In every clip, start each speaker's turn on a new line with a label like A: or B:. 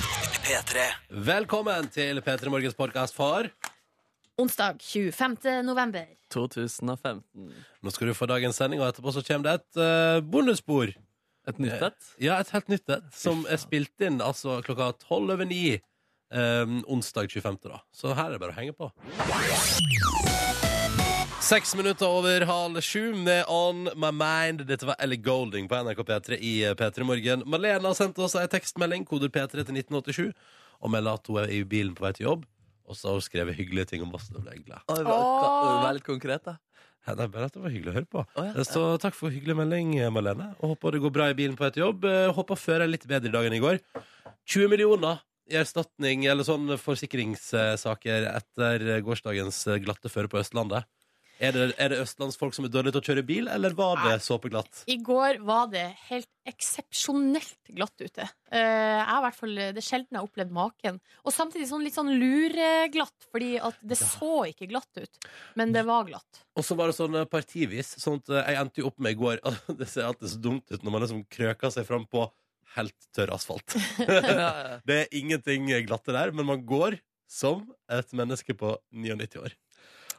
A: P3.
B: Velkommen til P3 Morgens podkast for
C: Onsdag 25. november.
D: 2015.
B: Nå skal du få dagens sending, og etterpå så kommer det et eh, bonusbord. Eh,
D: Et nytt et?
B: Ja, et helt nytt et, som er spilt inn altså klokka tolv over ni eh, onsdag 25. da. Så her er det bare å henge på. Seks minutter over halv sju med On My Mind. Dette var Ellie Golding på NRK P3 i eh, P3 Morgen. Malene har sendt oss ei tekstmelding, koder P3 til 1987, og melder at hun er i bilen på vei til jobb. Og så har hun skrevet hyggelige ting om Vassdal Egla.
D: Oi,
C: Åh.
D: Vær litt konkret, da.
B: Nei, det er bare at det var hyggelig å høre på.
D: Å, ja.
B: Så takk for hyggelig melding, Malene. Og håper det går bra i bilen på vei til jobb. Eh, Håper før er litt bedre i dag enn i går. 20 millioner i erstatning eller sånn forsikringssaker etter gårsdagens glatte føre på Østlandet. Er det, er det østlandsfolk som er dårlige til å kjøre bil, eller var det såpeglatt?
C: I går var det helt eksepsjonelt glatt ute. Eh, Jeg har i hvert fall, Det er sjelden jeg har opplevd maken. Og samtidig sånn litt sånn lureglatt, fordi at det så ikke glatt ut, men det var glatt.
B: Og så var det sånn eh, partivis. Sånn at eh, jeg endte jo opp med i går Det ser alltid så dumt ut når man liksom krøker seg fram på helt tørr asfalt.
D: Ja, ja.
B: Det er ingenting glatte der, men man går som et menneske på 99 år.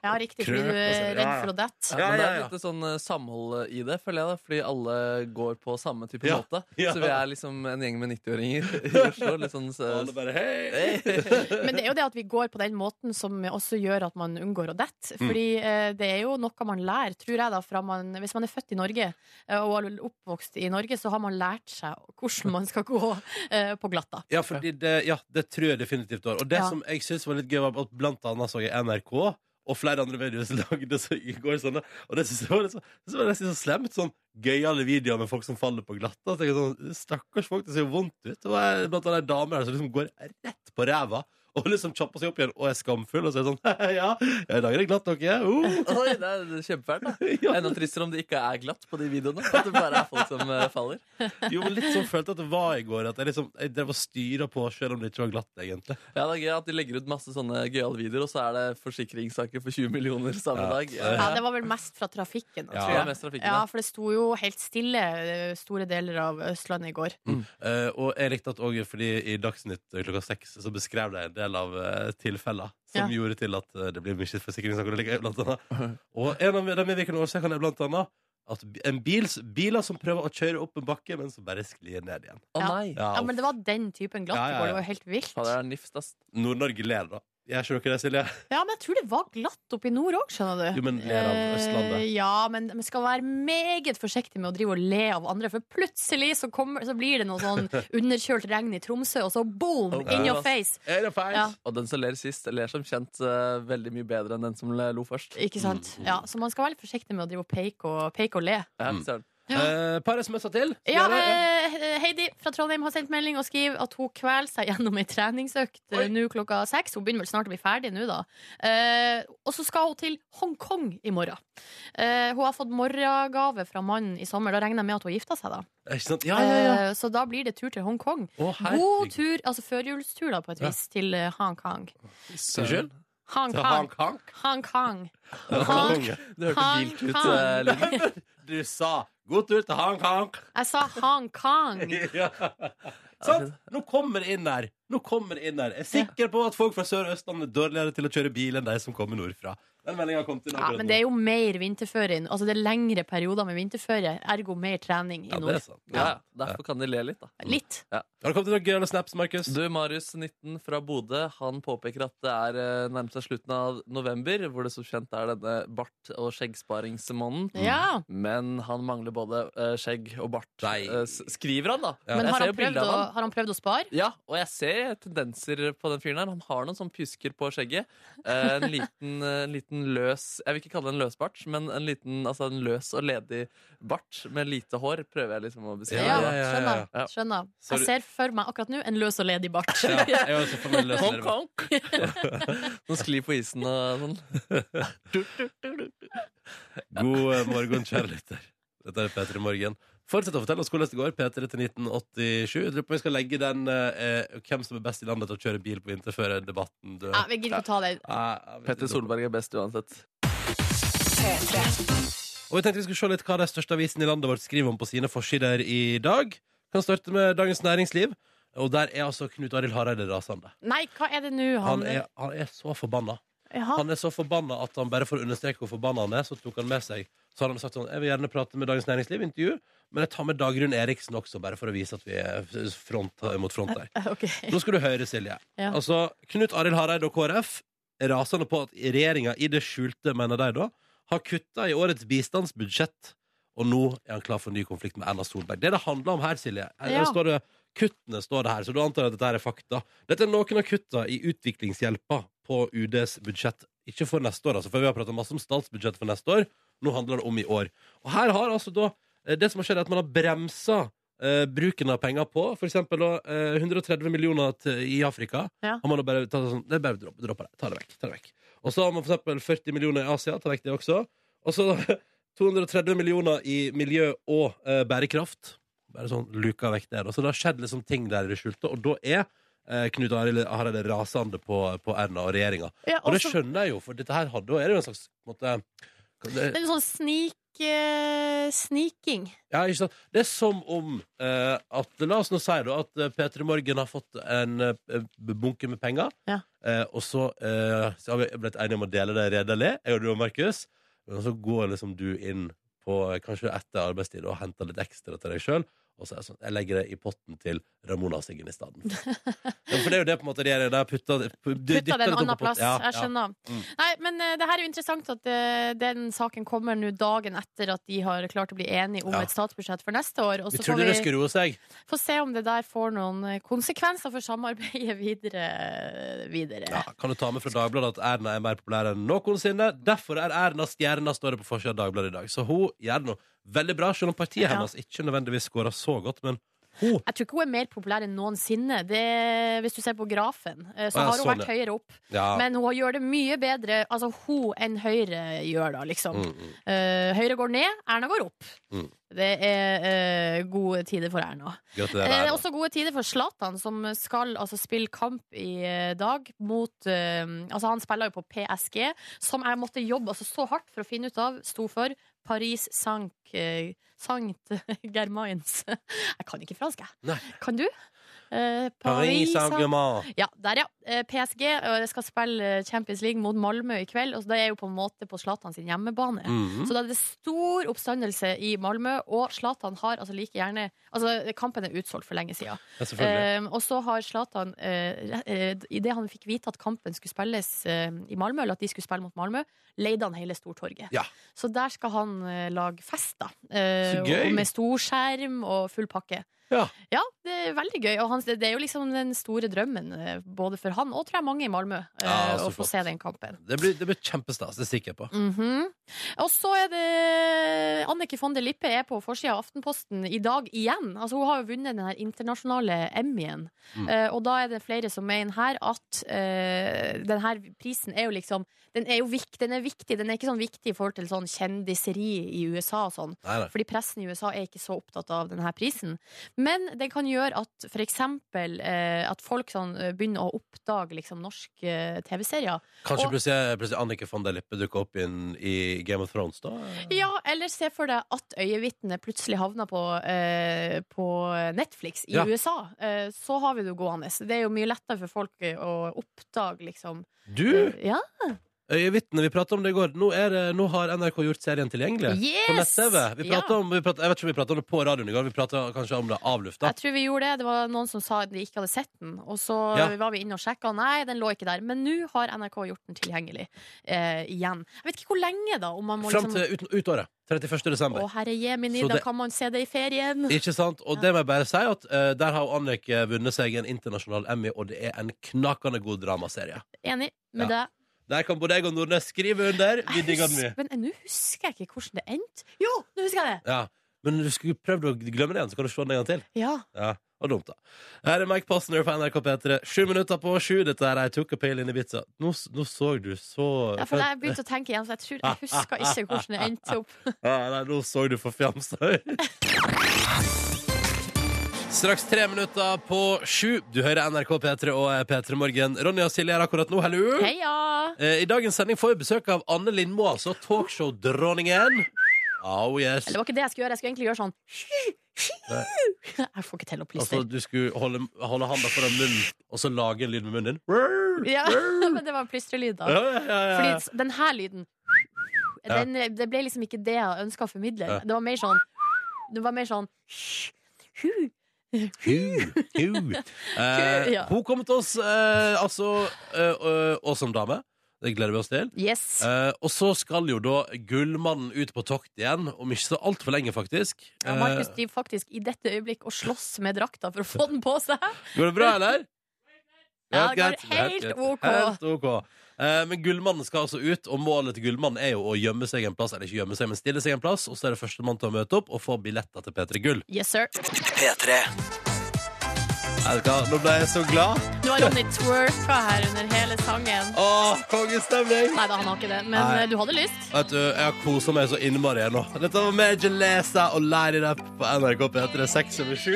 C: Ja, riktig, fordi du er redd for å dette.
B: Ja,
D: men det
B: ja, ja.
D: er litt sånn eh, samhold i det, føler jeg. da Fordi alle går på samme type
B: Ja,
D: måte.
B: ja.
D: Så vi er liksom en gjeng med 90-åringer i Oslo. Litt sånn så,
B: Alle bare hei!
C: Men det er jo det at vi går på den måten som også gjør at man unngår å dette.
B: Mm.
C: Fordi eh, det er jo noe man lærer, tror jeg, da, fra man Hvis man er født i Norge eh, og er oppvokst i Norge, så har man lært seg hvordan man skal gå eh, på glatta.
B: Ja, fordi det, ja, det tror jeg definitivt det var. Og det
C: Ja.
B: som jeg syns var litt gøy, var at blant annet så jeg NRK og flere andre medier som lagde så i går sånne. Og det synes jeg var, litt så, det var nesten så slemt. Sånn gøyale videoer med folk som faller på glatta. Så tenker jeg Sånn, Stakkars folk, det ser jo vondt ut. Og jeg, blant annet ei dame der som liksom går rett på ræva. Og liksom kjapper seg opp igjen og er skamfull og så er det sånn Ja, ja i dag er det glatt, dere. Uh.
D: Oi, det er kjempefælt. da.
B: Ja.
D: Enda tristere om det ikke er glatt på de videoene. At det bare er folk som eh, faller.
B: Jo, men litt sånn følte jeg at det var i går. At jeg liksom jeg drev og styra på selv om det ikke var glatt, egentlig.
D: Ja, Det er gøy at de legger ut masse sånne gøyale videoer, og så er det forsikringssaker for 20 millioner samme
B: Ja.
D: dag.
C: Ja, det var vel mest fra trafikken. da,
B: Ja.
C: tror
D: Det
C: jeg.
D: er mest trafikken,
C: Ja,
D: da.
C: for det sto jo helt stille eh, store deler av Østlandet i går.
B: Eh, og jeg likte at også, fordi i Dagsnytt eh, klokka seks så beskrev de en del av eh, tilfeller som
C: Ja.
B: gjorde til at eh, det blir mye forsikringssaker. og like, Blant annet. Og en av de medvirkende årsakene er blant annet at en bils, biler som prøver å kjøre opp en bakke, men som bare sklir ned igjen.
D: Å
C: Ja.
D: nei!
B: Ja,
C: Ja, Men det var den typen glatt
B: Ja,
C: i
B: ja,
C: går.
B: ja.
C: Det var jo helt vilt.
D: Fader, det er nifst, ass.
B: Nord-Norge ler, da. Jeg ser dere det, Silje.
C: Ja, men jeg tror det var glatt oppe i nord òg, skjønner du.
B: Jo, men ler av Østlandet.
C: Eh, Ja, men man skal være meget forsiktig med å drive og le av andre, for plutselig så, kommer, så blir det noe sånn underkjølt regn i Tromsø, og så boom!
D: Oh,
C: in
D: ja.
C: your face!
B: Er det feil?
C: Ja.
D: Og den som ler sist, ler som kjent eh, veldig mye bedre enn den som lo først.
C: Ikke
B: Mm,
C: sant? Ja, så man skal være litt forsiktig med å drive og peke og, peke og le.
D: Ja, søren.
B: Eh, par SMS-er til? Skal jeg
C: Ja,
B: gjøre det?
C: eh, Heidi fra Trondheim har sendt melding og skriver at hun kveler seg gjennom ei treningsøkt eh,
B: Oi.
C: nå klokka seks. Hun begynner vel snart å bli ferdig nå, da. Eh, og så skal hun til Hongkong i morgen. Eh, hun har fått morgengave fra mannen i sommer. Da regner jeg med at hun har gifta seg, da.
B: Eh, Ikke sant? Ja, ja, ja.
C: Eh, så da blir det tur til Hongkong.
B: Å,
C: God
B: herregud.
C: tur, altså førjulstur, da, på et
B: Ja.
C: vis, til eh, Hongkong.
B: Unnskyld? Til
C: Hongkong.
B: Hongkong?
C: Hongkong.
B: Hongkong.
D: Du hørte
C: Han
D: bilklut.
C: kan.
D: eh, lyden.
B: Du sa 'god tur til Hongkong'.
C: Jeg sa Hongkong.
B: ja.
C: Altså-
B: Sant? Nå kommer det inn her. Nå kommer det inn her. Jeg er sikker på at folk fra Sør- og Østlandet er dårligere til å kjøre bil enn de som kommer nordfra. Den meldingen kom til
C: Ja, men det er jo mer vinterføre. i- Altså det er lengre perioder med vinterføre, ergo mer trening i
B: ja, det
C: nord.
B: er sant.
D: Ja, ja. derfor kan de le litt, da.
C: Litt.
B: Har det kommet noen gøyale snaps, Markus?
D: Du, Marius 19 fra Bodø, han påpeker at det er eh, nærmest av slutten av november, hvor det som kjent er denne bart- og
B: Mm.
D: skjeggsparingsmåneden.
C: Ja.
D: Men han mangler både eh, skjegg og bart.
B: Nei.
D: Eh, s- skriver han, da.
B: Ja.
C: Men
D: Jeg
C: har
D: ser jo
C: han, prøvd
D: bildet
C: å,
D: av han.
C: har han prøvd å spare?
D: Ja, og jeg ser tendenser på den fyren her. Han har noen sånn pjusker på skjegget. Eh, En liten, eh, en liten løs Jeg vil ikke kalle det en løsbart, men en liten, altså en løs og ledig bart med lite hår, prøver jeg liksom å
C: Ja,
D: beskrive.
B: Ja, ja, ja,
C: skjønner.
D: ja.
C: skjønner.
B: Så du-
C: Jeg ser for meg akkurat nå en løs og ledig bart.
B: Ja, jeg har også fått meg løs
D: Konk,
B: nede med-
D: konk! Som sklir Sånn på isen og sånn.
B: God eh, morgen, kjære lytter. Dette er P3 Morgen. Fortsett å fortelle oss hvordan det går. P3 til 1987. Jeg lurer på om vi skal legge den eh, hvem som er best i landet til å kjøre bil på vinterføre-debatten død.
C: Ja, vi gidder ikke å ta det.
B: Ja, jeg vet ikke
D: Petter
B: om-
D: Solberg er best uansett.
B: Og vi tenkte vi skulle se litt hva de største avisene i landet vårt skriver om på sine forsider i dag. Kan starte med Dagens Næringsliv. Og der er altså Knut Arild Hareide rasende.
C: Nei, hva er det nå
B: Han
C: han,
B: er, han er så forbanna.
C: ja,
B: Han er så forbanna at han bare for å understreke hvor forbanna han er, så tok han med seg Så har han sagt sånn Jeg vil gjerne prate med Dagens Næringsliv, intervju, men jeg tar med Dagrun Eriksen også, bare for å vise at vi er front mot front der.
C: ok.
B: Nå skal du høre, Silje.
C: Ja.
B: Altså, Knut Arild Hareide og KrF er rasende på at regjeringa i det skjulte, mener de da, har kutta i årets bistandsbudsjett, og nå er han klar for en ny konflikt med Erna Solberg. Det er det handler om her, Silje. Her
C: Ja.
B: står det, kuttene står det her, så du antar at dette her er fakta. Dette er noen av kutta i utviklingshjelpa på UDs budsjett. Ikke for neste år, altså, for vi har prata masse om statsbudsjettet for neste år. Nå handler det om i år. Og her har altså da eh, Det som har skjedd, er at man har bremsa eh, bruken av penger på. For eksempel da, eh, 130 millioner til, i Afrika.
C: Ja.
B: Har man da bare tatt sånn, det er bare dropp, dropp det, ta det vekk. ta det vekk. Og så har man for eksempel 40 millioner i Asia, ta vekk det også. Og så 230 millioner i miljø og eh, bærekraft. Bare sånn luka vekk der. da. Så det har skjedd liksom ting der i det skjulte, og da er eh, Knut Arild Hareide rasende på, på Erna og regjeringa.
C: Ja,
B: Og det
C: også-
B: skjønner jeg jo, for dette her hadde, da er det jo en slags på en måte, det,
C: det er en sånn snik, eh, sniking.
B: Ja, ikke sant? Det er som om eh, at La oss nå si da, at eh, P3 Morgen har fått en eh, bunke med penger.
C: Ja.
B: Eh, og så, eh, så har vi blitt enige om å dele det redelig, jeg og du og Markus. Men så går liksom du inn på eh, kanskje etter arbeidstid og henter litt ekstra til deg sjøl. Og så er det sånn, jeg legger det i potten til Ramona og Siggen i stedet. ja, for det er jo det på en måte de gjør. Putta
C: Putta det en annen plass. jeg
B: Ja, ja.
C: skjønner.
B: Mm.
C: Nei, men eh, det her er jo interessant at eh, den saken kommer nå dagen etter at de har klart å bli enige om
B: Ja.
C: et statsbudsjett for neste år. Og
B: Vi
C: så får
B: trodde det
C: vi
B: skulle roe seg.
C: få se om det der får noen eh, konsekvenser for samarbeidet videre. videre.
B: Ja, kan du ta med fra Dagbladet at Erna er mer populær enn noensinne? Derfor er Erna stjerna, står det på forsida av Dagbladet i dag. Så hun gjør det nå veldig bra, selv om partiet
C: Ja.
B: hennes ikke nødvendigvis scorer så godt. Men hun
C: Jeg tror ikke hun er mer populær enn noensinne. Det, hvis du ser på grafen, eh,
B: Å,
C: så
B: ja,
C: har hun
B: sånn,
C: vært høyere opp.
B: Ja.
C: Men hun gjør det mye bedre, altså hun enn Høyre gjør, da, liksom.
B: Mm, mm.
C: Eh, Høyre går ned, Erna går opp.
B: Mm.
C: Det er eh, gode tider for Erna.
B: Gratulerer,
C: Eh, Det er
B: Erna.
C: også gode tider for Zlatan, som skal altså, spille kamp i eh, dag mot eh, Altså, han spiller jo på PSG, som jeg måtte jobbe altså, så hardt for å finne ut av sto for Paris Sank, eh, Sankt Germains. Jeg kan ikke fransk, jeg.
B: Nei.
C: Kan du? Eh,
B: Paris
C: Saint-
B: Saint-Germain.
C: ja, der ja. Eh, PSG eh, skal spille eh, Champions League mot Malmö i kveld, og så det er jo på en måte på Zlatan sin hjemmebane.
B: Mm.
C: Så da er det stor oppstandelse i Malmö, og Zlatan har altså like gjerne Altså, kampen er utsolgt for lenge siden.
B: Ja, selvfølgelig.
C: Eh, og så har Zlatan, eh, eh, idet han fikk vite at kampen skulle spilles eh, i Malmö, eller at de skulle spille mot Malmö, leide han hele Stortorget.
B: Ja.
C: Så der skal han eh, lage fest, da. Eh,
B: Så gøy.
C: Og med storskjerm og full pakke.
B: Ja.
C: det er veldig gøy. Og han, det er jo liksom den store drømmen, eh, både for han og tror jeg mange i Malmö, eh,
B: Ja, så
C: å få
B: flott.
C: se den kampen.
B: Det blir, det blir kjempestas, det er jeg sikker på.
C: Mhm. Og så er det Annike von der Lippe er på forsida av Aftenposten i dag igjen. Altså, hun har jo vunnet den her internasjonale Emmy-en.
B: Mm.
C: Eh, og da er det flere som mener her at eh, den her prisen er jo liksom Den er jo vik, den er viktig. Den er ikke sånn viktig i forhold til sånn kjendiseri i USA og sånn.
B: Nei, nei.
C: Fordi pressen i USA er ikke så opptatt av denne prisen. Men den kan gjøre at for eksempel eh, at folk sånn, eh, begynner å oppdage liksom, norske eh, TV-serier.
B: Kanskje
C: Og-
B: plutselig, plutselig Annike von der Lippe dukker opp inn i Game of Thrones, da?
C: Ja, eller se for deg at øyevitnet plutselig havna på, eh, på Netflix i
B: Ja.
C: USA. Eh, så har vi det jo gående. Så Det er jo mye lettere for folk eh, å oppdage, liksom.
B: Du!
C: Ja.
B: Øyevitne, vi prata om det i går. Nå, er det, nå har NRK gjort serien tilgjengelig. På
C: Yes!
B: nett-TV. Vi pratet
C: ja.
B: om, vi pratet, jeg vet ikke om vi pratet om det på radioen i går, vi pratet kanskje om det avlufta.
C: Jeg tror vi gjorde det. Det var noen som sa at de ikke hadde sett den. Og så
B: Ja.
C: var vi inne og sjekka, nei, den lå ikke der. Men nå har NRK gjort den tilgjengelig eh, igjen. Jeg vet ikke hvor lenge, da. Om man må
B: Fram
C: liksom
B: til ut, utåret. 31. desember.
C: Å, herre jemini,
B: Så
C: da
B: det-
C: kan man se det i ferien!
B: Ikke sant? Og det må jeg bare si at eh, der har jo Annike vunnet seg en internasjonal Emmy, og det er en knakende god dramaserie.
C: Enig med
B: Ja.
C: deg.
B: Der kan både jeg og Nordnes skrive under. Vi
C: Jeg
B: digger den mye.
C: husker, men nå husker jeg ikke hvordan det endte. Jo, nå husker jeg det!
B: Ja. Men du skulle prøvd å glemme det igjen, så kan du se den en gang til.
C: Ja.
B: Ja, og dumt da Her er Mike Posner på NRK P3 Sju minutter på sju, dette her er Took a Pale in Ibiza Nå, s- nå så du så
C: Ja, for jeg begynte å tenke igjen, så jeg tror jeg husker ikke hvordan det endte opp.
B: Ja, nei, nå så du forfjamsa ut. Straks tre minutter på sju. Du hører NRK P3 og P3 Morgen. Ronny og Silje er akkurat nå. Hallo!
C: Heia!
B: Eh, I dagens sending får vi besøk av Anne Lindmo, altså talkshow-dronningen. Oh, yes.
C: Eller det var ikke det jeg skulle gjøre. Jeg skulle egentlig gjøre sånn
B: Nei.
C: Jeg får ikke til å
B: Altså,
C: plystre.
B: du skulle holde, holde handa foran munnen og så lage en lyd med munnen din?
C: Ja, men det var plystrelyd, da.
B: ja, ja, ja, ja.
C: Fordi den her lyden
B: Ja.
C: den, Det ble liksom ikke det jeg ønska å formidle.
B: Ja.
C: Det var mer sånn Det var mer sånn hu.
B: Hu, hu. Eh,
C: Ja.
B: Hun kommer til oss eh, altså, eh, eh, og som dame. Det gleder vi oss til.
C: Yes.
B: Eh, og så skal jo da gullmannen ut på tokt igjen, om ikke så altfor lenge, faktisk.
C: Ja, Markus
B: Eh,
C: driver faktisk i dette øyeblikk og slåss med drakta for å få den på seg.
B: går det bra, eller?
C: Ja, det går helt ok.
B: Helt ok. Eh, men Gullmannen skal altså ut, og målet til Gullmannen er jo å gjemme seg en plass. Eller ikke gjemme seg, men stille seg en plass, og så er det førstemann til å møte opp og få billetter til P3 Gull.
C: Yes, sir.
B: Er det hva? Nå ble jeg så glad.
C: Nå har Ronny twerka her under hele sangen.
B: Åh, kongestemning!
C: Nei da, han har ikke det, men
B: Nei.
C: eh, du hadde lyst?
B: Vet du, Jeg har kosa meg så innmari nå. Dette var Major Lazer og Light It Up på NRK P3 seks over sju.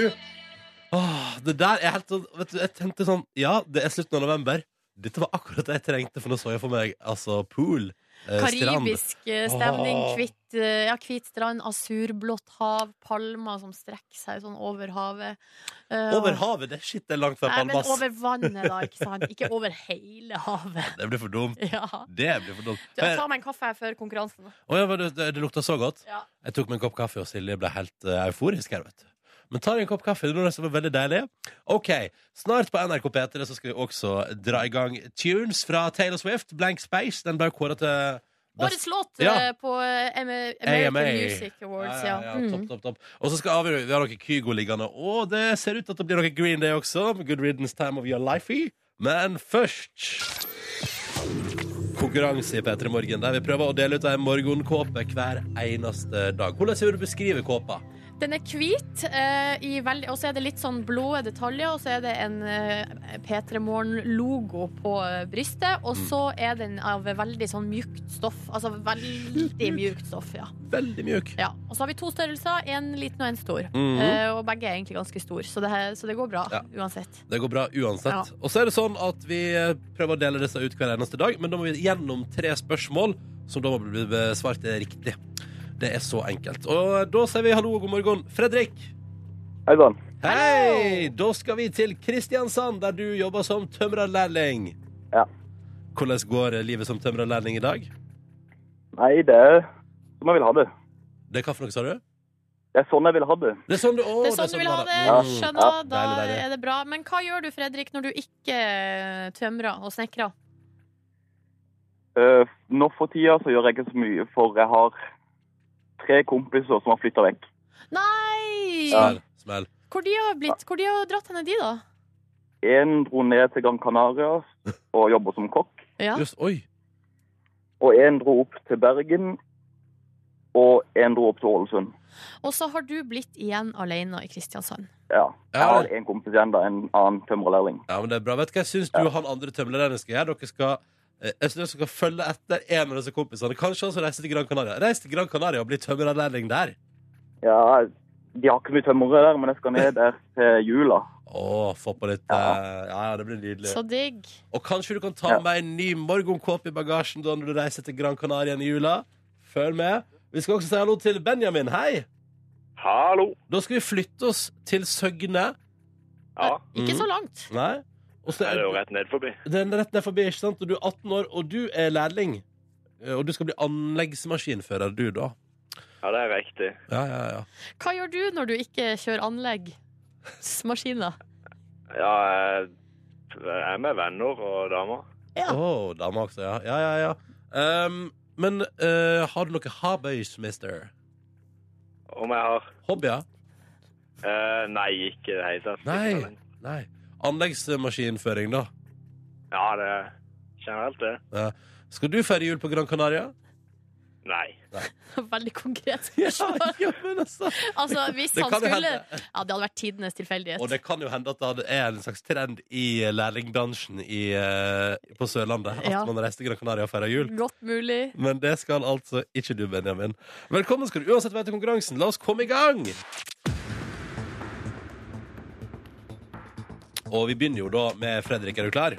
B: Åh, Det der er helt sånn Vet du, Jeg tenkte sånn Ja, det er slutten av november. Dette var akkurat det jeg trengte, for nå så jeg for meg altså pool. eh, strand.
C: Karibisk eh, stemning,
B: Åh.
C: kvitt, eh, ja, hvit strand, asurblått hav, palmer som strekker seg sånn over havet. Eh,
B: Over havet! Det shit det er langt fra
C: Nei, men
B: Palmas.
C: over vannet, da, ikke sant? Ikke over hele havet.
B: Det blir for dumt.
C: Ja.
B: Det blir for dumt.
C: Du, jeg tar meg en kaffe her før konkurransen.
B: Å, ja, men det, det, det lukta så godt.
C: Ja.
B: Jeg tok meg en kopp kaffe, og Silje ble helt eh, euforisk her, vet du. Men ta deg en kopp kaffe, det var noe som var veldig deilig. Ok, snart på NRK P3 så skal vi også dra i gang tunes fra Taylor Swift, Blank Space. Den ble kåra til best-
C: Årets låt
B: Ja.
C: eh, på eh, Am- American
B: AMA.
C: Music Awards, ja.
B: ja,
C: Mm.
B: Topp, topp, topp. Og så skal vi, vi har noe Kygo liggende. Og det ser ut til at det blir noe Green Day også. med Good riddance time of your life i. Men først Konkurranse i P3 Morgen, der vi prøver å dele ut ei morgenkåpe hver eneste dag. Hvordan vil du beskrive kåpa?
C: Den er hvit, eh, i veldig- og så er det litt sånn blå detaljer, og så er det en eh, P3 Morgen-logo på eh, brystet, og så er den av veldig sånn mjukt stoff. Altså veldig mjukt stoff, ja.
B: Veldig mjuk.
C: ja. Og så har vi to størrelser, en liten og en stor.
B: Mhm.
C: Eh, og begge er egentlig ganske store, så det, her, så det går bra
B: Ja.
C: uansett.
B: Det går bra uansett.
C: Ja.
B: Og så er det sånn at vi prøver å dele disse ut hver eneste dag, men da må vi gjennom tre spørsmål som da må bli besvart riktig. Det er så enkelt. Og eh, da sier vi hallo og god morgen. Fredrik!
A: Hei sann.
B: Hei! Da skal vi til Kristiansand, der du jobber som tømrerlærling.
A: Ja.
B: Hvordan går eh, livet som tømrerlærling i dag?
A: Nei, det er som jeg vil ha det.
B: Det er hva for noe, sa du?
A: Det er sånn jeg vil ha det.
B: Det er sånn du, å,
C: Det er sånn du vil ha det,
A: Mm.
C: skjønner. Da
B: Deilig, deilig.
C: er det bra. Men hva gjør du, Fredrik, når du ikke eh, tømrer og snekrer?
A: Eh, nå for tida så gjør jeg ikke så mye, for jeg har tre kompiser som har flytta vekk.
C: Nei!
B: Smell, smell.
C: Hvor de har blitt, hvor de har dratt henne de, da?
A: Én dro ned til Gran Canaria og jobber som kokk.
C: Ja.
B: Just, oi.
A: Og én dro opp til Bergen, og én dro opp til Ålesund.
C: Og så har du blitt igjen alene i Kristiansand.
A: Ja. Jeg
B: Ja,
A: har én kompis igjen, da. En annen tømrerlærling.
B: Ja, men det er bra. Vet du hva jeg syns du og han andre tømlerne skal gjøre? Dere skal, eh, jeg synes dere skal følge etter en av disse kompisene. Kanskje han skal reise til Gran Canaria. Reis til Gran Canaria og bli tømrerlærling der.
A: Ja, de har ikke mye tømrere der, men jeg skal ned der til jula.
B: Å, få på litt eh, Ja, ja, det blir nydelig.
C: Så digg.
B: Og kanskje du kan ta
A: Ja.
B: med en ny morgenkåpe i bagasjen da når du reiser til Gran Canaria i jula. Følg med. Vi skal også si hallo til Benjamin. Hei!
E: Hallo.
B: Da skal vi flytte oss til Søgne.
E: Ja,
C: Ikke
B: Mhm.
C: så langt.
B: Nei? Og så
E: det er jo
B: er
E: rett ned forbi.
B: den rett ned forbi, ikke sant? Og du er 18 år, og du er lærling. Eh, Og du skal bli anleggsmaskinfører, du, da.
E: Ja, det er riktig.
B: Ja, ja, ja.
C: Hva gjør du når du ikke kjører anlegg? Maskiner.
E: Ja, jeg jeg er med venner og damer.
C: Ja.
B: Åh, dame også, ja. Ja, ja, ja. Ehm, men eh, har du noe hobbies, mister?
E: Om jeg har
B: Hobbyer?
E: eh, Nei, ikke i det hele tatt.
B: Nei. Nei. Anleggsmaskinføring, da.
E: Ja, det er generelt, det.
B: Skal du feire jul på Gran Canaria?
E: Nei.
C: Veldig konkret.
B: Ja,
C: spørsmål.
B: ja, men altså
C: Altså, hvis
B: Det
C: han
B: kan jo
C: skulle
B: hende.
C: Ja, det hadde vært tidenes tilfeldighet.
B: Og det kan jo hende at det hadde- er en slags trend i eh, lærlingbransjen i, eh, på Sørlandet. At
C: Ja.
B: man reiser til Gran Canaria og feirer jul.
C: Godt mulig.
B: Men det skal altså ikke du, Benjamin. Velkommen skal du uansett være til konkurransen. La oss komme i gang! Og vi begynner jo da med Fredrik. Er du klar?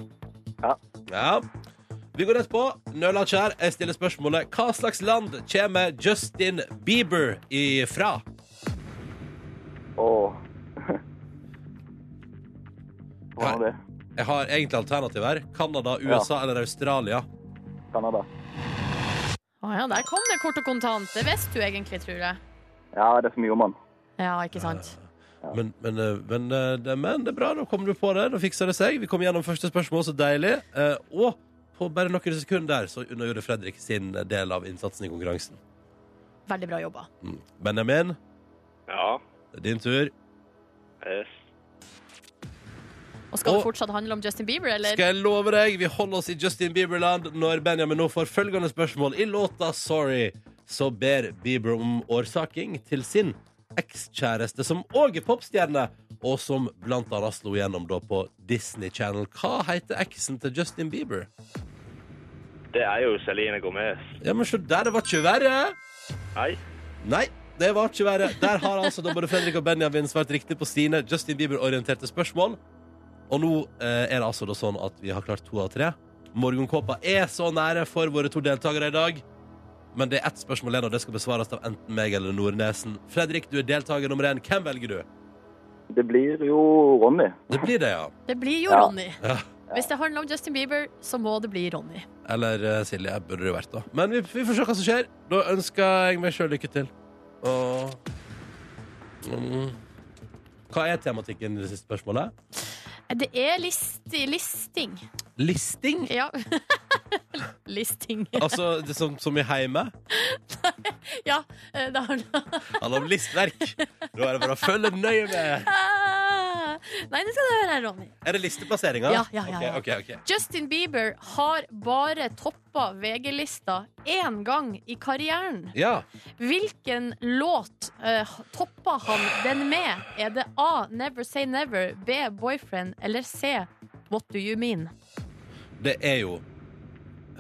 A: Ja.
B: Ja. Vi går rett på. Nøla kjær, jeg stiller spørsmålet Hva slags land kommer Justin Bieber ifra?
A: Og Hva var det?
B: Jeg har egentlig alternativ her. Canada,
A: Ja.
B: USA eller Australia.
A: Canada.
C: Å ja, der kom det kort og kontant. Det visste du egentlig, tror jeg.
A: Ja, det er så mye om han.
C: Ja, ikke sant?
B: Men, men, eh, men, eh, det, men det er bra, da kom du på det. Da fiksa det seg. Vi kom gjennom første spørsmål, så deilig. Eh, og på bare noen sekunder der så unnagjorde Fredrik sin eh, del av innsatsen i konkurransen.
C: Veldig bra jobba.
B: Mm. Benjamin,
E: Ja.
B: det er din tur.
E: Yes.
C: Og skal
B: Og-
C: det fortsatt handle om Justin Bieber, eller?
B: Skal jeg love deg, vi holder oss i Justin Bieberland når Benjamin nå får følgende spørsmål. I låta 'Sorry' så ber Bieber om årsaking til sin ekskjæreste, som òg er popstjerne, og som blant annet slo gjennom da på Disney Channel. Hva heter eksen til Justin Bieber?
E: Det er jo Celine Gomez.
B: Ja, men se der, det var ikke verre!
E: Nei.
B: Nei, det var ikke verre. Der har altså da både Fredrik og Benjamin svart riktig på sine Justin Bieber-orienterte spørsmål. Og nå eh, er det altså da sånn at vi har klart to av tre. Morgenkåpa er så nære for våre to deltakere i dag. Men det er ett spørsmål igjen, og det skal besvares av enten meg eller Nordnesen. Fredrik, du er deltaker nummer én. Hvem velger du?
A: Det blir jo Ronny.
B: Det blir det, ja.
C: Det blir jo
A: Ja.
C: Ronny.
B: Ja.
C: Hvis det handler om Justin Bieber, så må det bli Ronny.
B: Eller eh, Silje burde det jo vært, da. Men vi, vi får se hva som skjer. Da ønsker jeg meg sjøl lykke til. Og mm. Hva er tematikken i det siste spørsmålet?
C: Det er listi, listing.
B: Listing?
C: Ja. listing.
B: Altså det som, som i heime?
C: Ja, eh, det handler
B: Handler om listverk. Da er det bare å følge nøye med.
C: Ah! Nei, nå skal du høre her, Ronny.
B: Er det listeplasseringa?
C: Ja, ja, ja, ja.
B: Ok, ok, ok.
C: Justin Bieber har bare toppa VG-lista én gang i karrieren.
B: Ja.
C: Hvilken låt eh, toppa han den med? Er det A. Never Say Never, B. Boyfriend eller C. What Do You Mean?
B: Det er jo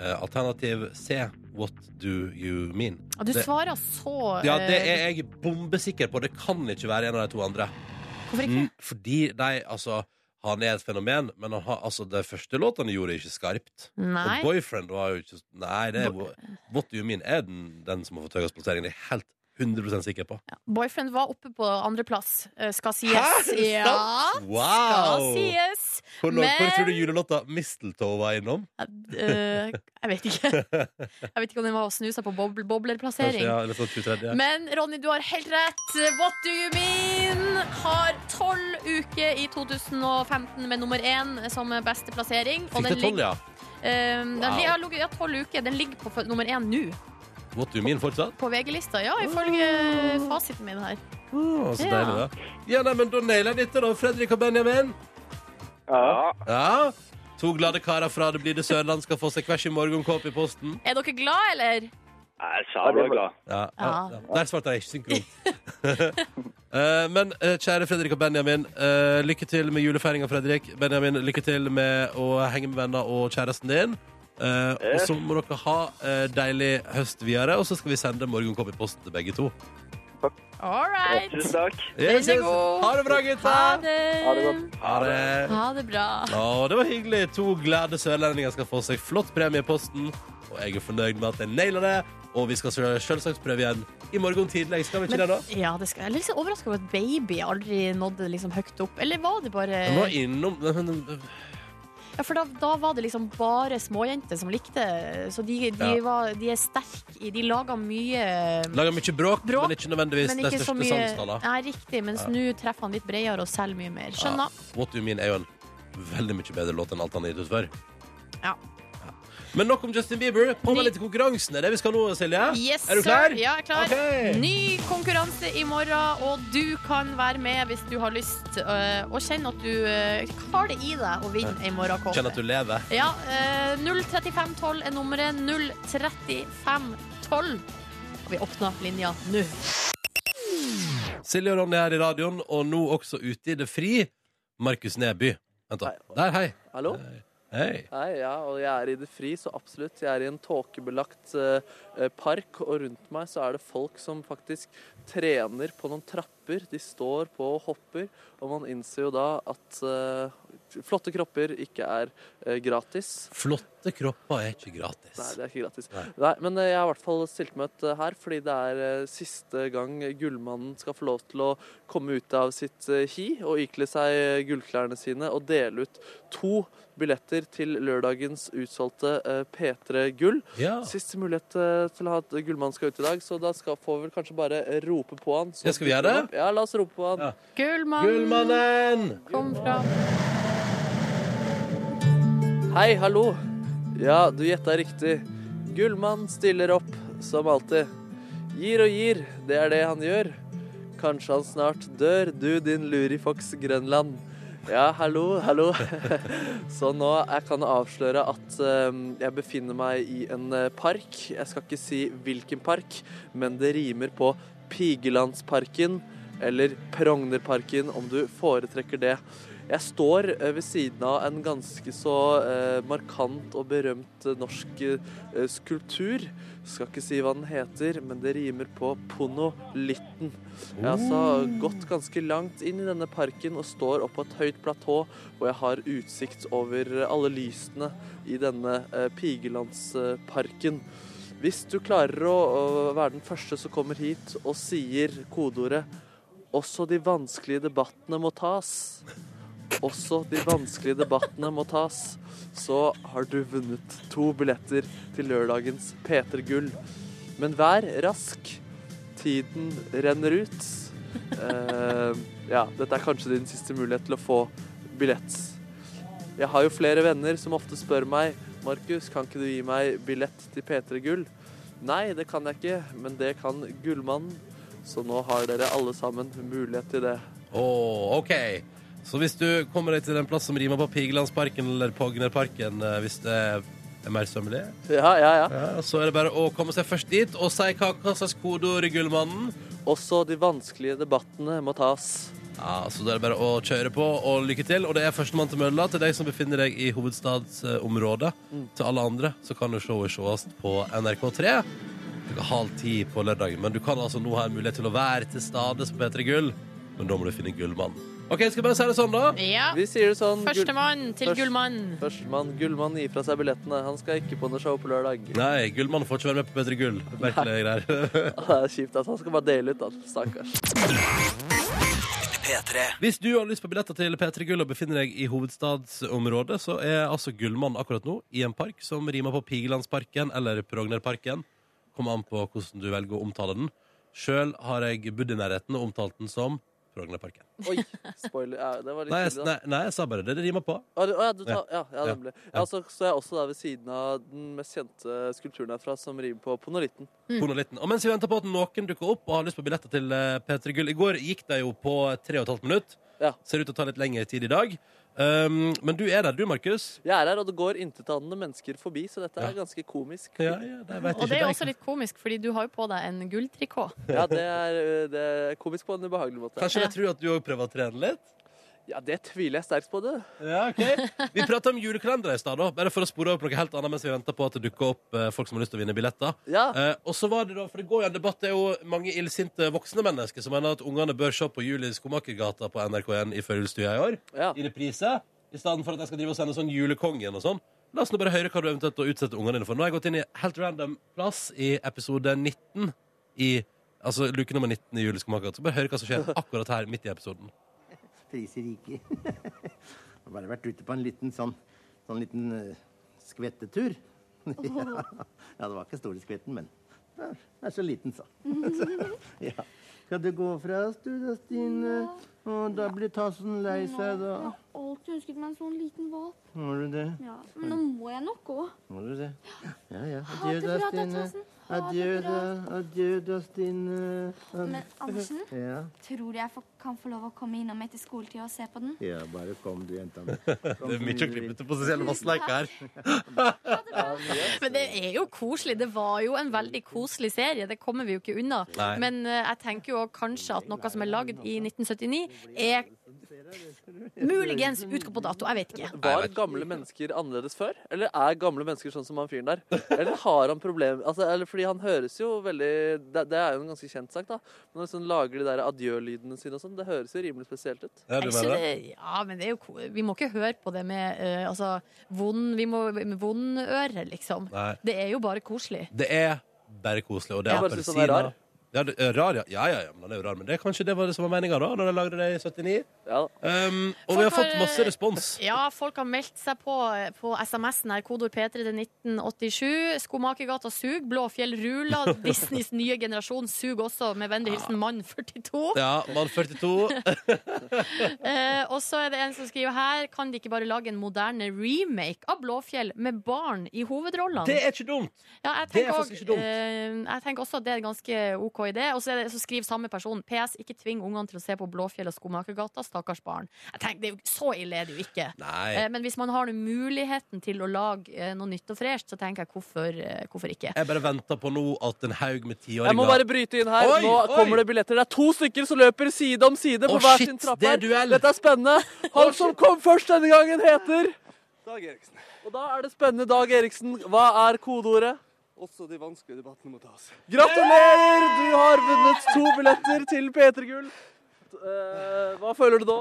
B: eh, alternativ C. What do you mean?
C: Ja, Du
B: Det-
C: svarer så
B: Ja, det
C: eh,
B: er jeg bombesikker på. Det kan ikke være en av de to andre.
C: Hvorfor ikke?
B: Mm, Fordi de, altså Han er et fenomen, men han har, altså, de første låtene gjorde ikke skarpt.
C: Nei.
B: Mm. Og Boyfriend var jo ikke Nei, det er jo What do you mean er den, den som har fått høyest plassering. Det er jeg helt 100 sikker på.
C: Boyfriend var oppe på andreplass, eh, skal
B: Hæ?
C: sies.
B: Er det
C: Ja,
B: sant?
C: skal
B: Wow!
C: sies.
B: Hvor, lang- hvor
C: Men-
B: tror du julelåta 'Mistletoe' var innom?
C: Eh, jeg vet ikke. Jeg vet ikke om den var å snu seg på boble,
B: Kanskje,
C: boblerplassering.
B: ja, eller sånn 23.
C: Men Ronny, du har helt rett. What do you mean? Har tolv uker i 2015 med nummer én som beste plassering.
B: Fikk det tolv, ja?
C: eh, den
B: Wow.
C: li- har ligget- ja, 12 uker. Den ligger på f- nummer én nå,
B: What do you mean fortsatt?
C: på VG-lista. Ja, ifølge fasiten min her.
B: Å, så
C: Ja.
B: deilig, da. Ja, nei, men da nailer jeg dette, da, Fredrik og Benjamin.
E: Ja.
B: Ja. To glade karer fra Det blir det Sørland skal få seg hver sin morgenkåpe i posten.
C: Er dere glad, eller?
E: Jeg er sabla
B: Ja, ja,
C: Ja.
B: ja. Der svarte jeg ikke synkront. Eh, men eh, kjære Fredrik og Benjamin, eh, lykke til med julefeiringa, Fredrik. Benjamin, lykke til med å henge med venner og kjæresten din. Eh, og så må dere ha eh, deilig høst videre, og så skal vi sende morgenkopp i posten til begge to.
C: All right.
E: Tusen takk.
B: Yes,
C: Den er
B: yes.
C: god.
B: Ha det bra, gutta!
C: Ha det.
A: Ha det godt.
B: Ha det.
C: Ha det bra.
B: Å, det var hyggelig. To glade sørlendinger skal få seg flott premie i posten. Og jeg er fornøyd med at jeg naila det. Og vi skal selv- selvsagt prøve igjen i morgen tidlig. Skal vi ikke det, da?
C: Ja, det skal, jeg er litt overraska over at baby aldri nådde liksom høyt opp. Eller var det bare
B: Den var innom men- men-
C: Ja, for da, da var det liksom bare småjenter som likte Så de, de,
B: Ja.
C: var, de er sterke i De laga mye
B: Lager mye bråk,
C: Bråk,
B: men ikke nødvendigvis
C: Men ikke
B: de
C: så
B: største
C: mye
B: sangskala.
C: Nei, riktig, mens
B: Ja.
C: nå treffer han litt bredere og selger mye mer. Skjønner.
B: What Do You Mean er jo en veldig mye bedre låt enn alt han har gitt ut før.
C: Ja.
B: Men nok om Justin Bieber. På med
C: Ny-
B: litt konkurransen. Er det vi skal nå, Silje?
C: Yes,
B: er du klar?
C: sir. Ja, jeg er klar.
B: Ok.
C: Ny konkurranse i morgen, og du kan være med hvis du har lyst. øh, Og kjenn at du øh, har det i deg å vinne ei morgenkåpe.
B: Kjenn at du lever.
C: Ja, eh, 03512 er nummeret. 03512. Og vi åpner linja nå.
B: Silje og Ronny her i radioen, og nå også ute i det fri. Markus Neby. Vent, da. Der, hei.
D: Hallo?
B: Hei.
D: Hei, ja, og jeg er i det fri, så absolutt. Jeg er i en tåkebelagt eh, eh, park, og rundt meg så er det folk som faktisk trener på noen trapper. De står på og hopper. Og man innser jo da at eh, flotte kropper ikke er eh, gratis.
B: Flotte kropper er ikke gratis.
D: Nei, det er ikke gratis.
B: Nei.
D: Nei. Men eh, jeg har i hvert fall stilt meg ut eh, her, fordi det er eh, siste gang gullmannen skal få lov til å komme ut av sitt eh, hi og ikle seg eh, gullklærne sine og dele ut to billetter til lørdagens utsolgte eh, P3 Gull.
B: Ja.
D: Siste mulighet eh, til å ha at gullmannen skal ut i dag, så da skal, får vi vel kanskje bare rope på han. så
B: Ja, skal vi gjøre
D: dukker han
B: det?
D: opp. Ja, la oss rope på han.
B: Ja.
C: Gullmann,
B: Gullmannen!
C: kom fram.
D: Hei, hallo. Ja, du gjetta riktig. Gullmann stiller opp, som alltid. Gir og gir, det er det han gjør. Kanskje han snart dør, du din lurifox Grønland. Ja, hallo, hallo. Så nå jeg kan avsløre at eh, jeg befinner meg i en eh, park. Jeg skal ikke si hvilken park, men det rimer på Pigelandsparken eller Prognerparken, om du foretrekker det. Jeg står eh, ved siden av en ganske så eh, markant og berømt eh, norsk eh, skulptur. Skal ikke si hva den heter, men det rimer på Ponolitten. Jeg har altså gått ganske langt inn i denne parken og står oppå et høyt platå, og jeg har utsikt over eh, alle lysene i denne eh, Pigelandsparken. Hvis du klarer å, å være den første som kommer hit og sier kodeordet 'Også de vanskelige debattene må tas', også de vanskelige debattene må tas, så har du vunnet to billetter til lørdagens P3 Gull. Men vær rask. Tiden renner ut. Eh, ja, dette er kanskje din siste mulighet til å få billett. Jeg har jo flere venner som ofte spør meg Markus, kan ikke du gi meg billett til P3 Gull? Nei, det kan jeg ikke, men det kan Gullmannen. Så nå har dere alle sammen mulighet til det.
B: Åh, ok. Så hvis du kommer deg til en plass som rimer på Pigelandsparken eller Pognerparken, eh, hvis det er mer sømmelig,
D: Ja, ja, ja.
B: ja, så er det bare å komme seg først dit og si hva, hva slags kodeord Gullmannen.
D: Også de vanskelige debattene må tas.
B: Ja, så da er det bare å kjøre på, og lykke til. Og det er førstemann til mølla til deg som befinner deg i hovedstadsområdet. Til alle andre så kan jo showet sees på NRK3 klokka halv ti på lørdag. Men du kan altså nå ha en mulighet til å være til stades på P3 Gull, men da må du finne Gullmannen. OK, skal jeg bare si det sånn, da?
C: Ja.
D: Vi sier det sånn Gull-
C: Førstemann til
D: Først-
C: Gullmann.
D: Førstemann Gullmann gir fra seg billettene. Han skal ikke på noe show på lørdag.
B: Nei, Gullmannen får ikke være med på P3 Gull. Merkelige greier.
D: Det er kjipt, altså. Han skal bare dele ut, da. Stakkars.
B: Hvis du har lyst på billetter til P3 Gull og befinner deg i hovedstadsområdet, så er altså Gullmann akkurat nå i en park som rimer på Pigelandsparken eller Prognerparken. Kommer an på hvordan du velger å omtale den. Sjøl har jeg bodd i nærheten og omtalt den som Prognerparken.
D: Oi, spoiler. Ja, det var litt
B: Nei, jeg-
D: tidlig, da.
B: nei, nei, jeg sa bare det det rimer på.
D: Å ja, du tar, ja, ja,
B: Ja.
D: nemlig. Ja, så står jeg også der ved siden av den mest kjente skulpturen herfra, som rimer på ponolitten.
B: Ponolitten. Og mens vi venter på at noen dukker opp og har lyst på billetter til eh, P3 Gull I går gikk de jo på tre og et halvt minutt.
D: Ja.
B: Ser ut til å ta litt lengre tid i dag. Um, men du er der, du, Markus.
D: Jeg er her, og det går intetanende mennesker forbi, så dette er
B: Ja.
D: ganske komisk.
B: Ja, ja, de vet
C: Og
B: ikke
C: det er jo
B: deg.
C: også litt komisk, fordi du har jo på deg en gulltrikot.
D: Ja, det er, det er komisk på en ubehagelig måte.
B: Kanskje de tror at du òg prøver å trene litt?
D: Ja, det tviler jeg sterkt på, det.
B: Ja, ok. Vi prata om julekalendere i stad, da, bare for å spore over på noe helt annet mens vi venter på at det dukker opp eh, folk som har lyst til å vinne billetter.
D: Ja.
B: Eh, og så var det da, for det går jo en debatt, det er jo mange illsinte voksne mennesker som mener at ungene bør se på Jul i Skomakergata på NRK1 i førjulsstua i år,
D: Ja.
B: i reprise, i stedet for at jeg skal drive og sende sånn Julekongen og sånn. La oss nå bare høre hva du eventuelt da utsetter ungene dine for. Nå har jeg gått inn i helt random plass i episode 19 i Altså luke nummer 19 i Jul i Skomakergata. Så bare hør hva som skjer akkurat her midt i episoden.
F: Priser ikke. Har bare vært ute på en liten sånn, sånn liten eh, skvettetur. ja. ja, det var ikke store skvetten, men den er- den er så liten, så. ja. Skal du gå fra oss, du da, Stine? Å, da blir Tassen lei seg, da.
G: alltid husket meg en sånn liten valp.
F: Må du det?
G: Ja, men nå må jeg nok gå.
F: Må du det? Ja, ja. Adjø,
G: det
F: da,
G: bra, da,
F: Stine.
G: Tassen. Ha det
F: Adjø,
G: bra.
F: da. Adjø, da, Stine. Adjø.
G: Men Andersen,
F: Ja.
G: tror du jeg får, kan få lov å komme innom etter skoletid og se på den?
F: ja, bare kom, du, jenta mi. Kom
B: Det er
F: så
B: mye å
F: du vil.
B: klippe til potensielle vassleik her.
C: Men det er jo koselig. Det var jo en veldig koselig serie. Det kommer vi jo ikke unna.
B: Nei.
C: Men eh, jeg tenker jo kanskje at noe som er lagd i 1979, er
F: passere? eller?
C: Muligens utgå på dato, jeg vet ikke.
B: Nei,
D: Var
B: jeg vet
D: gamle mennesker annerledes før? Eller er gamle mennesker sånn som han fyren der? Eller har han problem altså, eller Fordi han høres jo veldig Det, det er jo en ganske kjent sak, da. Men når han sånn lager de der adjø-lydene sine og sånn, det høres jo rimelig spesielt ut.
B: Ja, du
C: Jeg
B: mener
C: synes
B: det?
C: det, ja, men det er jo, ko- vi må ikke høre på det med eh, altså, vond, vi må, med vondøre, liksom.
B: Nei.
C: Det er jo bare koselig.
B: Det er bare koselig. Og det er
D: Jeg bare synes han er
B: appelsiner.
D: rar.
B: Ja, det er rar, ja. ja, ja, ja, men han er jo rar. Men det er kanskje det var det som var meninga da når jeg lagde det i 79.
D: Ja, da.
B: Um, og
C: Folk
B: vi har fått
C: har,
B: masse
C: eh,
B: respons.
C: Ja, folk har meldt seg på eh, på SMS-en her. Kodord P3 til 1987. Skomakergata sug. Blåfjell Rula. Disneys nye generasjon sug også, med vennlig hilsen mann 42.
B: Ja, mann 42.
C: Eh, og så er det en som skriver her Kan de ikke bare lage en moderne remake av Blåfjell med barn i hovedrollene?
B: Det er ikke dumt!
C: Ja,
B: Det
C: jeg
B: er
C: tenker,
B: faktisk
C: også-
B: ikke dumt.
C: eh, jeg tenker også at det er en ganske OK idé. Og så, er det, så skriver samme person PS. Ikke tving ungene til å se på Blåfjell og Skomakergata, stakkars barn. Jeg tenker, det er jo, Så ille er det jo ikke.
B: Nei.
C: Eh, Men hvis man har nå muligheten til å lage eh, noe nytt og fresht, så tenker jeg hvorfor, eh, hvorfor ikke.
B: Jeg bare venter på nå at en haug med tiåringer
D: Jeg må bare bryte inn her.
B: Oi,
D: Nå
B: oi.
D: kommer det billetter. Det er to stykker som løper side om side på
B: Å,
D: hver
B: shit,
D: sin trapp.
B: det er
D: her.
B: duell.
D: Dette er spennende. Han som kom først denne gangen, heter
H: Dag Eriksen.
D: Og da er det spennende, Dag Eriksen. Hva er kodeordet?
H: Også de vanskelige debattene må tas.
D: Gratulerer! Du har vunnet to billetter til P3 Gull. Eh, hva føler du da?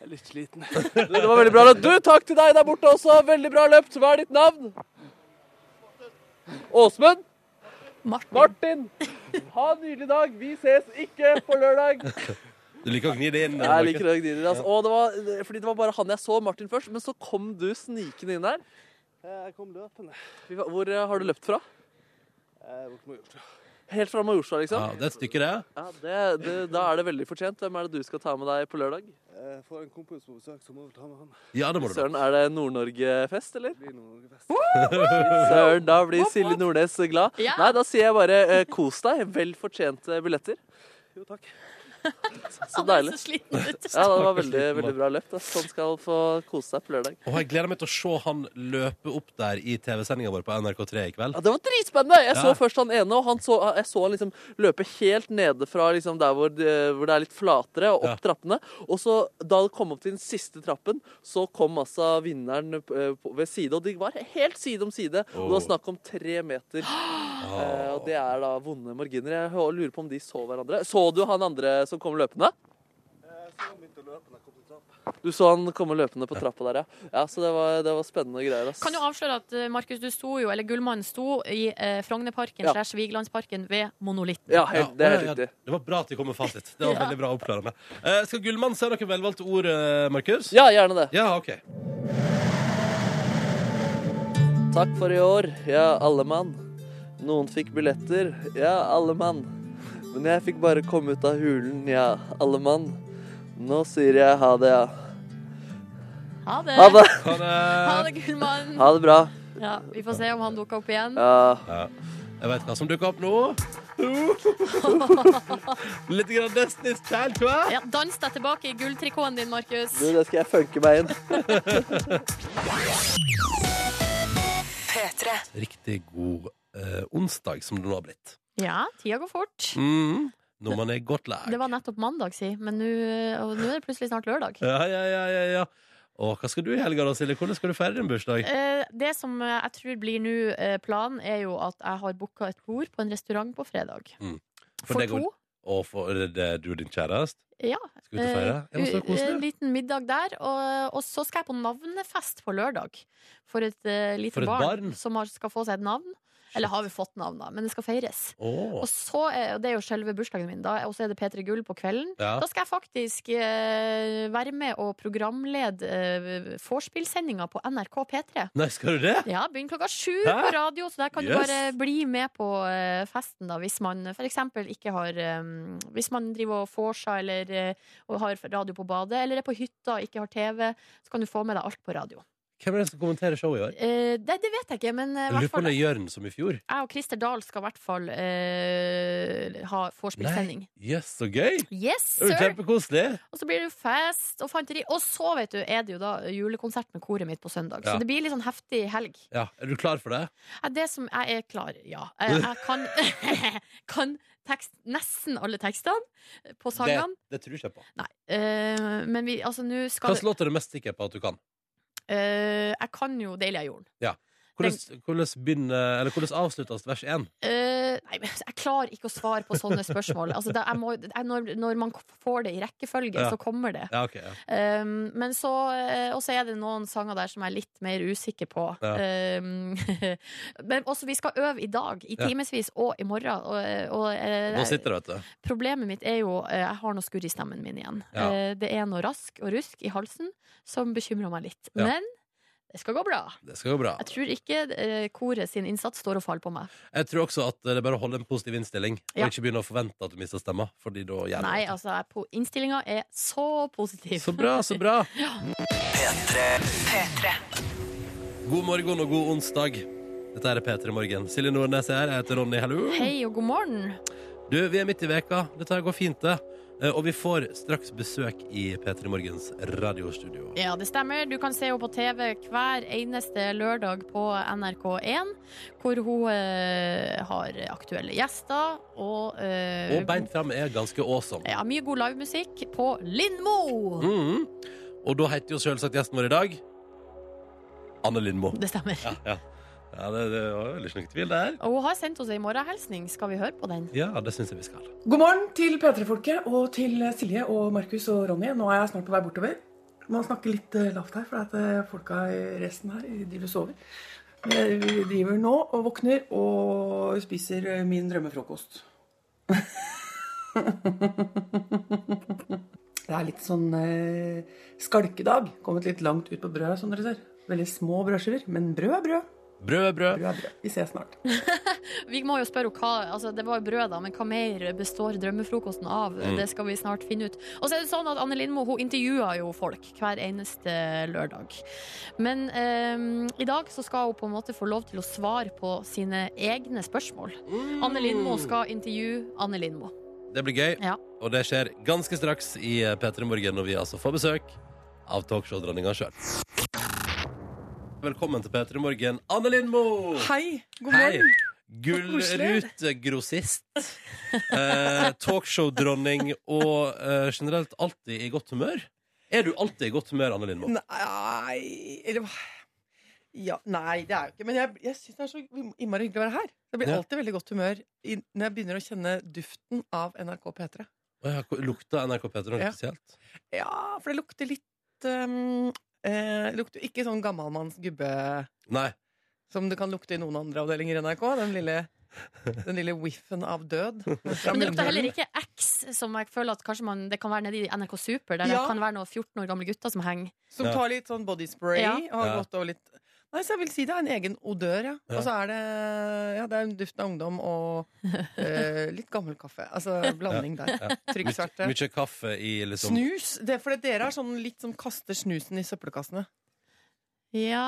H: Jeg er litt sliten.
D: Du, det var veldig bra løpt. Du, takk til deg der borte også. Veldig bra løpt. Hva er ditt navn? Åsmund?
C: Martin.
D: Martin? Ha en nydelig dag. Vi ses ikke på lørdag.
B: Du liker å gni det inn?
D: Jeg liker Dag Didrik. Altså. Og det var, fordi det var bare han jeg så, Martin, først. Men så kom du snikende inn der.
H: Jeg kom løpende.
D: Fy faen, Hvor eh, har du løpt fra?
H: Jeg var ikke med gjort.
D: Helt fra Majorstua,
B: Ja,
D: liksom?
B: det er et stykke, det.
D: Ja, det, det, da er det veldig fortjent. Hvem er det du skal ta med deg på lørdag?
H: Jeg får Eh, en kompis på besøk, så må vi ta med han.
B: Ja, det må du.
D: Søren, er det Nord-Norge-fest, eller?
H: Det blir noe best.
D: Søren, da blir Silje Nordnes glad.
C: Ja.
D: Nei, da sier jeg bare eh, kos deg. Vel fortjente billetter.
H: Jo, takk.
D: Så
C: Han er
D: deilig.
C: så sliten ut.
D: Ja, det var veldig, veldig bra løpt. ass. Sånn skal få kose deg på lørdag.
B: Og jeg gleder meg til å se han løpe opp der i TV-sendinga vår på NRK3 i kveld.
D: Ja, Det var dritspennende! Jeg så
B: Ja.
D: først han ene, og han så, jeg så han liksom løpe helt nede fra liksom der hvor det, hvor det er litt flatere, og opp trappene. Og så, da det kom opp til den siste trappen, så kom altså vinneren eh, på- ved side, og de var helt side om side. Og det var snakk om tre meter. Eh, og det er da vonde marginer. Jeg hø- lurer på om de så hverandre. Så du han andre som kom løpende?
H: Jeg så han begynte å løpe da jeg kom til trappa.
D: Du så han komme løpende på trappa der, ja. ja så det var, det var spennende greier. Ass.
C: Kan jo avsløre at eh, Markus, du sto jo, eller Gullmannen sto i eh, Frognerparken
D: Ja.
C: slash Vigelandsparken ved Monolitten.
D: Ja, helt, det er helt
B: Ja,
D: riktig.
B: Det var bra at vi kom med fasit. Det var veldig bra oppklarende. Eh, skal Gullmann si noen velvalgte ord, eh, Markus?
D: Ja, gjerne det.
B: Ja, OK.
D: Takk for i år, ja, alle mann. Noen fikk billetter, ja, alle mann. Men jeg fikk bare komme ut av hulen, ja, alle mann. Nå sier jeg ha det, ja.
C: Ha det!
D: Ha det!
B: Ha det.
C: Ha det, Gullmannen.
D: Ha det bra.
C: Ja, vi får se om han dukker opp igjen.
D: Ja.
B: Jeg vet hva som dukker opp nå. Litt grann Destiny's Child, hva?
C: Ja, dans deg tilbake i gulltrikoten din, Markus.
D: Du, det skal jeg funke meg inn.
B: Riktig god eh, onsdag, som det nå har blitt.
C: Ja, tida går fort.
B: Mm. Når man er godt lært.
C: Det var nettopp mandag, si, men nå og nå er det plutselig snart lørdag.
B: Ja, ja, ja, ja, ja. Og hva skal du i helga, da, Silje? Hvordan skal du feire din bursdag?
C: Eh, Det som eh, jeg tror blir nå eh, planen, er jo at jeg har booka et bord på en restaurant på fredag.
B: Mm. For
C: For,
B: det går-
C: to.
B: Og for er det du og din kjæreste?
C: Ja.
B: Skal vi ut og feire? Ja, men så
C: Eh, En
B: koselig.
C: liten middag der. Og, og så skal jeg på navnefest på lørdag for et eh, lite
B: For et
C: barn,
B: barn?
C: som har, skal få seg et navn. Eller har vi fått navn, da, men det skal feires.
B: Åh,
C: eh, Og så er, og det er jo selve bursdagen min, da. Og så er det P3 Gull på kvelden.
B: ja.
C: Da skal jeg faktisk eh, være med og programlede eh, vorspielsendinga på NRK P3.
B: Nei, skal du det?
C: Ja, begynn klokka sju
B: Hæ?
C: på radio, så der kan du
B: Jøss.
C: bare bli med på eh, festen da, hvis man f.eks. ikke har eh, Hvis man driver og vorsa eller eh, og har radio på badet, eller er på hytta og ikke har TV, så kan du få med deg alt på radio.
B: Hvem er det som kommenterer showet i år?
C: Eh, det, det vet jeg ikke, men eh, i
B: Jeg lurer
C: hvert
B: på om
C: fall
B: det er Jørn som i fjor.
C: jeg og Christer Dahl skal i hvert fall eh, ha vorspielsending.
B: Yes, så gøy!
C: Yes,
B: Det er jo
C: sir!
B: kjempekoselig.
C: Og så blir det fest og fanteri. Og så vet du, er det jo da julekonsert med koret mitt på søndag.
B: Ja.
C: Så det blir litt sånn heftig helg.
B: Ja, er du klar for det?
C: Ja, Det som jeg er klar, ja. Jeg, jeg kan, kan tekst, nesten alle tekstene på
B: Det,
C: sangene.
B: det tror jeg på.
C: Nei. eh, men vi, altså, nå skal
B: Hvilken låt er du mest sikker på at du kan?
C: Eh, Jeg kan jo 'Deilig er jorden'.
B: Hvordan, hvordan, begynner, eller hvordan avsluttes vers én?
C: Eh, nei, men jeg klarer ikke å svare på sånne spørsmål. Altså, det, jeg må, jeg, når, når man får det i rekkefølge,
B: Ja.
C: så kommer det.
B: Ja, ok, ja.
C: Um, men så eh, Og så er det noen sanger der som jeg er litt mer usikker på.
B: Ja.
C: Um, men også, vi skal øve i dag, i
B: Ja.
C: timevis og i morgen. Og, og, eh,
B: Nå sitter det, vet du.
C: problemet mitt er jo eh, Jeg har noe skurr i stemmen min igjen.
B: Ja.
C: Eh, det er noe rask og rusk i halsen som bekymrer meg litt.
B: Ja.
C: Men det skal gå bra.
B: Det skal gå bra.
C: Jeg tror ikke eh, koret sin innsats står og faller på meg.
B: Jeg tror også at det er bare å holde en positiv innstilling, og
C: Ja.
B: ikke begynne å forvente at du mister stemma. Fordi da gjør du
C: Nei,
B: det.
C: altså, jeg- po- innstillinga er så positiv.
B: Så bra, så bra. God morgen og god onsdag. Dette er P3 Morgen. Silje Nordnes er her. Jeg heter Ronny. Hallo.
C: Hei og god morgen.
B: Du, vi er midt i veka. Dette her går fint, det. Eh, Og vi får straks besøk i P3 Morgens radiostudio.
C: Ja, det stemmer. Du kan se henne på TV hver eneste lørdag på NRK1, hvor hun eh, har aktuelle gjester og, eh,
B: Og beint fram er ganske awesome.
C: Ja, mye god livemusikk på Lindmo!
B: Mhm. Og da heter jo selvsagt gjesten vår i dag Anne Lindmo.
C: Det stemmer.
B: Ja, ja. ja det, det var vel ikke noe tvil der.
C: Og hun har sendt oss ei morgenhilsning. Skal vi høre på den?
B: Ja, det syns jeg vi skal.
I: God morgen til P3-folket og til Silje og Markus og Ronny. Nå er jeg snart på vei bortover. Man snakker litt eh, lavt her, for at eh, folka i resten her de driver og sover. Men eh, Vi driver nå og våkner og spiser eh, min drømmefrokost. Det er litt sånn eh, skalkedag. Kommet litt langt ut på brødet, som dere ser. Veldig små brødskiver, men brød er brød.
B: Brød er brød.
I: Brød er brød. Vi ses snart.
C: Vi må jo spørre henne hva altså Det var jo brød, da, men hva mer består drømmefrokosten av? Det skal vi snart finne ut. Og så er det sånn at Anne Lindmo hun intervjuer jo folk hver eneste lørdag. Men eh, i dag så skal hun på en måte få lov til å svare på sine egne spørsmål. Anne Lindmo skal intervjue Anne Lindmo.
B: Det blir gøy.
C: Ja.
B: Og det skjer ganske straks i P3 Morgen når vi altså får besøk av talkshow-dronninga sjøl. Velkommen til P3 Morgen, Anne Lindmo!
I: Hei, god
B: Hei.
I: morgen.
B: Gullrutegrossist. Eh, Talkshow-dronning og eh, generelt alltid i godt humør. Er du alltid i godt humør, Anne Lindmo?
I: Nei Eller hva? ja, Nei, det er jo ikke Men jeg, jeg syns det er så innmari hyggelig å være her. Det blir
B: Ja.
I: alltid veldig godt humør i, når jeg begynner å kjenne duften av NRK P3.
B: Å ja, Lukta NRK P3 noe
I: Ja.
B: spesielt?
I: Ja, for det lukter litt um, eh, Lukter ikke sånn gammalmannsgubbe
B: Nei.
I: som det kan lukte i noen andre avdelinger i NRK. Den lille, den lille whiffen av død.
C: Men det lukter heller ikke X, som jeg føler at kanskje man, det kan være nede i NRK Super, der
I: Ja.
C: det kan være noen 14 år gamle gutter som henger.
I: Som
B: Ja.
I: tar litt sånn body spray
C: Ja.
I: og har
B: Ja.
I: gått over litt Nei, så jeg vil si det er en egen odør, ja.
B: Ja.
I: Og så er det ja, det er duften av ungdom og eh, litt gammel kaffe. Altså blanding der.
B: Ja.
I: Trykksverte.
B: Mye kaffe i liksom
I: Snus. Det er fordi dere er sånn litt som kaster snusen i søppelkassene.
C: Ja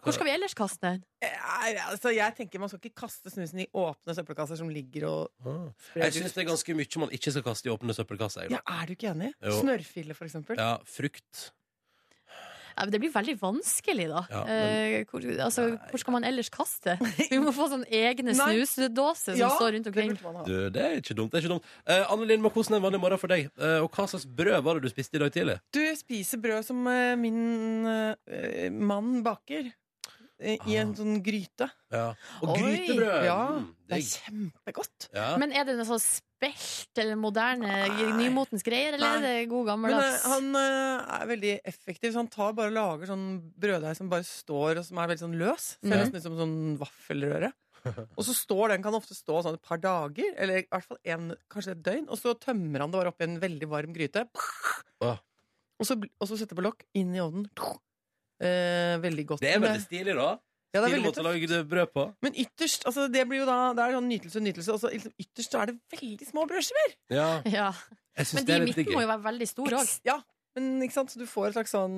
B: Hvor-
C: Hvor skal vi ellers kaste den?
I: Eh, altså, jeg tenker Man skal ikke kaste snusen i åpne søppelkasser som ligger og
B: Ah.
I: sprer
B: Jeg syns
I: luft.
B: det er ganske mye man ikke skal kaste i åpne søppelkasser. jeg, da.
I: ja, Er du ikke enig?
B: Jo.
I: Snørrfille, for eksempel.
B: Ja, frukt.
C: Ja, men det blir veldig vanskelig, da.
B: Ja, men-
C: eh, hvor, altså, hvor skal man ellers kaste? Vi må få sånne egne
I: Nei.
C: snusdåser som
I: Ja,
C: står rundt
I: Det
C: omkring.
I: burde man ha.
B: Du, det er ikke dumt. det er ikke dumt Eh, Anne Lindmo, hvordan er en vanlig morgen for deg? Eh, og hva slags brød var det du spiste i dag tidlig?
I: Du spiser brød som eh, min eh, mann baker. eh, I en
B: Ah.
I: sånn gryte.
B: Ja. Og
C: Oi,
B: grytebrød!
I: ja.
B: Mm,
I: Det
B: digg.
I: er kjempegodt.
B: ja.
C: Men er det noe sånn spelt eller moderne,
I: Nei.
C: nymotens greier, eller
I: Nei.
C: er det god
I: Men eh,
C: gammeldags?
I: han eh, er veldig effektiv, så han tar bare og lager sånn brøddeig som bare står, og som er veldig sånn løs. Ser
B: Ja.
I: nesten ut som sånn vaffelrøre. Og så står den, kan ofte stå sånn et par dager, eller i hvert fall en, kanskje et døgn, og så tømmer han det bare opp i en veldig varm gryte.
B: Åh.
I: Og så, bl- og så setter på lokk, inn i ovnen. Eh, veldig godt.
B: Det er
I: Men
B: veldig stilig, da.
I: ja, det er
B: Stilig
I: veldig
B: måte å lage brød på.
I: Men ytterst, altså det blir jo da Det er sånn nytelse, nytelse Og så liksom ytterst så er det veldig små brødskiver
B: Ja.
C: ja.
B: Jeg syns
C: Men
B: det
C: de
B: er
C: i
B: litt
C: midten
B: digg.
C: må jo være veldig store òg.
I: Ja, Men ikke sant, så du får et slags sånn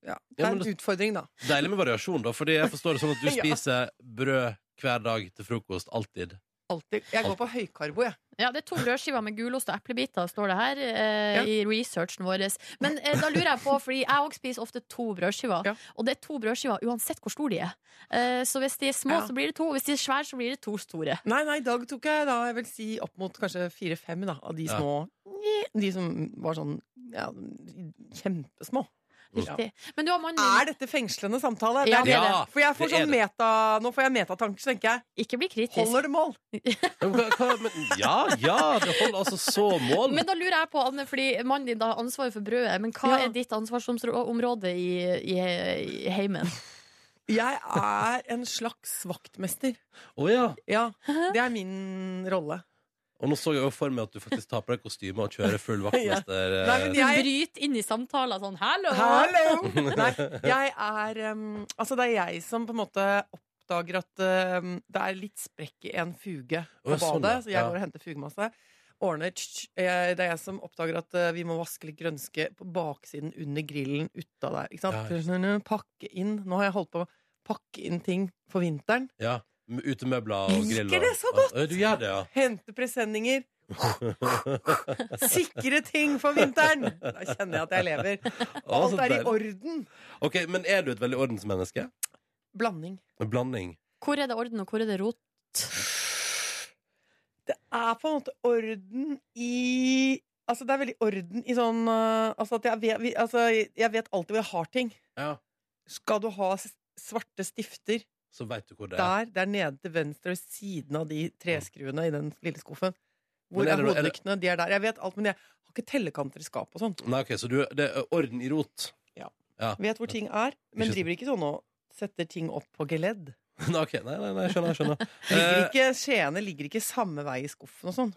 I: Ja, det
B: Ja,
I: er
B: men
I: en
B: det-
I: utfordring, da.
B: Deilig med variasjon, da, fordi jeg forstår det sånn at du
I: Ja.
B: spiser brød hver dag til frokost. Alltid.
I: Alltid. Jeg går på høykarbo, jeg.
C: Ja, det er to brødskiver med gulost og eplebiter, står det her eh,
I: Ja.
C: i researchen vår. Men eh, da lurer jeg på, fordi jeg òg spiser ofte to brødskiver,
I: Ja.
C: og det er to brødskiver uansett hvor store de er. Eh, så hvis de er små,
I: Ja.
C: så blir det to, og hvis de er svære, så blir det to store.
I: Nei, nei, i dag tok jeg da, jeg vil si opp mot kanskje fire-fem da, av de
B: Ja.
I: små De som var sånn ja, kjempesmå.
B: Mm.
C: Riktig. Men du har mannen din.
I: Er dette fengslende samtale?
C: Ja,
I: Det er-
C: det er det.
I: For jeg får
B: Det er
I: sånn meta, nå får jeg metatanker, så tenker jeg.
C: Ikke bli kritisk.
I: Holder det mål?
B: Ja, men hva- hva- men- Ja, ja, det holder altså så mål.
C: Men da lurer jeg på, Anne, fordi mannen din da har ansvaret for brødet, men hva
I: Ja.
C: er ditt ansvarsområde i, i, i heimen?
I: Jeg er en slags vaktmester.
B: Å ja.
I: Ja, det er min rolle.
B: Og nå så jeg jo for meg at du faktisk tar på deg kostyme og kjører full vaktmester. eh,
I: Nei, men
C: Du
I: jeg
C: bryter inn i samtaler sånn 'hallo'.
I: Hallo! Nei, jeg er um, Altså, det er jeg som på en måte oppdager at um, det er litt sprekk i en fuge
B: Å, ja,
I: på
B: sånn,
I: badet.
B: ja.
I: Så
B: Ja.
I: jeg går og henter fugemasse. Ordner tsk, tsk. Eh, Det er jeg som oppdager at eh, vi må vaske litt grønske på baksiden under grillen uta der. Ikke sant?
B: Ja,
I: Pakke inn. Nå har jeg holdt på med å pakke inn ting for vinteren.
B: Ja, med Utemøbler og
I: Elsker
B: grill.
I: det så godt!
B: Ja, Du gjør det, ja.
I: Hente presenninger. Sikre ting for vinteren! Da kjenner jeg at jeg lever.
B: Å, så
I: Alt er i
B: deilig.
I: orden.
B: Altså, Ok, Men er du et veldig ordensmenneske?
I: Blanding.
B: En blanding?
C: Hvor er det orden, og hvor er det rot?
I: det er på en måte orden i Altså, det er veldig orden i sånn øh, Altså, at jeg vet, vi- altså, jeg vet alltid hvor jeg har ting.
B: Ja.
I: Skal du ha s- svarte stifter
B: Så veit du hvor det er.
I: der? Det er nede til venstre ved siden av de treskruene i den lille skuffen. Hvor
B: Men er
I: er,
B: det- er det-
I: hodelyktene? De er der. Jeg vet alt, men jeg har ikke tellekanter i skap og sånn.
B: Nei, ok, Så du, det er orden i rot?
I: Vet hvor ting er,
B: Ikke
I: men
B: sant.
I: driver ikke sånn og setter ting opp på geledd.
B: Nei, ok, nei, nei, nei, skjønner. skjønner.
I: Ligger
B: Eh,
I: ikke, skjeene ligger ikke samme vei i skuffen og sånn.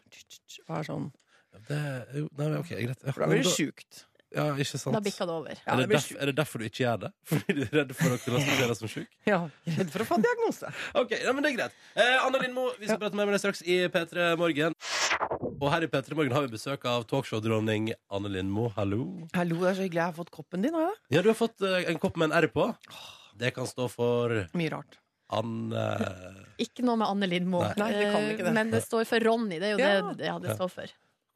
I: Og er sånn.
B: Eh, det, er jo, nei, men ok, greit. Ja,
I: For da blir
B: men
I: det
B: da-
I: sjukt.
B: Ja, ikke sant.
C: Da bikker det over.
I: Ja,
B: er, det
I: det blir
B: derf,
I: sjukt.
B: er det derfor du ikke gjør det? Fordi du er redd for å klassifisere deg som sjuk?
I: Ja, redd for å få diagnose.
B: Ok, ja, men det er greit. Eh, Anne Lindmo, vi skal prate mer med deg straks i P3 Morgen. Og her i P3 Morgen har vi besøk av talkshow-dronning Anne Lindmo. Hallo.
I: Hallo, det er så hyggelig. Jeg har fått koppen din. Har jeg?
B: Ja, du har fått eh, en kopp med en R på. Det kan stå for
I: Mye rart.
B: Anne eh,
C: Ikke noe med Anne Lindmo,
B: Nei.
I: Nei, det kan ikke
C: Eh,
I: det.
C: men det står for Ronny. Det er jo
I: Ja.
C: det ja, det står for.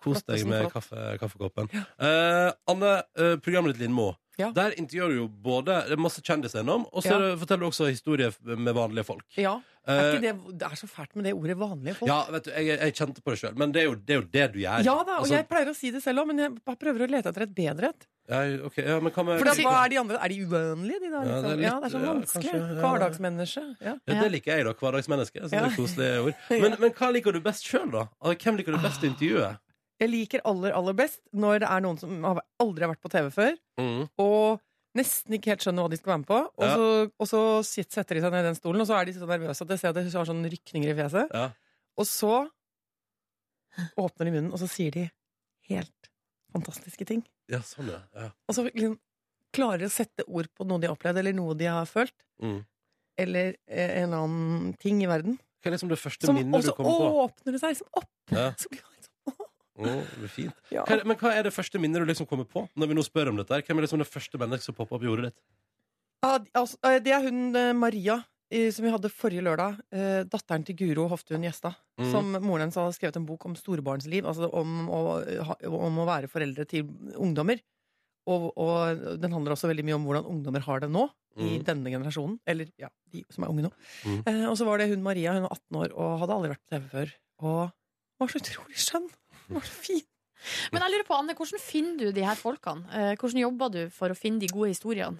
B: Kos
I: Flott,
B: deg
I: tusen
B: med
I: flott.
B: kaffe, kaffekoppen. Eh, Anne, eh, programmet ditt Lindmo.
I: Ja.
B: Der intervjuer du jo både det er masse kjendiser gjennom, og så
I: Ja.
B: er det- forteller du også historier f- med vanlige folk.
I: Ja, er
B: Eh,
I: ikke det, det er så fælt med det ordet vanlige folk.
B: ja, vet du, jeg, jeg kjente på det sjøl, men det er, jo, det er jo det du gjør.
I: Ja da, og
B: Altså,
I: jeg pleier å si det selv òg, men jeg bare prøver å lete etter et bedre et.
B: ja, ok, ja, men hva med
I: For da, hva er de andre? Er de uvennlige, de da?
B: Ja, det er
I: Liksom?
B: litt-
I: Ja, det er så
B: ja,
I: vanskelig.
B: kanskje, ja.
I: Hverdagsmenneske. Ja.
B: ja, Det liker jeg, da. Hverdagsmenneske. Så det
I: Ja. Ah.
B: er koselige ord. Men, men hva liker du best sjøl, da? Altså, Hvem liker du best i intervjuet?
I: Jeg liker aller, aller best når det er noen som har- aldri har vært på TV før,
B: Mm.
I: og nesten ikke helt skjønner hva de skal være med på, og
B: Ja.
I: så, og så sit- setter de seg ned i den stolen, og så er de så nervøse at jeg ser at de har sånne rykninger i fjeset.
B: Ja.
I: Og så åpner de munnen, og så sier de helt fantastiske ting.
B: ja, sånn, ja. ja.
I: Og så liksom klarer de å sette ord på noe de har opplevd, eller noe de har følt,
B: Mm.
I: eller eh, en eller annen ting i verden.
B: Hva er liksom det første
I: Som, og
B: minnet du
I: så
B: kommer på?
I: åpner det seg liksom opp!
B: Ja.
I: Så blir man liksom,
B: Å, det blir fint.
I: ja.
B: Hva er, men hva er det første minnet du liksom kommer på? Når vi nå spør om dette her Hvem er liksom det første mennesket som popper opp i jordet ditt?
I: Ja, de- altså, eh, det er hun eh, Maria. eh, Som vi hadde forrige lørdag. eh, Datteren til Guro Hoftun Gjestad.
B: Mhm.
I: Som moren hennes hadde skrevet en bok om storbarnsliv. Altså om å, ha- om å være foreldre til ungdommer. Og, og den handler også veldig mye om hvordan ungdommer har det nå. I
B: Mhm.
I: denne generasjonen. Eller ja, de som er unge nå.
B: Mhm.
I: Eh, og så var det hun Maria. Hun var 18 år og hadde aldri vært på TV før. Og var så utrolig skjønn! Hun var så fin!
C: Men jeg lurer på, Anne, hvordan finner du de her folkene? Eh, Hvordan jobber du for å finne de gode historiene?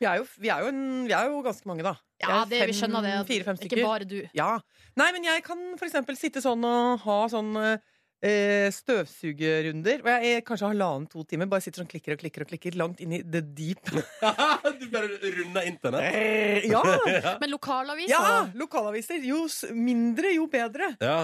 I: Vi er jo, vi er jo, en, vi er jo ganske mange, da.
C: Ja,
I: Vi
C: det, vi
I: er fem-
C: skjønner det. at det
I: Fire-fem
C: er
I: stykker.
C: Ikke bare du.
I: Ja. Nei, men jeg kan for eksempel sitte sånn og ha sånn eh, støvsugerunder. Og jeg er kanskje halvannen to timer bare sitter sånn klikker og klikker og klikker langt inn i the deep.
B: du bare runder internett.
I: ja!
C: Men lokalaviser?
I: ja! Lokalaviser. Jo s- mindre, jo bedre.
B: Ja.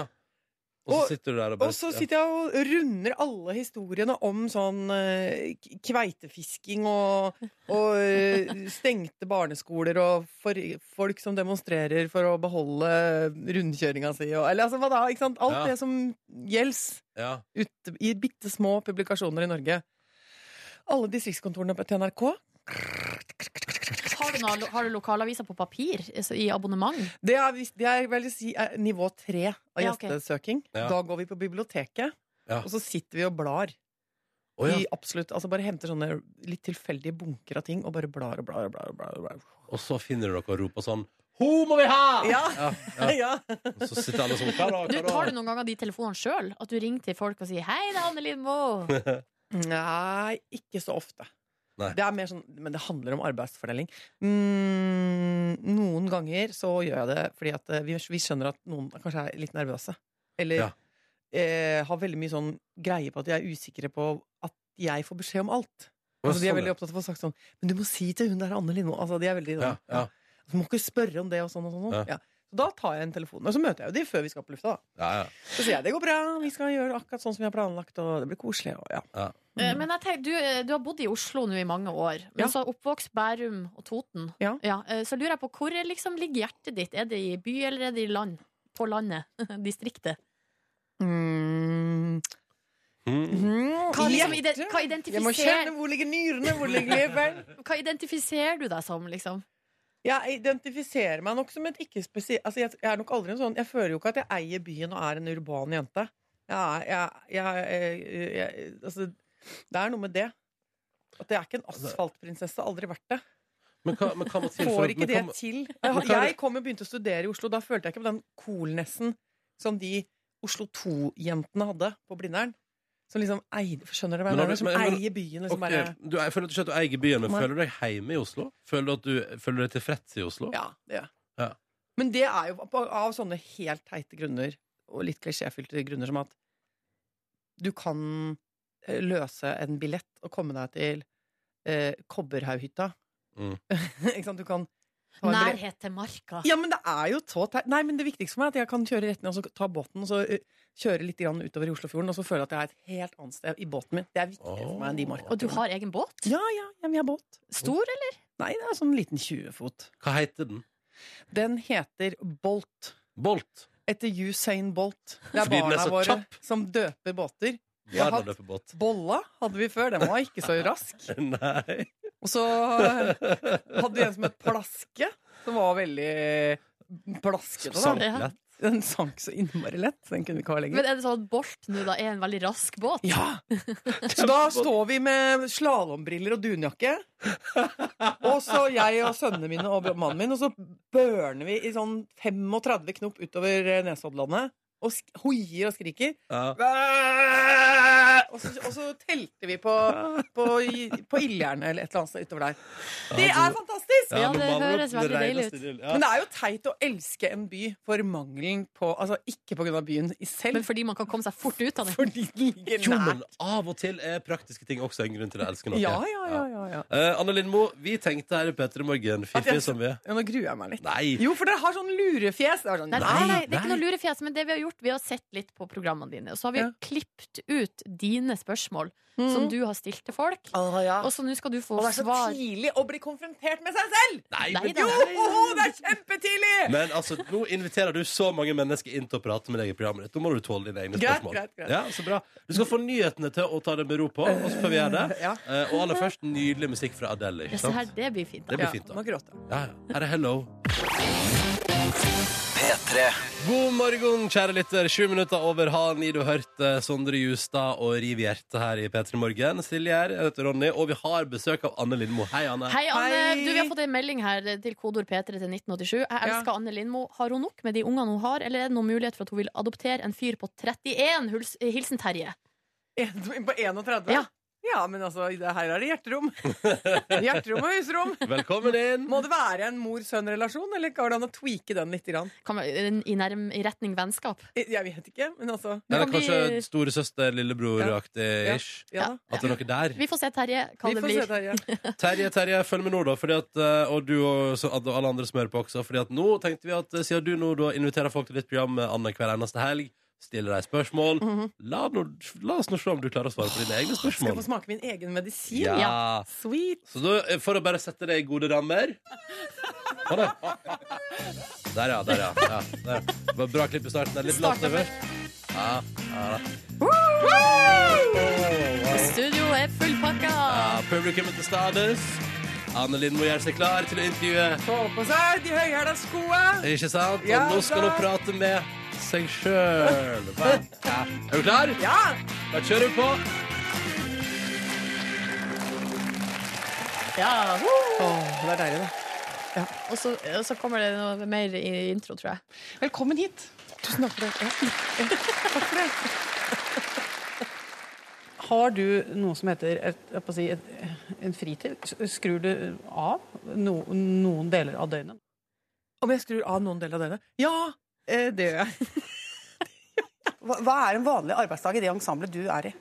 B: Og så
I: Og-
B: sitter du der og bare
I: Og så sitter jeg og runder alle historiene om sånn eh, k- kveitefisking og, og eh, stengte barneskoler og for, folk som demonstrerer for å beholde rundkjøringa si og Eller altså hva da? Ikke sant? Alt
B: Ja.
I: det som gjelds.
B: ja.
I: ute i bitte små publikasjoner i Norge. Alle distriktskontorene på- til NRK.
C: Har du, noe, har du lokalaviser på papir altså, i abonnement?
I: Det er, vis- det er vel å si er nivå tre av
C: Ja, ok.
I: gjestesøking.
C: Ja.
I: Da går vi på biblioteket,
B: Ja.
I: og så sitter vi og blar.
B: Å, ja.
I: I absolutt, altså Bare henter sånne litt tilfeldige bunker av ting og bare blar og blar. og blar, og blar, og blar.
B: Og så finner du noe og roper sånn Ho må vi ha!
I: Ja.
B: ja. Og så sitter alle sånn Hva da?
C: Du,
B: Hva da?
C: tar du noen ganger de telefonene sjøl? At du ringer til folk og sier 'Hei, det er Anne Lindmo'?
I: Nei, ikke så ofte.
B: Nei.
I: Det er mer sånn, men det handler om arbeidsfordeling. Mm, noen ganger så gjør jeg det fordi at eh, vi, vi skjønner at noen kanskje er litt nervøse. Eller
B: Ja.
I: eh, har veldig mye sånn greie på at de er usikre på at jeg får beskjed om alt.
B: Å,
I: Altså, de
B: sånn,
I: er
B: ja.
I: veldig opptatt av å få sagt sånn Men du må si til hun der Anne Lindmo altså, De er veldig sånn
B: Ja, ja.
I: Du må ikke spørre om det og sånn og sånn. og sånn.
B: Ja.
I: Ja. Så da tar jeg en telefon, og så møter jeg jo de før vi skal på lufta. da
B: Ja, ja.
I: Så sier jeg det går bra, vi skal gjøre akkurat sånn som vi har planlagt, og det blir koselig. Og, ja.
B: Ja.
C: Eh, Men jeg tenker, du, eh, du har bodd i Oslo nå i mange år. Men så oppvokst Bærum og Toten.
I: Ja.
C: eh, så lurer jeg på hvor eh, liksom, ligger hjertet ditt? Er det i by, eller er det i land? På landet? Distriktet?
I: Mm.
B: Mm.
C: Hva, liksom, ide hva
I: Jeg må kjenne
C: identifiserer
I: hvor ligger nyrene, hvor ligger leveren.
C: Hva identifiserer du deg som, liksom?
I: Jeg identifiserer meg nok som et ikke spesielt altså, jeg, jeg er nok aldri en sånn Jeg føler jo ikke at jeg eier byen og er en urban jente. Jeg, er- jeg, jeg, jeg, jeg, altså, det er noe med det. At jeg er ikke en asfaltprinsesse. Aldri vært det.
B: Men hva, men hva må til for
I: Får ikke
B: men
I: det sånn.
B: hva må-
I: til.
B: Men hva
I: Jeg,
B: er det-
I: jeg kom og begynte å studere i Oslo. Da følte jeg ikke på den coolnessen som de Oslo 2-jentene hadde på Blindern. Som liksom eide Skjønner du hva jeg
B: Men har
I: mener?
B: du-
I: Som
B: men- men-
I: eier byen. og
B: Ok,
I: Som liksom, bare
B: du, jeg føler ikke at du eier byen, men
I: Nei.
B: føler du deg hjemme i Oslo? Føler du at du føler du deg tilfreds i Oslo?
I: Ja, det gjør jeg.
B: Ja.
I: Men det er jo på- av sånne helt teite grunner, og litt klisjéfylte grunner, som at du kan eh, løse en billett og komme deg til eh, Kobberhaughytta.
B: Mm.
I: Ikke sant? Du kan ta en billett-
C: Nærhet til marka.
I: Ja, men det er jo så teit. Nei, men det viktigste for meg er at jeg kan kjøre rett ned og så ta båten, og så eh, kjøre litt grann utover i Oslofjorden, og så føle at jeg er et helt annet sted i båten min. Det er viktigere for meg enn de marka.
C: Og du har egen båt?
I: Ja, ja, ja, vi har båt.
C: Stor, eller?
I: Nei, det er sånn liten 20-fot.
B: Hva heter den?
I: Den heter Bolt.
B: Bolt.
I: Etter Usain Bolt. Det er
B: Fordi den er
I: barna
B: så
I: våre
B: kjapp.
I: som døper båter. Vi har
B: Verden
I: hatt
B: løper båt.
I: Bolla hadde vi før, den var ikke så rask.
B: Nei.
I: Og så hadde vi en som het Plaske, som var veldig plaskete. da.
C: Sank lett.
I: Den sank så innmari lett. Den kunne vi ikke ha lenger.
C: Men er det sånn at Bolt nå da er en veldig rask båt?
I: Ja! Så da står vi med slalåmbriller og dunjakke. Og så jeg og sønnene mine og mannen min, og så børner vi i sånn 35 knop utover eh, Nesoddlandet. Og sk- hoier og skriker.
B: Ja.
I: Og så, og så telte vi på, på, på Ildjernet eller et eller annet sted utover der. Det er fantastisk!
C: Ja, det høres veldig deilig ut.
I: Men det er jo teit å elske en by for mangelen på Altså ikke på grunn av byen i selv,
C: Men fordi man kan komme seg fort ut av det?
I: fordi den ligger
B: Jo, men
I: nært.
B: av og til er praktiske ting også en grunn til å elske noe.
I: Ja, ja, ja, ja, ja.
B: Eh, Anne Lindmo, vi tenkte her i P3 Morgen, fiffige
I: jeg-
B: som vi er
I: Ja, Nå gruer jeg meg litt.
B: Nei!
I: Jo, for dere har sånn lurefjes. Det er sånn,
C: Nei,
I: nei.
C: nei, nei, det er ikke
B: nei.
C: noe lurefjes, men det vi har gjort, vi har sett litt på programmene dine. Og så har vi
I: Ja. Mm.
C: klippet ut dine spørsmål som du har stilt til folk.
I: Ah. Å, ja.
C: Og så nå skal du få
I: Og det er så
C: svar.
I: tidlig å bli konfrontert med seg selv!
B: Nei,
C: Nei
B: men,
C: da.
I: Åh, det er kjempetidlig!
B: men altså, nå inviterer du så mange mennesker inn til å prate med deg i programmet ditt. Da må du tåle dine egne
I: Greit,
B: spørsmål.
I: greit, greit.
B: Ja, så bra. Du skal få nyhetene til å ta det med ro på, og så får vi gjøre det.
I: Ja.
B: Eh, og aller først nydelig musikk fra Adele.
C: Ja,
B: Ikke
C: se
B: sant?
C: her, det blir fint.
B: Det
C: Da.
B: blir fint, da.
I: Nå gråter jeg.
B: Ja, ja. Her er Hello. God morgen, kjære lytter. Sju minutter over halv ni. Du hørte Sondre Justad og Riv Hjerte her i P3 Morgen. Silje her, jeg heter Ronny, og vi har besøk av Anne Lindmo. Hei, Anne.
C: Hei, Anne.
I: Hei.
C: Du, vi har fått en melding her til kodord P3 til 1987. Jeg elsker Anne Lindmo. Har hun nok med de ungene hun har, eller er det noen mulighet for at hun vil adoptere en fyr på 31? Huls- eh, Hilsen Terje.
I: En- På 31?
C: Ja.
I: Ja, men altså, det her er det hjerterom. Hjerterom og husrom.
B: Velkommen inn.
I: Må det være en mor-sønn-relasjon, eller går det an å tweake den litt? Grann? Eh,
C: Kan man, i, nærm, I retning vennskap.
I: Jeg jeg vet ikke, men altså
C: Det
B: Eller
C: kan bli-
B: kanskje storesøster, lillebror-aktig-ish.
I: Ja, da.
B: At det er noe der.
C: Vi får se, Terje, hva
I: Vi
C: det
I: får
C: blir.
I: se, Terje.
B: Terje, Terje, følg med nå, da. Fordi at, eh, og du og så, at alle andre som hører på også. Fordi at nå tenkte vi at eh, siden du nå da inviterer folk til ditt program eh, Anne hver eneste helg, stiller deg spørsmål, la, nå- la oss nå se om du klarer å svare på dine egne
I: Mhm. Skal jeg
B: spørsmål.
I: få smake min egen medisin?
B: Ja.
I: Sweet.
B: Så da, eh, for å bare sette deg i gode rammer Ha det. Der, ja. Der, ja. ja der. Det var bra klipp i starten. Det er litt lavt over. Ja, ja. da.
C: Studio er fullpakka.
B: Ja, publikum er til stades. Anne Lindmo gjør seg klar til å intervjue.
I: Få på seg de høyhæla skoa!
B: Ikke sant? Og
I: Ja,
B: nå skal hun
I: da.
B: prate med seg sjøl. Er du klar?
I: Ja!
B: Da kjører vi på.
C: Ja,
I: det er deilig, da.
C: Og så, og så kommer det noe mer i intro, tror jeg.
I: Velkommen hit. Tusen takk for det. Ja. Ja. Takk for det. Har du noe som heter et, jeg holdt på å si, et, en fritid? S- Skrur du av no, noen deler av døgnet?
J: Om jeg skrur av noen deler av døgnet? Ja, eh, det gjør jeg. hva, er en vanlig arbeidsdag i det ensemblet du er i?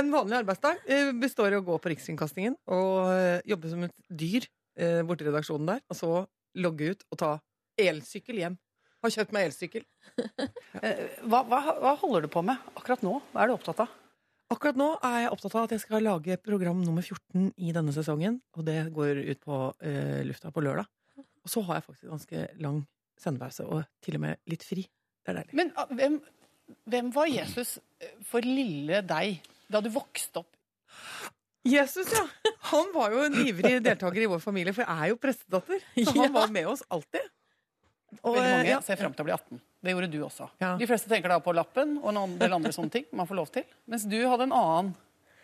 I: En vanlig arbeidsdag eh, består i å gå på Rikskringkastingen og eh, jobbe som et dyr eh, borti redaksjonen der, og så logge ut og ta elsykkel hjem. Har kjøpt meg elsykkel.
J: Hva, holder du på med akkurat nå? Hva er du opptatt av?
I: Akkurat nå er jeg opptatt av at jeg skal lage program nummer 14 i denne sesongen, og det går ut på eh, lufta på lørdag. Og så har jeg faktisk ganske lang sendepause, og til og med litt fri. Det er deilig.
K: Men ah, hvem, hvem var Jesus eh, for lille deg da du vokste opp?
I: Jesus, ja! Han var jo en ivrig deltaker i vår familie, for jeg er jo prestedatter. Så han var med oss alltid. Og,
K: Veldig
I: eh,
K: mange
I: ja.
K: ser fram til å bli 18. Det gjorde du også.
I: Ja.
K: De fleste tenker da på lappen og en del andre sånne ting man får lov til. Mens du hadde en annen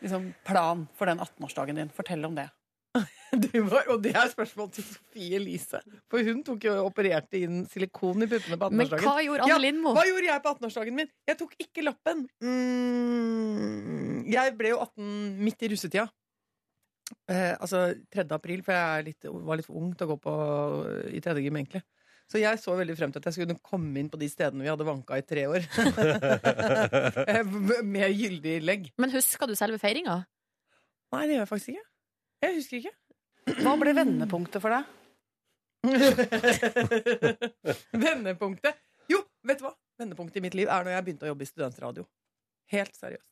K: liksom, plan for den 18-årsdagen din. Fortell om det.
I: Det var, og det er spørsmål til Sofie Elise. For hun tok jo og opererte inn silikon i puppene på 18-årsdagen.
C: Men hva gjorde Anne Lindmo?
I: Ja, hva gjorde jeg på 18-årsdagen min? Jeg tok ikke lappen. Mm, jeg ble jo 18 midt i russetida. Eh, altså 3. april, for jeg er litt, var litt ung til å gå på i tredje gym, egentlig. Så jeg så veldig frem til at jeg skulle kunne komme inn på de stedene vi hadde vanka i tre år. Eh, Med gyldig legg.
C: Men husker du selve feiringa?
I: Nei, det gjør jeg faktisk ikke. Jeg husker ikke.
K: Hva ble vendepunktet for deg?
I: Vendepunktet Jo, vet du hva? Vendepunktet i mitt liv er når jeg begynte å jobbe i studentradio. Helt seriøst.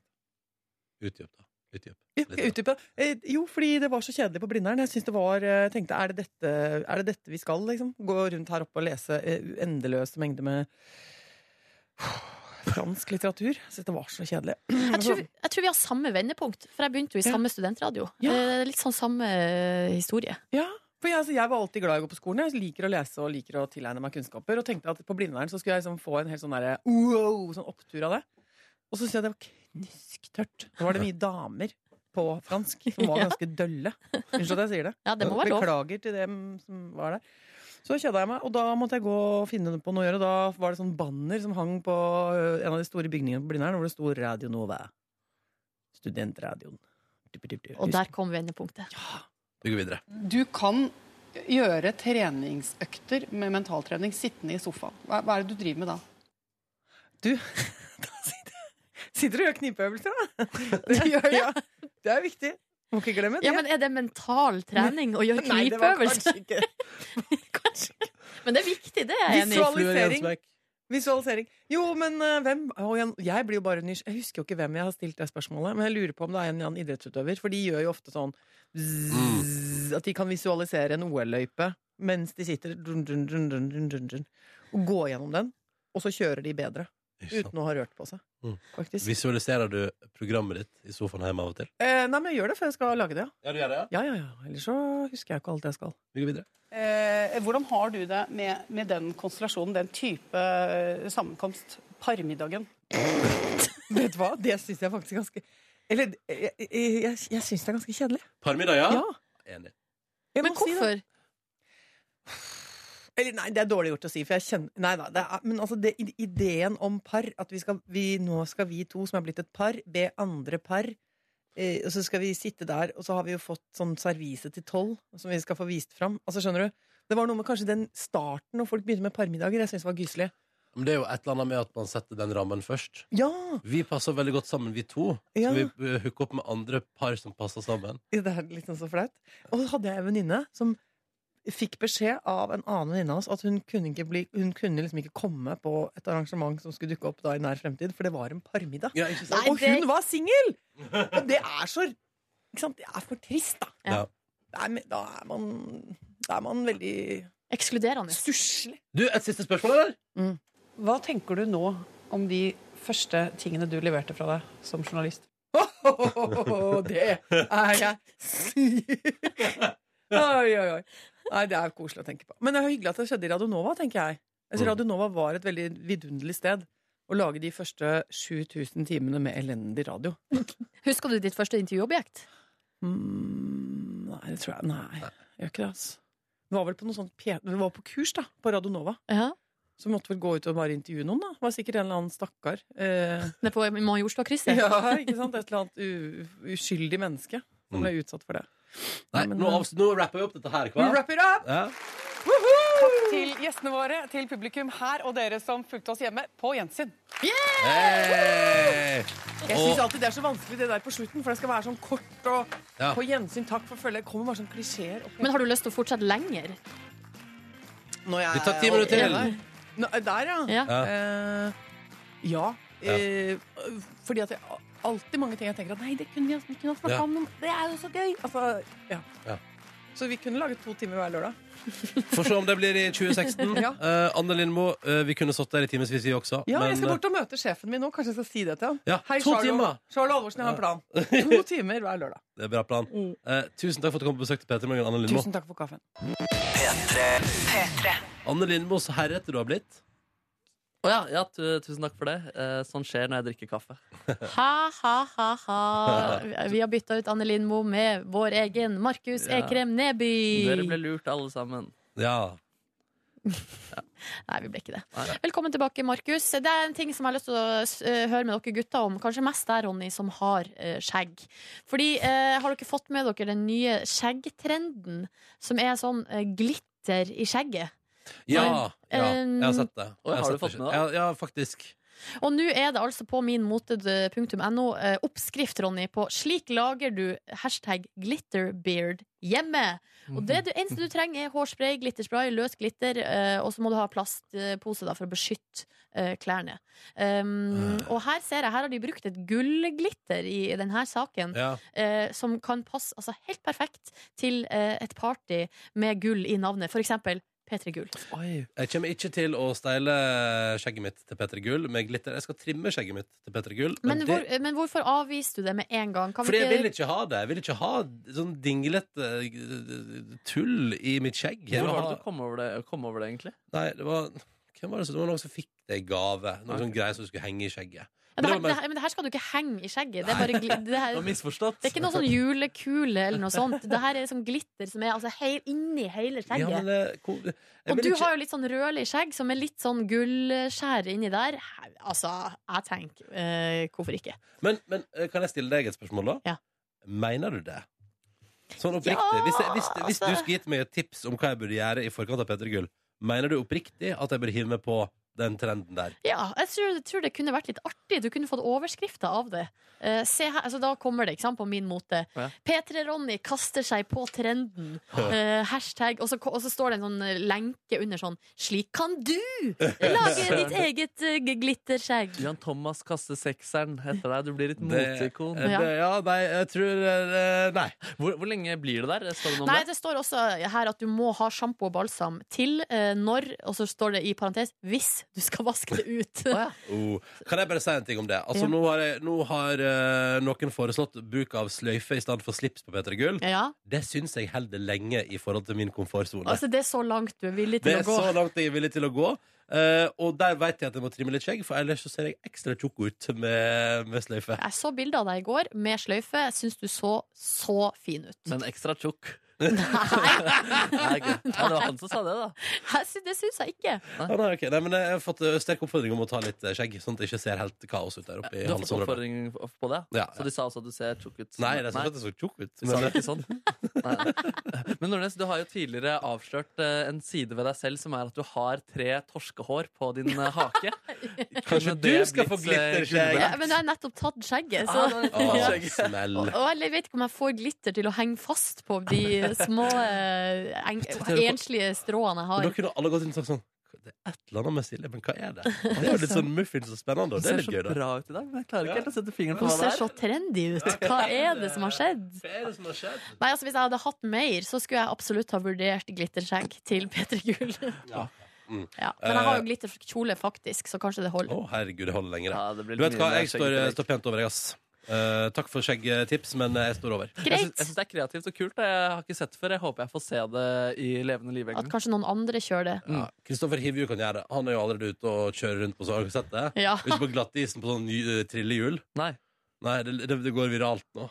B: Utdyp, da. Utdyp.
I: Jo, skal jeg utdype det? Eh, Jo, fordi det var så kjedelig på Blindern. Jeg synes det var, eh, tenkte er det, dette, er det dette vi skal, liksom? Gå rundt her oppe og lese eh, uendeløse mengder med fransk litteratur. Jeg synes det var så kjedelig.
C: Jeg tror, jeg tror vi har samme vendepunkt, for jeg begynte jo i
I: Ja.
C: samme studentradio.
I: Ja.
C: Eh, Litt sånn samme eh, historie.
I: Ja, for jeg, altså, jeg var alltid glad i å gå på skolen. Jeg liker å lese og liker å tilegne meg kunnskaper. Og tenkte at på Blindern så skulle jeg liksom få en helt sånn, derre wow, sånn opptur av det. Og så syntes jeg det var knusktørt. Da var det mye damer på fransk som var
C: Ja.
I: ganske dølle. Unnskyld at jeg sier det.
C: Ja, det må være lov.
I: Beklager til dem som var der. Så kjeda jeg meg, og da måtte jeg gå og finne på noe å gjøre. Da var det sånn banner som hang på ø, en av de store bygningene på Blindern, hvor det sto Radio Nova. Studentradioen.
C: Og der kom vendepunktet.
B: Vi går videre.
K: Du kan gjøre treningsøkter med mentaltrening sittende i sofaen. Hva, hva er det du driver med da?
I: Sitter du og gjør knipeøvelser, da? Det gjør jeg. Ja. Det er viktig. Må ikke glemme det.
C: Ja, men er det mental trening å gjøre
I: Nei, det var
C: knipeøvelser?
I: kanskje ikke.
C: Men det er viktig, det er jeg enig i.
I: Visualisering. Visualisering. Jo, men eh, hvem Å, Jan- Jeg blir jo bare nysg... Jeg husker jo ikke hvem jeg har stilt det spørsmålet, men jeg lurer på om det er en eller annen idrettsutøver, for de gjør jo ofte sånn
B: Mm.
I: zzz, At de kan visualisere en OL-løype mens de sitter dun, dun, dun, dun, dun, dun, dun, og gå gjennom den, og så kjører de bedre.
B: Ikke sant?
I: Uten å ha rørt på seg,
B: Mm.
I: faktisk.
B: Visualiserer du programmet ditt i sofaen hjemme av og til?
I: Eh, nei, men jeg gjør det før jeg skal lage det, ja.
B: Ja, du gjør det,
I: Ja, ja, ja. Ellers så husker jeg ikke alt jeg skal.
B: Vi går videre.
K: Eh, hvordan har du det med, med den konstellasjonen, den type eh, sammenkomst? Parmiddagen.
I: Vet du hva? Det syns jeg faktisk er ganske Eller jeg, jeg, jeg, jeg syns det er ganske kjedelig.
B: Parmiddag, ja?
I: Ja.
B: Enig.
I: Jeg
C: Men
I: må si det.
C: hvorfor?
I: Eller nei, det er dårlig gjort å si, for jeg kjenner Nei da. Det er, men altså, det, i- ideen om par, at vi skal vi, Nå skal vi to som er blitt et par, be andre par eh, Og så skal vi sitte der, og så har vi jo fått sånn servise til tolv, som vi skal få vist fram. Altså, skjønner du? Det var noe med kanskje den starten, når folk begynte med parmiddager, jeg syns var gyselig.
B: Men det er jo et eller annet med at man setter den rammen først.
I: Ja!
B: Vi passer veldig godt sammen, vi to.
I: Ja.
B: Så vi eh, hooker opp med andre par som passer sammen.
I: Det er litt sånn så flaut. Og så hadde jeg en venninne som fikk beskjed av en annen venninne av oss at hun kunne, ikke bli, hun kunne liksom ikke komme på et arrangement som skulle dukke opp da i nær fremtid, for det var en parmiddag.
B: Ja, ikke sant?
C: Nei,
I: og
C: det-
I: hun var singel! Og det er så ikke sant? Det er for trist, da.
B: Ja.
I: Det er, da, er man, da er man veldig
C: Ekskluderende.
I: stusslig.
B: Du, et siste spørsmål, eller?
K: Hva tenker du nå om de første tingene du leverte fra deg som journalist?
I: det er jeg syk Oi, oi, oi. Nei, det er koselig å tenke på. Men det er hyggelig at det skjedde i Radio Nova, tenker jeg. Altså,
K: Mm.
I: Radio Nova var et veldig vidunderlig sted å lage de første 7000 timene med elendig radio.
C: Husker du ditt første intervjuobjekt?
I: Mm, nei, det tror jeg Nei, jeg gjør ikke det, altså. Det var vel på noe sånt P- Vi var på kurs, da, på Radio Nova. Så vi måtte vel gå ut og bare intervjue noen, da. Det var sikkert en eller annen stakkar. Eh,
C: Det er på Majorstua-krysset?
I: Ja, ikke sant? Et eller annet u uskyldig menneske som ble utsatt for det.
B: Nei, nå,
I: eh,
B: avs- nå rapper vi opp dette her, Mm. hva?
K: Wrap it up!
B: Ja.
K: Takk til gjestene våre, til publikum her og dere som fulgte oss hjemme på gjensyn.
B: Hey!
I: Jeg
B: Og-
I: syns alltid det er så vanskelig det der på slutten, for det skal være sånn kort og
B: Ja.
I: på gjensyn, takk for følget. Det kommer bare sånn klisjeer. opp.
C: Men har du lyst til å fortsette lenger?
I: Når jeg
B: Vi tar ti minutter til.
I: Ja, Nå, der, ja.
C: Ja.
B: Ja.
I: Eh, ja. Eh, fordi at jeg alltid mange ting jeg tenker at nei, det kunne vi nesten ikke snakka
B: Ja.
I: om. men Det er jo så gøy! Altså, ja.
B: Ja.
I: Så vi kunne laget to timer hver lørdag.
B: Får se om det blir i 2016.
I: Ja.
B: Eh, Anne Lindmo, eh, vi kunne stått der i timevis, vi også.
I: Ja, jeg skal
B: eh,
I: bort og møte sjefen min nå. Kanskje jeg skal si det til ham.
B: Ja,
I: Hei,
B: to
I: Charlo.
B: timer.
I: Charlo Alvorsen, jeg har en plan. To timer hver lørdag.
B: det er bra plan. Eh, tusen takk for at du kom på besøk til Peter Morgen, Anne Lindmo.
I: Mm. Tusen takk for kaffen.
B: Anne Lindmo, så herrete du har blitt.
D: Å ja, ja, tu- tusen takk for det. Eh, sånn skjer når jeg drikker kaffe.
C: Ha, ha, ha, ha. Vi har bytta ut Anne Lindmo med vår egen Markus
D: Ja.
C: Ekrem Neby.
D: Dere ble lurt, alle sammen.
B: Ja.
C: Nei, vi ble ikke det.
D: Nei.
C: Velkommen tilbake, Markus. Det er en ting som jeg har lyst til å eh, høre med dere gutter om. Kanskje mest deg, Ronny, som har eh, skjegg. Fordi, eh, har dere fått med dere den nye skjeggtrenden, som er sånn eh, glitter i skjegget?
B: Ja, ja, jeg har sett det.
D: Oi,
B: Jeg
D: har du
B: sett
D: fått med det?
B: Ja, ja, faktisk.
C: Og nå er det altså på minmote.no eh, oppskrift, Ronny, på 'slik lager du hashtag glitterbeard hjemme'. Og det du, eneste du trenger, er hårspray, glitterspray, løs glitter, eh, og så må du ha plastpose da, for å beskytte eh, klærne. Um, og her ser jeg, her har de brukt et gullglitter i denne saken.
B: Ja.
C: eh, som kan passe altså, helt perfekt til eh, et party med gull i navnet. For eksempel P3 Gull.
B: Jeg kommer ikke til å steile skjegget mitt til Petter Gull med glitter. Jeg skal trimme skjegget mitt til Petter Gull.
C: Men,
B: det-
C: hvor, eh, men hvorfor avviste du det med en gang? Kan vi
B: Fordi jeg
C: ikke-
B: vil ikke ha det. Jeg vil ikke ha sånn dinglete eh, tull i mitt skjegg. Jeg
D: Hvor
B: vil
D: var
B: ha-
D: det du kom over det, kom over det egentlig?
B: Nei, det var Hvem var det som Det var noen som fikk det i gave? Noen sånn greier som skulle henge i skjegget. Men
C: Ja, det her,
B: det var
C: det
B: bare-
C: her, men det her skal du ikke henge i skjegget. Det er, bare, gli- det her, det
D: misforstått.
C: er ikke noe sånn julekule eller noe sånt. Det her er sånn glitter som er altså, hei, inni hele
B: Ja, men, eh,
C: skjegget.
B: hvor- jeg
C: Og
B: vil
C: du
B: ikke-
C: har jo litt sånn rødlig skjegg som er litt sånn gullskjær inni der. Her- Altså, jeg tenker eh, hvorfor ikke?
B: men, men eh, kan jeg stille deg et spørsmål, da?
C: Ja.
B: Mener du det? Sånn oppriktig.
C: Ja,
B: hvis, jeg, hvis, hvis du
C: altså-
B: skulle gitt meg et tips om hva jeg burde gjøre i forkant av Petter Gull, mener du oppriktig at jeg bør hive meg på den trenden der?
C: Ja, jeg tror, jeg tror det kunne vært litt artig. Du kunne fått overskrifter av det. Eh, se her, altså Da kommer det ikke sant, på min mote.
D: Ja.
C: P3-Ronny kaster seg på trenden. Eh, hashtag. Og så, og så står det en sånn eh, lenke under sånn Slik kan du lage ditt eget eh, g- glitterskjegg.
D: Jan Thomas kaster sekseren etter deg. Du blir et
B: Det-
D: moteikon.
B: eh, det- ja, nei, jeg tror eh, Nei.
D: Hvor, hvor lenge blir det der? Står det noe om
C: Nei,
D: det?
C: det står også her at du må ha sjampo og balsam til eh, når, og så står det i parentes, hvis du skal vaske det ut.
B: Oh. Kan jeg bare si en ting om det? Altså,
C: Ja.
B: Nå har, jeg, nå har eh, noen foreslått bruk av sløyfe i stedet for slips på P3 Gull.
C: ja,
B: Det syns jeg holder lenge i forhold til min komfortsone.
C: altså Det er så langt du er villig
B: det
C: til
B: er
C: å gå.
B: så langt jeg er villig til å gå. Eh, og der veit jeg at jeg må trimme litt skjegg, for ellers så ser jeg ekstra tjukk ut med, med sløyfe.
C: Jeg så bilde av deg i går med sløyfe. Jeg syns du så så fin ut.
D: Men ekstra tjukk. Nei, ok. Nei, det var han som sa det, da.
C: Jeg sy- Det syns jeg ikke.
B: Ah, nei, ok. nei, men jeg har fått eh, sterk oppfordring om å ta litt eh, skjegg, sånn at det ikke ser helt kaos ut der oppe i
D: Du har fått
B: halsområdet.
D: oppfordring på det?
B: Ja,
D: Så de sa også at du ser tjukk ut?
B: Nei, det er sånn at jeg så tjukk ut.
D: Du sa det ikke sånn? Nei. Men Nordnes, du har jo tidligere avslørt eh, en side ved deg selv som er at du har tre torskehår på din eh, hake.
B: Kanskje
D: Kunne
B: du
D: det
B: skal
D: blitt,
B: få
D: eh,
B: glitterskjegg?
C: Ja, men jeg har nettopp tatt skjegget.
D: Ah,
C: Så.
D: det er
B: Å,
D: litt skjegg.
B: smell.
C: Og og jeg vet ikke om jeg får glitter til å henge fast på de små eh, eng enslige stråene
B: Men da
C: jeg har.
B: kunne alle gått inn og sagt sånn Det er et eller annet med Silje, men hva er det? Det er jo litt sånn muffins og spennende,
D: Du
B: og det er
D: ser
B: litt
D: så
B: gøy, da.
D: bra ut i dag, men jeg klarer
B: Ja.
D: ikke helt å sette fingeren på
C: Hun
D: hva det
C: ser så
D: er.
C: trendy ut. Hva er det som har skjedd?
B: Hva er det som har skjedd?
C: Nei, altså Hvis jeg hadde hatt mer, så skulle jeg absolutt ha vurdert glitterskjegg til P3 Gull.
B: Ja. Mm.
C: Ja. Men jeg har
D: Eh.
C: jo glitterkjole, faktisk, så kanskje det
B: Å,
C: holder.
B: herregud, det holder lenger.
D: Ja,
B: da.
D: det blir
B: Du vet
D: mye
B: hva,
D: mer
B: jeg
D: skjegg
B: står, eh,
D: til deg.
B: står pent over deg, ass. Eh, takk for skjeggtips, men eh, jeg står over.
D: Jeg syns, jeg syns det er kreativt og kult. og Jeg har ikke sett det før. Jeg håper jeg får se det i levende liv.
C: At kanskje noen andre kjører det.
B: Ja, Kristoffer Hivju kan gjøre det. Han er jo allerede ute og kjører rundt på sånn. Har dere sett det?
C: Ja.
B: Ute på glattisen på sånn ny- eh, trillehjul.
D: Nei.
B: det, det, det går viralt nå.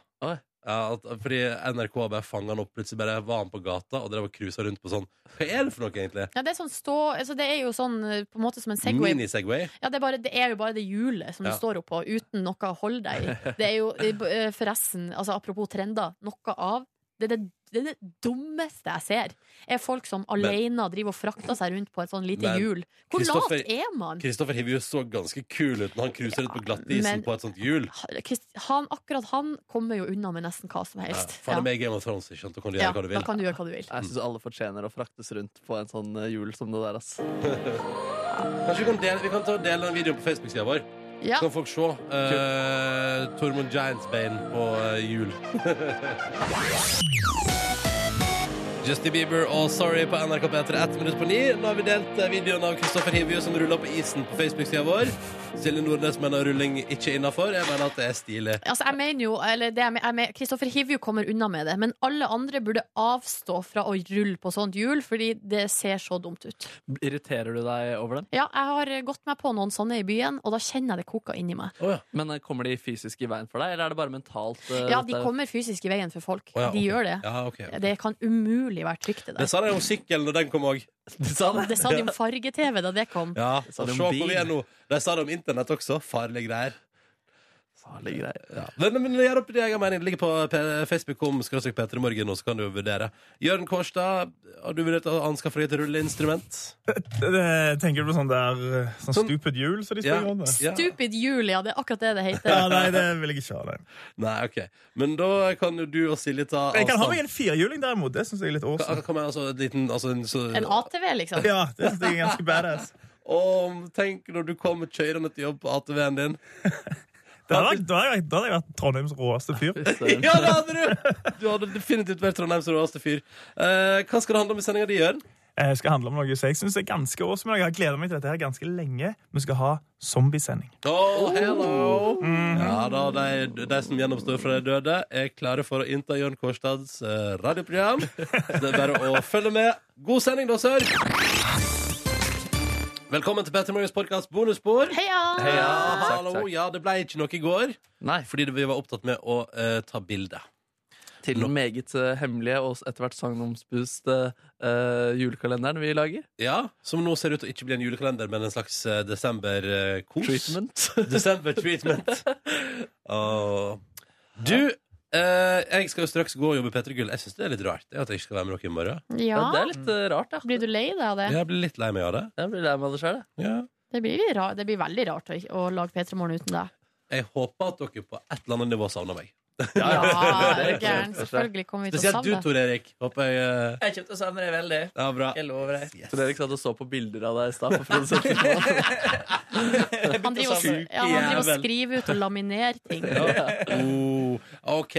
B: Ja, at, fordi NRK bare fanga han opp. Plutselig bare var han på gata og drev og cruisa rundt på sånn. Hva er det for noe, egentlig?
C: Ja, det, er sånn stå, altså det er jo sånn eh, på en måte som en Segway.
B: Mini-Segway?
C: Ja, det er, bare, det er jo bare det hjulet som
B: Ja.
C: du står oppå, uten noe å holde deg i. Det er jo eh, b- eh, forresten, altså apropos trender, noe av det, er det, det, er det dummeste jeg ser, er folk som
B: Men-
C: alene driver og frakter seg rundt på et sånn lite
B: Men
C: hjul. Hvor lat
B: Kristoffer-
C: er man?
B: Kristoffer Hivju så ganske kul ut når han cruiser rundt på glattisen
C: men-
B: på et sånt hjul.
C: Krist- Han, akkurat han kommer jo unna med nesten hva som
B: Ja,
C: helst.
B: Faen, det er meg i Game of Thrones, ikke sant? Da kan du gjøre
C: Ja,
B: hva du
C: da
B: vil.
C: kan du gjøre hva du vil.
D: Jeg syns alle fortjener å fraktes rundt på en sånn eh, hjul som det der, ass.
B: Kanskje vi kan dele, vi kan ta og dele den videoen på Facebook-sida vår.
C: Ja.
B: Så kan folk se uh, Tormund Giantsbane på eh, jul. Justin Bieber og Sorry på NRK P3 ett minutt på ni. Nå har vi delt eh, videoen av Kristoffer Hivju som ruller på isen på Facebook-sida vår. Silje Nordnes mener rulling ikke innafor. Jeg mener at det er stilig.
C: Altså, jeg mener jo, eller det jeg men- jeg mener, Kristoffer Hivju kommer unna med det, men alle andre burde avstå fra å rulle på sånt hjul, fordi det ser så dumt ut.
D: Irriterer du deg over den?
C: Ja, jeg har gått meg på noen sånne i byen, og da kjenner jeg det koker inni meg.
D: Men eh, kommer de fysisk i veien for deg, eller er det bare mentalt? eh,
C: Ja, de
D: dette-
C: kommer fysisk i veien for folk.
D: Å ja,
C: De
D: ok.
C: gjør det.
B: Ja, ok, ok.
C: Det kan umulig være trygt, det
B: Det
C: der.
B: sa de om sykkelen da den kom òg.
C: Det sa de om farge-TV da det kom.
B: Ja, og
D: sa
B: se
D: de om
B: hvor
D: bil.
B: vi er nå. De sa det om internett også. Farlige greier.
D: Farlige greier.
B: Ja. Men, men gjør opp din egen mening. Det ligger på eh, P- Facebook om skråstrek Peter i morgen, og så kan du vurdere. Jørn Kårstad, har du vurdert å anskaffe deg et rulleinstrument?
L: Jeg tenker på sånn der eh, sånn stupid hjul som de
B: Ja,
L: springer rundt med.
C: Stupid Julia, det er akkurat det det heter.
L: Ja, nei, det vil jeg ikke ha. Nei.
B: Nei, ok. Men da kan jo du og Silje ta
L: Jeg kan ha meg en firhjuling derimot. Det syns jeg er litt
B: Hva-
L: awesome.
B: hva med altså, en liten altså, en, så,
C: En ATV, liksom.
L: Ja, det synes jeg er ganske badass.
B: Om- tenk når du kommer kjørende til jobb på ATV-en din.
L: Da hadde jeg- da hadde jeg da hadde jeg vært Trondheims råeste fyr.
B: Ja, det hadde du! Du hadde definitivt vært Trondheims råeste fyr. Eh, hva skal det handle om i sendinga di, Jørn?
L: Jeg Eh, skal handle om noe som jeg syns er ganske awesome. og Jeg har gledet meg til dette her ganske lenge. Vi skal ha zombiesending.
B: Oh, hello! Ja da, de, de som gjennomstår fra de døde, er klare for å innta Jørn Kårstads eh, radioprogram. Så det er bare å følge med. God sending, da, sør! Velkommen til Petter Morgens podkast bonusspor.
C: Heia!
B: Heia.
D: Takk,
B: Hallo,
D: takk.
B: ja, det ble ikke noe i går. Fordi vi var opptatt med å eh, ta bilde.
D: Til den meget eh, hemmelige og etter hvert sagnomspuste eh, julekalenderen vi lager.
B: Ja, Som nå ser ut til å ikke bli en julekalender, men en slags eh, desember-kos.
D: Treatment.
B: desember treatment. Åh. Du, eh, jeg skal jo straks gå og jobbe i P3 Gull. Jeg syns det er litt rart det, at jeg ikke skal være med dere i morgen.
C: Ja.
D: Det er litt eh, rart, ja.
C: Blir du lei deg av det?
B: Jeg blir litt lei meg av det.
D: Jeg blir lei meg av det sjøl,
B: jeg. Ja.
C: Det blir, litt ra- det blir veldig rart å, å lage P3 Morgen uten deg.
B: Jeg håper at dere på et eller annet nivå savner meg.
C: Ja, er du gæren? Selvfølgelig kommer vi til å
B: Spesielt du,
C: savne
B: Tor Erik. Håper jeg eh,
M: Jeg kommer til å savne deg veldig.
B: Ja, bra.
M: Jeg lover deg.
D: Yes. Erik sa du så på bilder av deg i stad. på produsenten.
C: Han driver, og,
B: Sjuke
C: ja, han driver og
B: jævel.
C: skriver ut og laminerer ting.
D: sånn.
B: Ja. Oh, OK.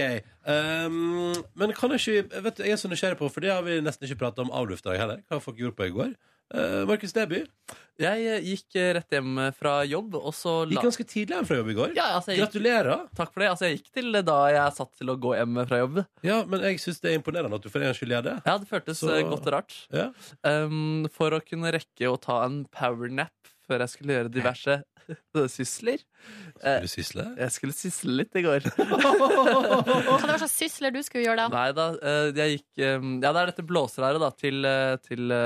B: Um, men kan jeg ikke vet, du, Jeg er så nysgjerrig på, for det har vi nesten ikke prata om avlufta i heller. Hva folk gjorde på i går. Uh, Markus Neby.
D: Jeg eh, gikk eh, rett hjem fra jobb, og så la-
B: Gikk ganske tidlig hjem fra jobb i går.
D: Ja, altså, jeg gikk-
B: Gratulerer.
D: Takk for det. Altså, jeg gikk til det da jeg satt til å gå hjem fra jobb.
B: Ja, men jeg syns det er imponerende at du for en gangs skyld gjør det.
D: Ja, det føltes
B: Så-
D: eh, godt og rart.
B: Ja.
D: Um, for å kunne rekke å ta en powernap før jeg skulle gjøre diverse sysler. Skulle
B: du sysle?
D: Jeg skulle sysle litt i går.
C: Hva det var slags sysler du skulle gjøre da?
D: Nei da, eh, jeg gikk eh, Ja, det er dette blåsereiret, da, til, eh, til uh,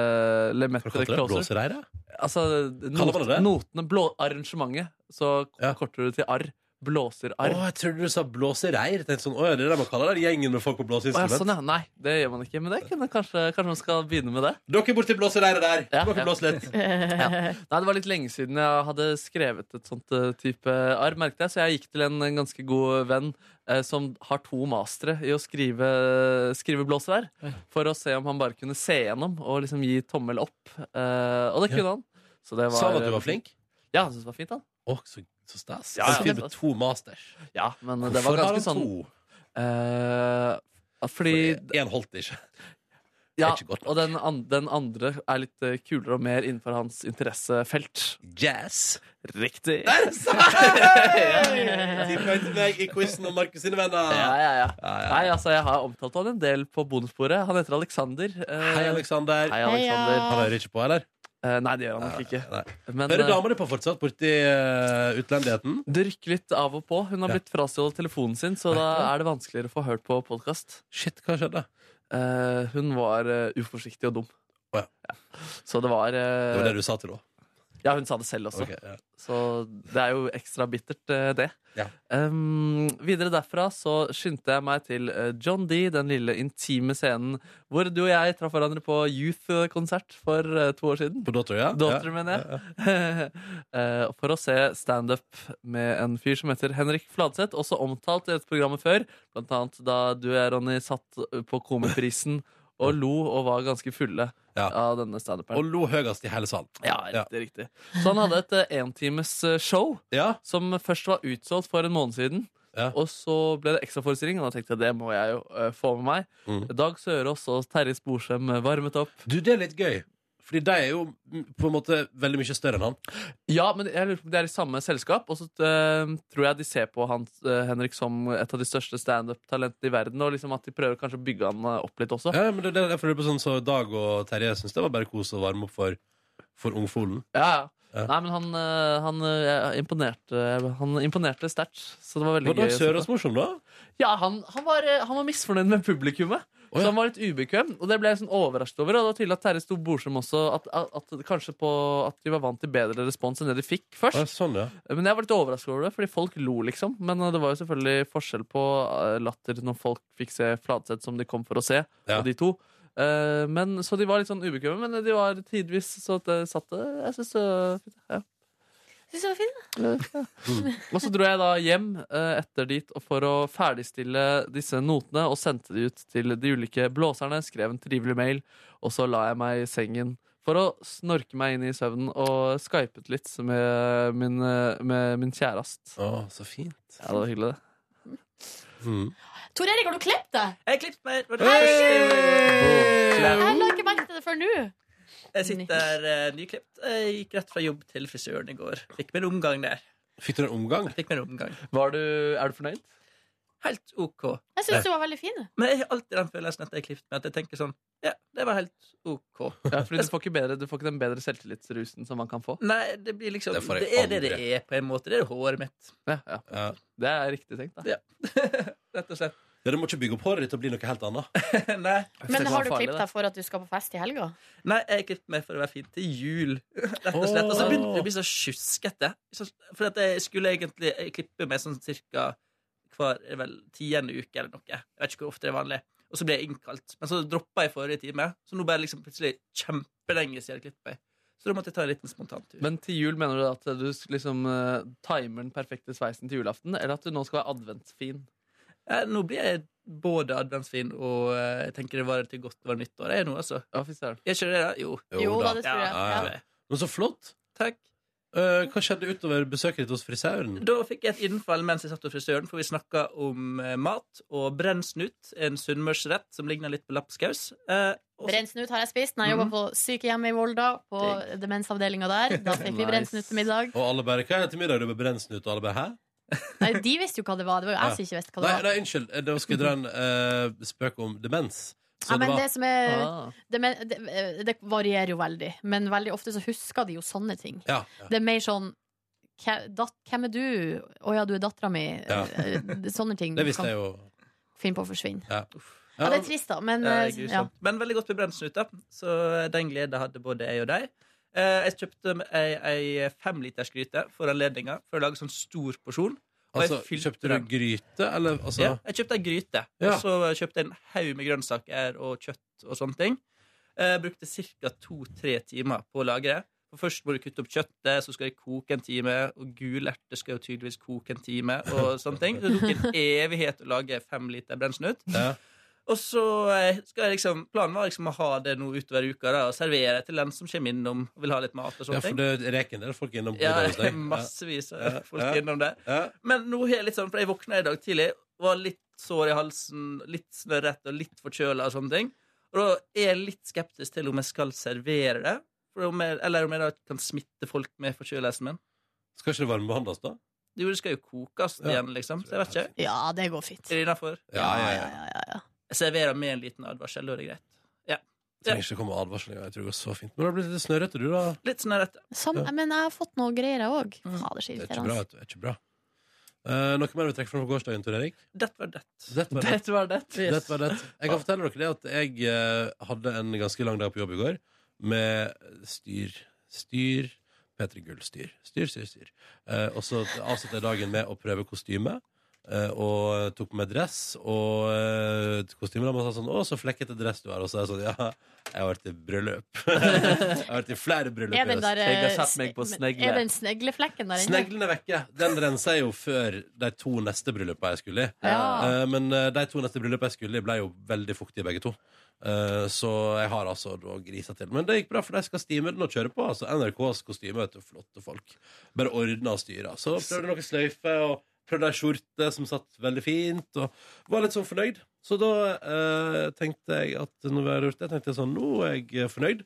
D: Lemaitre
B: Hva kalte du det?
D: Closer.
B: Blåsereiret?
D: Altså,
B: Kaller man
D: not,
B: det det?
D: notene blå, Arrangementet. Så k- korter du til arr. Blåserarr.
B: Å, jeg trodde du sa blåsereir. Tenkte Sånn, å, ja, det er det man kaller den gjengen med folk på
D: Å, ja,
B: blåseinstrument.
D: sånn, ja. Nei, det gjør man ikke. Men det kunne kanskje, kanskje man skal begynne med det.
B: Dere borti blåsereiret der. Dere blåser litt.
D: ja. Nei, det var litt lenge siden jeg hadde skrevet et sånt eh, type arr, merket jeg. Så jeg gikk til en en ganske god venn eh, som har to mastere i å skrive, skrive blåserær. For å se om han bare kunne se gjennom og liksom gi tommel opp. Eh, og det kunne han. Så det
B: Sa han at du var flink?
D: Ja, han syntes det var fint, han.
B: Å, så, så stas.
D: Ja, ja.
B: Så fint med to masters.
D: Ja, men det sånn-
B: Hvorfor
D: var
B: har
D: ganske
B: han
D: sånn
B: to?
D: eh, Fordi
B: Én holdt ikke.
D: Ja, og den, an den andre er litt eh, kulere og mer innenfor hans interessefelt.
B: Jazz.
D: Riktig.
B: Ti poeng til meg i quizen om Markus sine venner.
D: Ja, ja, ja. Nei, altså, jeg har omtalt han en del på bonussporet. Han heter Alexander. Eh,
B: Hei, Alexander.
D: Hei, Alexander. Eh,
B: Han hører ikke på, eller?
D: nei, det gjør han nok ikke. Men,
B: Hører
D: eh,
B: dama di på fortsatt borti uh, utlendigheten?
D: Det rykker litt av og på. Hun har blitt frastjålet telefonen sin, så da er det vanskeligere å få hørt på podkast.
B: Shit, hva skjedde?
D: hun var eh, uforsiktig og dum. Ja. Så det var eh,
B: Det var det du sa til henne?
D: Ja, hun sa det selv også.
B: Ok, ja.
D: Så det er jo ekstra bittert, eh, det. Um, videre derfra så skyndte jeg meg til eh, John D, den lille intime scenen hvor du og jeg traff hverandre på Youth-konsert for eh, to år siden.
B: På Daughtry, ja.
D: Daughtry,
B: Ja,
D: mener jeg. Eh, for å se standup med en fyr som heter Henrik Fladseth, også omtalt i dette programmet før, blant annet da du og jeg, Ronny, satt eh, på Komiprisen og lo og var ganske fulle av denne standuperen.
B: Og lo høyest i hele salen.
D: Ja, riktig, riktig. Så han hadde et eh, entimes eh, show som først var utsolgt for en måned siden. Og så ble det ekstraforestilling, og da tenkte jeg det må jeg jo eh, få med meg. Dag Sørås og Terje Sporsem eh, varmet opp.
B: Du, det er litt gøy. Fordi de er jo mm, på en måte veldig mye større enn han.
D: Ja, men jeg lurer på om de er i samme selskap. Og så eh, tror jeg de ser på han, eh, Henrik som et av de største standup-talentene i verden. Og liksom at de prøver kanskje å bygge han eh, opp litt også.
B: Ja, men det, det, jeg føler på sånn så Dag og Terje syns det var bare kos å varme opp for, for ungfolen.
D: Ja, ja. Nei, men han, eh, han eh, imponerte Han imponerte sterkt. Så det var veldig
B: Var Dag
D: gøy. å se
B: Sørås
D: på.
B: morsom, da?
D: Ja, han, han, var, eh, han var misfornøyd med publikummet. Så han var litt ubekvem, og det ble jeg sånn overrasket over. Og det var tydelig at Terje sto borsom også, at, at, at, kanskje på, at de var vant til bedre respons enn det de fikk først.
B: Ja, sånn, ja.
D: Men jeg var litt overrasket over det, fordi folk lo, liksom. Men eh, det var jo selvfølgelig forskjell på eh, latter når folk fikk se Fladseth som de kom for å se, og de to. Eh, Men, så de var litt sånn ubekvemme, men de var tidvis så at det satt det. Jeg synes eh, det var fint. Ja.
C: Syns det var fint, da.
D: Og så dro jeg da hjem eh, etter dit og for å ferdigstille disse notene og sendte de ut til de ulike blåserne, skrev en trivelig mail, og så la jeg meg i sengen for å snorke meg inn i søvnen og skypet litt med min, eh, med min kjærest.
B: Å, så fint. Mm.
D: Ja, det var hyggelig, det.
C: Tor Erik, har du klippet deg?
I: Jeg har klippet meg.
C: Herregud!
I: Klapp.
C: Jeg la ikke merke til det før nå.
I: Jeg sitter uh, nyklipt. Jeg gikk rett fra jobb til frisøren i går. Fikk meg en omgang der.
B: Fikk du en omgang?
I: Fikk meg en omgang.
D: er du fornøyd?
I: Helt OK.
C: Jeg syns du var veldig fin.
I: Men jeg har alltid den følelsen at jeg er klippet meg, at jeg tenker sånn Ja, det var helt OK.
D: Ja, fordi du får, ikke bedre, du får ikke den bedre selvtillitsrusen som man kan få.
I: Nei, det blir liksom
D: Det
I: Det,
D: får jeg
I: er det det
D: aldri.
I: er, på en måte. Det er håret mitt.
D: Ja, ja. Det er riktig tenkt, da.
I: Rett og slett.
B: Ja, Du må ikke bygge opp håret ditt og bli noe helt annet.
I: Nei.
C: Men har du klippet deg for at du skal på fest i helga?
I: Nei, jeg klippet meg for å være fin til jul. Rett og slett. Og så begynte det å bli så sjuskete. Så- For at jeg skulle egentlig klippe meg sånn cirka hver vel, tiende uke eller noe. Jeg vet ikke hvor ofte det er vanlig. Og så ble jeg innkalt. Men så droppa jeg forrige time, så nå ble det liksom plutselig kjempelenge siden jeg klippet meg. Så da måtte jeg ta en liten spontantur.
D: Men til jul mener du at du liksom eh, timer den perfekte sveisen til julaften, eller at du nå skal være adventsfin?
I: Eh, Nå blir jeg både adventsfin og eh, jeg tenker det varer til godt over nyttår. Jeg er nå, altså.
D: Ja, fy søren.
I: Er ikke det det? Jo.
B: Jo da, det tror jeg.
I: Ja,
B: Ja.
I: det tror jeg.
B: Men så flott. Eh,
I: Takk.
B: hva skjedde utover besøket ditt hos frisøren?
I: Da fikk jeg et innfall mens jeg satt hos frisøren, for vi snakka om eh, mat og brennsnut, en sunnmørsrett som ligner litt på lapskaus. Eh, og-
C: Brennsnut har jeg spist. Når jeg jobba på sykehjemmet i Volda, på demensavdelinga der. Da fikk vi
B: Nice.
C: brennsnut til middag.
B: Og alle bare, hva er det til middag? Du bare brensnut, og alle bare, hæ?
C: Nei, de visste jo hva det var. Det var jo jeg som ikke visste hva det
B: nei,
C: var.
B: nei, unnskyld. Da skal jeg dra en eh, spøk om demens. Så
C: ja, men
B: var-
C: det, som er,
D: Ah.
C: det, men- det, det varierer jo veldig, men veldig ofte så husker de jo sånne ting.
B: Ja,
C: Det er mer sånn "Hva- dat, Hvem er du? Å ja, du er dattera mi.
B: Ja.
C: Sånne ting.
B: Det
C: du
B: visste
C: kan
B: jeg jo.
C: Finne på å forsvinne.
B: Ja.
C: Ja, det er trist, da, men,
I: Ja,
C: eh,
I: grusomt.
C: ja.
I: men veldig godt med brennsnut, da. Så eh, den gleden hadde både jeg og deg. Eh, jeg kjøpte meg ei, ei femlitersgryte for anledninga, for å lage sånn stor porsjon. Og jeg
B: Altså,
I: fylte
B: kjøpte du
I: den.
B: gryte, eller? Altså,
I: Ja, jeg kjøpte ei gryte,
B: Ja.
I: og så kjøpte jeg en haug med grønnsaker og kjøtt og sånne ting. Eh, brukte ca. to-tre timer på å lage det. For først må du kutte opp kjøttet, så skal det koke en time, og gulerte skal jo tydeligvis koke en time, og sånne ting. Det tok en evighet å lage fem liter brennsnut. Og så eh, skal jeg liksom, Planen var liksom å ha det nå utover uka da, og servere til den som kommer innom og vil ha litt mat. og
B: ja,
I: sånne
B: for
I: ting.
B: det reker en del folk innom på middag hos
I: Ja,
B: deg.
I: massevis av
B: Ja,
I: folk
B: ja,
I: innom det. Men nå har jeg litt sånn, for jeg våkna i dag tidlig, var litt sår i halsen, litt snørret og litt forkjøla og sånne ting.
M: Og da er jeg litt skeptisk til om jeg skal servere det, for om jeg, eller om jeg da kan smitte folk med forkjølelsen min.
B: Skal ikke det varmebehandles, da?
M: Jo, det skal jo kokes
B: Ja.
M: igjen, liksom. Så jeg vet ikke.
C: Ja, det går fint.
M: Er det innafor?
B: Ja, ja, ja.
M: Jeg serverer med en liten advarsel, da er det greit. Ja.
B: Trenger ikke komme advarsel engang. Jeg tror det går så fint. Men det har blitt litt snørrete, du, da.
M: Litt snørrete.
C: Sam,
B: Ja. Mm.
C: Men jeg har fått noe greier, jeg òg. Fader, så
B: Det er ikke bra.
C: irriterende.
B: vet du. Det er ikke bra. Eh, noe mer du trekker fram fra gårsdagen, Tor Erik?
M: Det var det.
B: Det var det.
M: Det var det.
B: Det var det. Jeg kan fortelle dere det at jeg eh, hadde en ganske lang dag på jobb i går med styr. Styr. P3 Gull. Styr, styr, styr. styr. Eh, og så avsluttet jeg dagen med å prøve kostyme. eh, og tok på meg dress og uh, kostyme. Og man sa sånn 'Å, så flekkete dress du har.' Og så er jeg sånn Ja, jeg har vært i bryllup. jeg har vært i flere bryllup. i
C: Er den
B: høst.
C: der, eh, men- er den snegleflekken der inne?
B: Sneglen er vekke. Den rensa jeg jo før de to neste bryllupene jeg skulle i.
C: Ja.
B: Eh, Men eh, de to neste bryllupene jeg skulle i, ble jo veldig fuktige begge to. Eh, Så jeg har altså da grisa til. Men det gikk bra, for de skal stime den og kjøre på. Altså NRKs kostyme, vet du. Flotte folk. Bare ordna og styra. Så prøvde noen sløyfer, og prøvde ei skjorte som satt veldig fint, og var litt sånn fornøyd. Så da eh, tenkte jeg at når jeg hadde gjort det, tenkte jeg sånn Nå er jeg eh, fornøyd.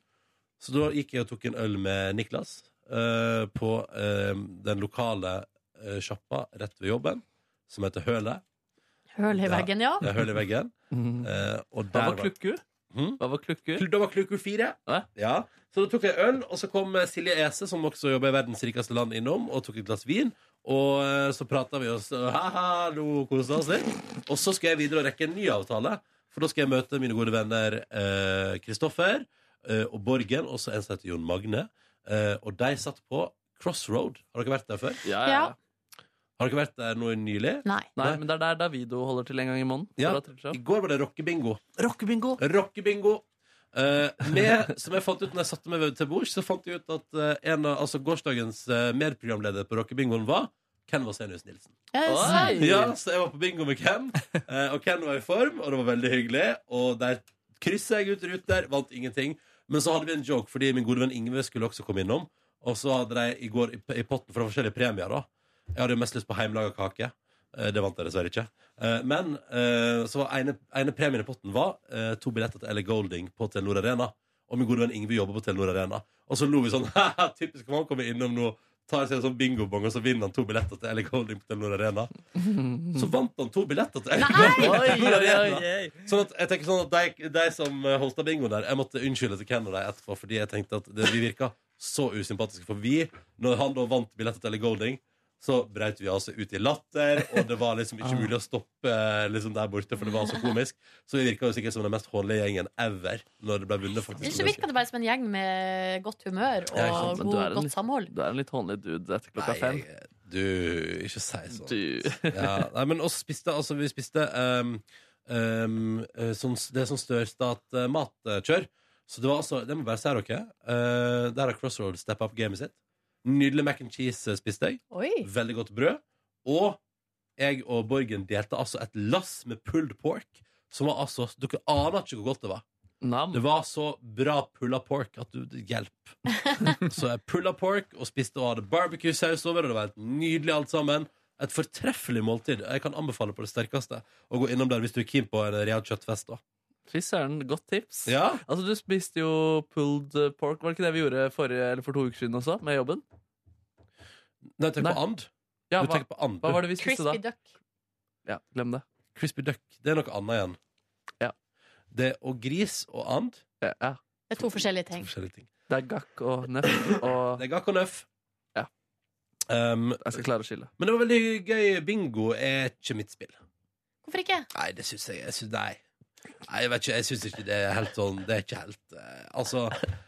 B: Så da gikk jeg og tok en øl med Niklas eh, på eh, den lokale eh, sjappa rett ved jobben, som heter Hølet.
C: Høl i veggen, ja.
B: Det er høl i veggen. Eh, og der
D: Hva var klukku?
B: Hm?
D: Hva var klukku?
B: Det var klukku fire. Ja. Så da tok jeg øl, og så kom eh, Silje Ese, som også jobber i verdens rikeste land, innom og tok et glass vin. Og eh, så prata vi oss og ha-ha, lo, kosa oss litt. Og så skal jeg videre og rekke en ny avtale, for da skal jeg møte mine gode venner eh, Kristoffer eh, og Borgen, og så en som heter Jon Magne. Eh, og de satt på Crossroad. Har dere vært der før?
D: Ja, ja, ja.
B: Har dere vært der noe nylig?
C: Nei.
D: Nei, men det er der Davido holder til en gang i måneden.
B: Ja.
D: for å trille seg opp.
B: I går var det rockebingo. Rockebingo! Eh, med, som jeg fant ut når jeg satte meg ved til bords, så fant jeg ut at eh, en av altså, gårsdagens eh, medprogramleder på rockebingoen var Ken Vasenius Nilsen.
C: Er det sant?
B: Ja, så jeg var på bingo med Ken, eh, og Ken var i form, og det var veldig hyggelig. Og der krysset jeg ut ruter, vant ingenting. Men så hadde vi en joke, fordi min gode venn Ingve skulle også komme innom. Og så hadde de i går i p- i potten for forskjellige premier, da. Jeg hadde jo mest lyst på heimelaga kake. Eh, Det vant jeg dessverre ikke. Eh, Men eh, så var ene, ene premien i potten var eh, to billetter til Ellie Golding på Telenor Arena. Og min gode venn Ingve jobber på Telenor Arena. Og så lo vi sånn. haha, Typisk om han kommer innom nå, tar seg en sånn bingobong, og så vinner han to billetter til Ellie Golding på Telenor Arena. Så vant han to billetter til
D: Oi,
B: Ellie Golding.
D: oi, oi,
B: Arena. Sånn at jeg tenker sånn at de, de som holdt av bingoen der, jeg måtte unnskylde til Ken og de etterpå, fordi jeg tenkte at det, vi virka så usympatiske. For vi, når han da vant billetter til Ellie Golding, så brøt vi altså ut i latter, og det var liksom ikke mulig å stoppe eh, liksom der borte, for det var så komisk. Så vi virka jo sikkert som den mest hånlige gjengen ever når det ble vunnet,
C: Ellers
B: faktisk.
C: så virker det bare som en gjeng med godt humør og
B: Ja, ikke sant, men
C: god,
B: du er en
C: godt
B: litt-
C: samhold.
D: Du er en litt hånlig dude etter klokka
B: Nei,
D: fem.
B: jeg- Du, ikke si sånn. ja, nei, men også spiste, altså, vi spiste ehm, ehm, eh, sånn, Det er sånn størstatsmatkjør. Så det var altså Det må jeg bare si dere. eh, der har Crossroad steppa up gamet sitt. Nydelig mac and cheese eh, spiste jeg.
C: Oi.
B: Veldig godt brød. Og jeg og Borgen delte altså et lass med pulled pork, som var altså Dere aner ikke hvor godt det var. Det var så bra pulla pork at du Hjelp. Så jeg pulla pork og spiste og hadde barbecue-saus over, og det var helt nydelig alt sammen. Et fortreffelig måltid. Jeg kan anbefale på det sterkeste å gå innom der hvis du er keen på en real kjøttfest. da
D: Fy søren, godt tips.
B: Ja.
D: Altså, Du spiste jo pulled eh, pork. Var det ikke det vi gjorde forrige, eller for to uker siden også, med jobben?
B: Nei, tenk på and.
D: Ja,
B: Du
D: hva,
B: tenker på and, du.
D: hva var det vi spiste da?
C: Crispy duck.
D: Ja, glem det.
B: Crispy duck. Det er noe annet igjen. Det Og gris og and.
C: Det er to forskjellige ting.
B: Forskjellige ting.
D: Det er gakk og nøff og
B: Det er gakk og nøff.
D: Ja.
B: jeg
D: skal klare å skille.
B: Men det var veldig gøy. Bingo er ikke mitt spill.
C: Hvorfor ikke?
B: Nei, det syns jeg, jeg synes, Nei. Nei, jeg vet ikke, jeg syns ikke det er helt sånn Det er ikke helt eh, Altså,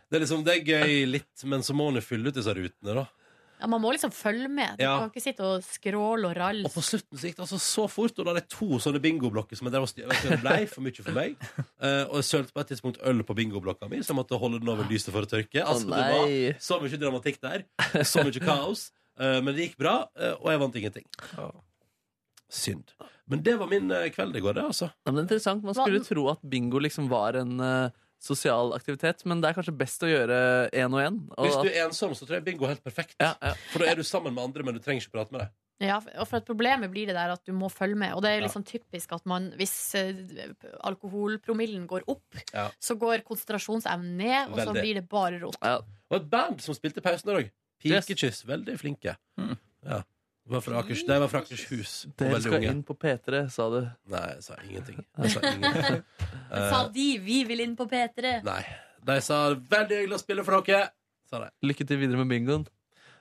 B: det er liksom Det er gøy litt, men så må en jo fylle ut disse rutene, da.
C: Ja, man må liksom følge med. Du
B: Ja.
C: kan ikke sitte og skråle og ralle.
B: Og på slutten så gikk det altså så fort, og da hadde jeg to sånne bingoblokker som jeg drev og styr- jeg vet ikke, det ble for mye for meg. Eh, og jeg sølte på et tidspunkt øl på bingoblokka mi, så jeg måtte holde den over lyset for å tørke. Altså, det
D: Ah. nei.
B: var så mye dramatikk der. Så mye kaos. Eh, men det gikk bra, eh, og jeg vant ingenting. Synd. Men det var min eh, kveld i går, det, altså.
D: Ja, men det er interessant. Man skulle tro at bingo liksom var en eh, sosial aktivitet, men det er kanskje best å gjøre én og én.
B: Hvis du er ensom, så tror jeg bingo er helt perfekt.
D: Ja, ja.
B: For da er du sammen med andre, men du trenger ikke prate med dem.
C: Ja, f- og for at Problemet blir det der at du må følge med. Og det er jo
B: Ja.
C: liksom typisk at man, hvis eh, alkoholpromillen går opp,
B: Ja.
C: så går konsentrasjonsevnen ned, og så
B: Veldig.
C: blir det bare rot.
B: Og et band som spilte i pausen der òg. Pikekyss. Veldig flinke. Ja. Var fra Akers, de var fra Akershus. og
D: Hmm. Dere
B: veldig
D: skal
B: unge.
D: inn på P3, sa du.
B: Nei, jeg sa ingenting. Jeg sa ingenting. Eh,
N: Sa de vi vil inn på P3?
B: nei. De sa 'veldig hyggelig å spille for dere'. Sa de.
D: Lykke til videre med bingoen.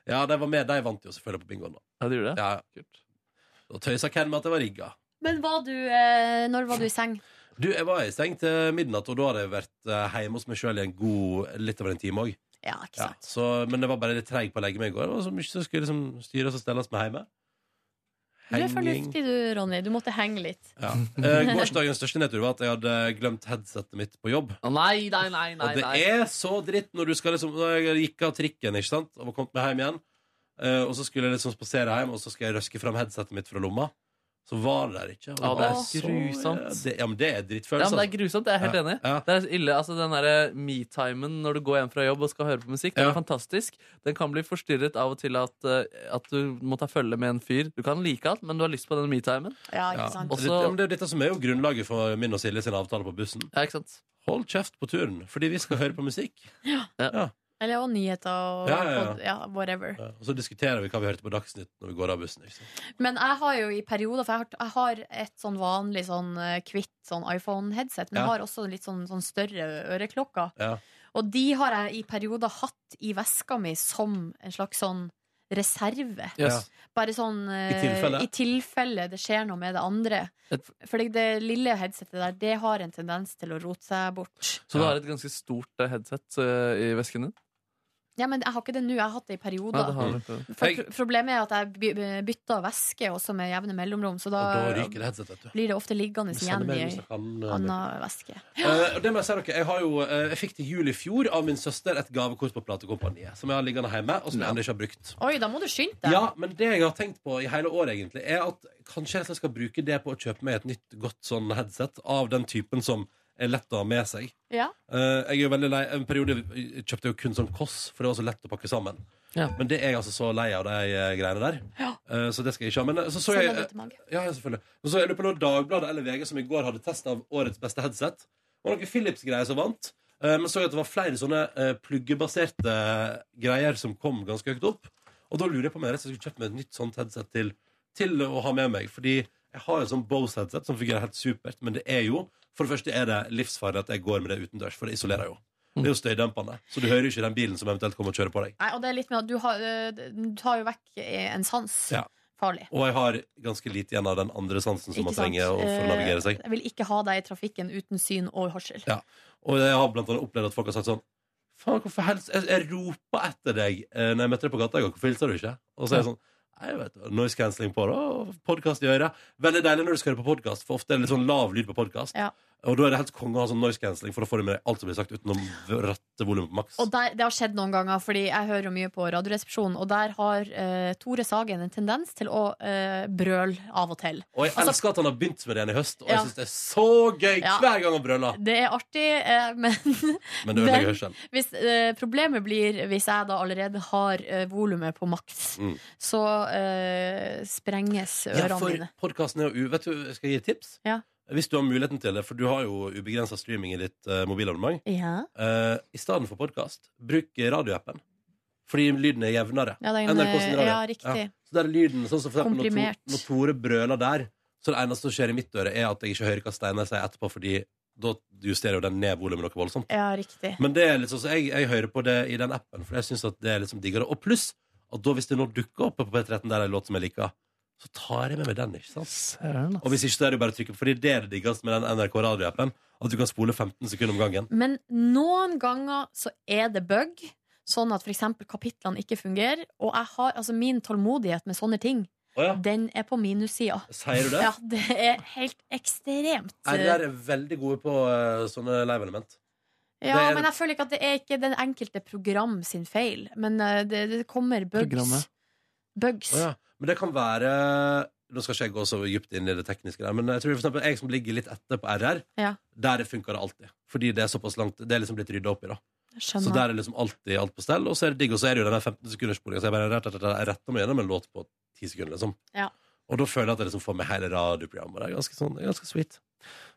B: Ja, de var med. De vant jo selvfølgelig på bingoen. Da.
D: Ja, de gjorde det?
B: Ja, ja. Da tøysa Ken med at det var rigga.
C: Men var du, eh, når var du i seng?
B: Du, jeg var i seng til midnatt, og da hadde jeg vært eh, hjemme hos meg sjøl i en god, litt over en time òg.
C: Ja, ikke
B: Ja, så, men det var bare litt treig på å legge meg i går. Det var så mye som skulle liksom styres og stelles med hjemme.
C: Du er fornuftig du, Ronny. Du måtte henge litt.
B: Ja. Eh, gårsdagens største nedtur var at jeg hadde glemt headsetet mitt på jobb.
D: Nei, nei, nei, nei,
B: og det
D: nei.
B: er så dritt når du skal liksom Når jeg gikk av trikken ikke sant? og var kommet meg hjem igjen, eh, og så skulle jeg liksom spasere hjem, og så skal jeg røske fram headsetet mitt fra lomma. Så var det der ikke. Og
D: Ja, det er
B: var så-
D: grusomt.
B: det, ja, men det er
D: Ja,
B: drittfølelse.
D: men Det er grusomt, jeg er helt
B: altså- Ja,
D: enig. Det er ille, altså Den derre me-timen når du går hjem fra jobb og skal høre på musikk, den er fantastisk. Den kan bli forstyrret av og til at, eh, at du må ta følge med en fyr. Du kan like alt, men du har lyst på den me-timen.
C: Ja,
B: Ja. Og det, ja, men
D: Også,
B: det er jo dette som er jo grunnlaget for min og Silje sin avtale på bussen. Hold kjeft på turen, fordi vi skal høre på musikk.
C: Ja.
B: Ja.
C: Eller og nyheter og
B: Ja, ja, ja.
C: og- ja, whatever.
B: Ja, Og så diskuterer vi hva vi hørte på Dagsnytt når vi går av bussen. Ikke sant?
C: Men jeg har jo i perioder For jeg har, jeg har et sånn vanlig sånn eh, kvitt sånn iPhone-headset, men
B: Ja.
C: jeg har også litt sånn, sånn større øreklokker.
B: Ja.
C: Og de har jeg i perioder hatt i veska mi som en slags sånn reserve.
D: Yes.
C: Bare sånn eh,
D: tilfelle?
C: I tilfelle det skjer noe med det andre. Fordi det lille headsetet der, det har en tendens til å rote seg bort.
D: så du har et ganske stort eh, headset eh, i vesken din?
C: Ja, men jeg har ikke det nå. Jeg har hatt det i
D: Nei,
C: perioder.
D: det har du ikke.
C: For pro- problemet er at jeg by- by- bytter væske også med jevne mellomrom, så da,
B: Og da ryker det headsetet, vet du.
C: blir det ofte liggende igjen
B: Sender
C: i
B: meg hvis jeg kan, eh,
C: anna væske.
B: Eh, og det må jeg si dere, jeg, har jo, eh, jeg fikk til jul i fjor av min søster et gavekort på platekompaniet. Som jeg har liggende hjemme, og som jeg ennå ikke har brukt.
C: Oi, da må du skynde deg.
B: Ja, men det jeg har tenkt på i hele år, egentlig, er at kanskje jeg skal bruke det på å kjøpe meg et nytt godt sånn headset av den typen som er lett å ha med seg.
C: Ja.
B: Eh, jeg er jo veldig lei En periode kjøpte jeg jo kun sånn Koss, for det var så lett å pakke sammen.
D: Ja.
B: Men det er jeg altså så lei av, de eh, greiene der. Eh, så det skal jeg ikke ha. Men eh, så så
D: Send
B: jeg
D: det
B: eh,
D: til Mag.
B: Ja, ja, selvfølgelig. Men så er det på noe Dagbladet eller VG som i går hadde test av årets beste headset. Det var noen Philips-greier som vant. eh, men så jeg at det var flere sånne eh, pluggebaserte eh, greier som kom ganske høyt opp. Og da lurer jeg på om jeg rett og slett skulle kjøpt meg et nytt sånt headset til, til å ha med meg. Fordi jeg har jo sånn Bose-headset som fungerer helt supert, men det er jo For det første er det livsfarlig at jeg går med det utendørs, for det isolerer jo. Det er jo støydempende. Så du hører jo ikke den bilen som eventuelt kommer og kjører på deg.
C: Nei, og det er litt med at du, har, eh, du tar jo vekk eh, en sans.
B: Ja.
C: Farlig.
B: Og jeg har ganske lite igjen av den andre sansen som man trenger å- for å navigere seg.
C: Eh, Jeg vil ikke ha deg i trafikken uten syn og hørsel.
B: Ja. Og jeg har blant annet opplevd at folk har sagt sånn Faen, hvorfor helst Jeg, jeg ropa etter deg eh, når jeg møtte deg på gata i går. Hvorfor hilser du ikke? Og så er jeg sånn Nei, jeg vet, Noise cancelling på det, og podkast i øret. Veldig deilig når du skal høre på podkast, for ofte er det litt sånn lav lyd på podkast.
C: Ja.
B: Og da er det helt konge å ha sånn noise cancelling, for da får du med deg alt som blir sagt, uten å ratte volumet på maks.
C: Og der, Det har skjedd noen ganger, Fordi jeg hører jo mye på Radioresepsjonen. Og der har eh, Tore Sagen en tendens til å eh, brøle av og til.
B: Og jeg
C: Altså,
B: elsker at han har begynt med det igjen i høst, og
C: Ja.
B: jeg syns det er så gøy
C: Ja.
B: hver gang han brøler.
C: det er artig, eh, men,
B: Men det ødelegger hørselen.
C: hvis, eh, Problemet blir hvis jeg da allerede har eh, volumet på maks,
B: Mm.
C: så eh, sprenges ørene
B: Ja, for
C: mine.
B: podcasten er jo u- Vet du, jeg skal gi et tips.
C: Ja.
B: Hvis du har muligheten til det, for du har jo ubegrensa streaming i ditt eh, mobilabonnement.
C: Ja.
B: Eh, I stedet for podkast, bruk radioappen. Fordi lyden er jevnere.
C: Ja, det er en, eh,
B: NRK sin radio.
C: ja, riktig.
B: Så der er lyden sånn som for eksempel når,
C: Komprimert.
B: Tor, når Tore brøler der, så det eneste som skjer i mitt øre, er at jeg ikke hører hva Steinar sier etterpå, fordi da justerer jo den ned volumet noe voldsomt.
C: Ja, riktig.
B: Men det er litt sånn, så jeg, jeg hører på det i den appen, for jeg syns det er liksom diggere. Og pluss at da hvis det nå dukker opp på P13 der er en låt som jeg liker, så tar jeg med meg den. ikke sant? Og hvis ikke, så er det jo bare å trykke på, fordi det er det diggeste med den NRK radioappen. At du kan spole 15 sekunder om gangen.
C: Men noen ganger så er det bug, sånn at f.eks. kapitlene ikke fungerer. Og jeg har, altså min tålmodighet med sånne ting, den er på minussida.
B: Sier du det?
C: Ja, det er helt ekstremt.
B: RR er veldig gode på eh, sånne live-element.
C: Ja,
B: det er-
C: men jeg føler ikke at det er ikke den enkelte program sin feil. Men eh, det, det kommer bugs.
B: Programmet.
C: Bugs.
B: Å ja. Men det kan være Nå skal ikke jeg gå så dypt inn i det tekniske, der, men jeg tror for eksempel jeg som ligger litt etter på RR,
C: Ja,
B: der funker det alltid. Fordi det er såpass langt Det er liksom blitt rydda opp i, da.
C: skjønner.
B: Så der er liksom alltid alt på stell, og så er det digg. Og så er det jo den der 15 sekunders spolinga, så jeg bare rett, rett, rett, retter meg gjennom en låt på ti sekunder, liksom.
C: Ja.
B: Og da føler jeg at jeg liksom får med hele radioprogrammet. Det er ganske, sånn, det er ganske sweet.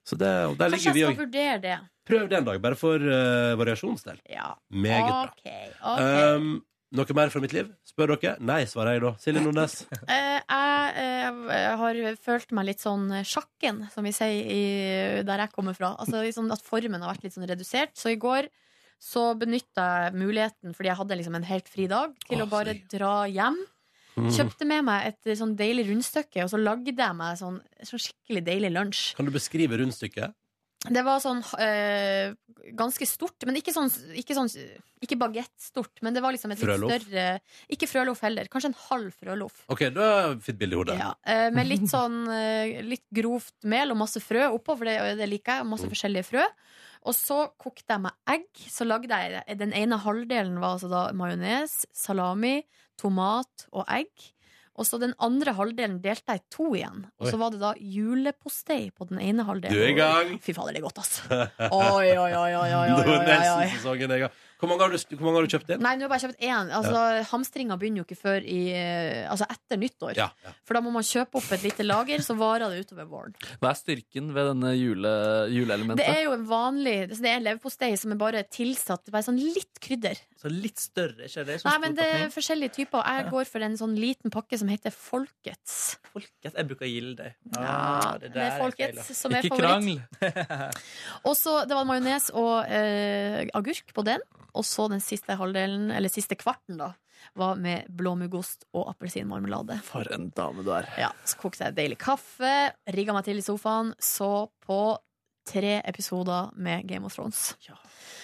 B: Så det, og
N: Kanskje
B: der ligger
N: jeg
B: vi
N: skal
B: òg.
N: vurdere det.
B: Prøv det en dag, bare for uh, variasjons del.
N: Ja.
B: Meget bra.
N: Ok, ok.
B: Um, noe mer fra mitt liv? Spør dere? Nei, svarer jeg da. Silje Nordnes.
C: Eh, jeg eh, har følt meg litt sånn sjakken, som vi sier i, der jeg kommer fra. Altså liksom At formen har vært litt sånn redusert. Så i går så benytta jeg muligheten, fordi jeg hadde liksom en helt fri dag, til å bare dra hjem.
B: Mm.
C: Kjøpte med meg et sånn deilig rundstykke, og så lagde jeg meg sånn, sånn skikkelig deilig lunsj.
B: Kan du beskrive rundstykket?
C: Det var sånn eh, ganske stort, men ikke sånn, ikke sånn Ikke bagettstort, men det var liksom et litt
B: Frøloff?
C: større Ikke frøloff heller. Kanskje en halv frøloff.
B: OK, da har jeg et fint bilde i hodet.
C: Ja, eh, med litt sånn eh, litt grovt mel og masse frø oppå, for det, det liker jeg.
B: Mm.
C: Masse forskjellige frø. Og så kokte jeg meg egg. Så lagde jeg Den ene halvdelen var altså da majones, salami, tomat og egg. Og så den andre halvdelen delte jeg i to igjen. Og
B: Oi.
C: så var det da julepostei på den ene halvdelen.
B: Du er i gang.
C: Fy fader, det er godt, altså.
B: Oi,
C: oi, oi, oi, oi,
B: Det var
C: oi, oi,
B: nesten
C: oi.
B: sesongen jeg har. Hvor mange har du, hvor mange har du kjøpt inn?
C: Nei, nå har jeg bare kjøpt én. Altså, Hamstringa begynner jo ikke før i, eh, altså etter nyttår.
B: Ja, ja.
C: For da må man kjøpe opp et lite lager, så varer det utover våren.
D: Hva er styrken ved denne jule, juleelementet?
C: Det er jo en vanlig altså, Det er en leverpostei som er bare tilsatt bare sånn litt krydder.
M: Så litt større, ikke det? Så
C: Nei,
M: stor
C: men det er
M: pakning.
C: forskjellige typer. Jeg
M: Ja.
C: går for en sånn liten pakke som heter Folkets.
M: Jeg bruker gilde.
I: Ah,
M: Ah,
C: Ja, det er folkets som er
M: Ikke
C: favoritt.
M: krangl!
C: Og så Det var majones og eh, agurk på den. Og så den siste halvdelen, eller siste kvarten, da, var med blåmuggost og appelsinmarmelade.
D: For en dame du er.
C: Ja, så kokte jeg deilig kaffe, rigga meg til i sofaen, så på tre episoder med Game of Thrones.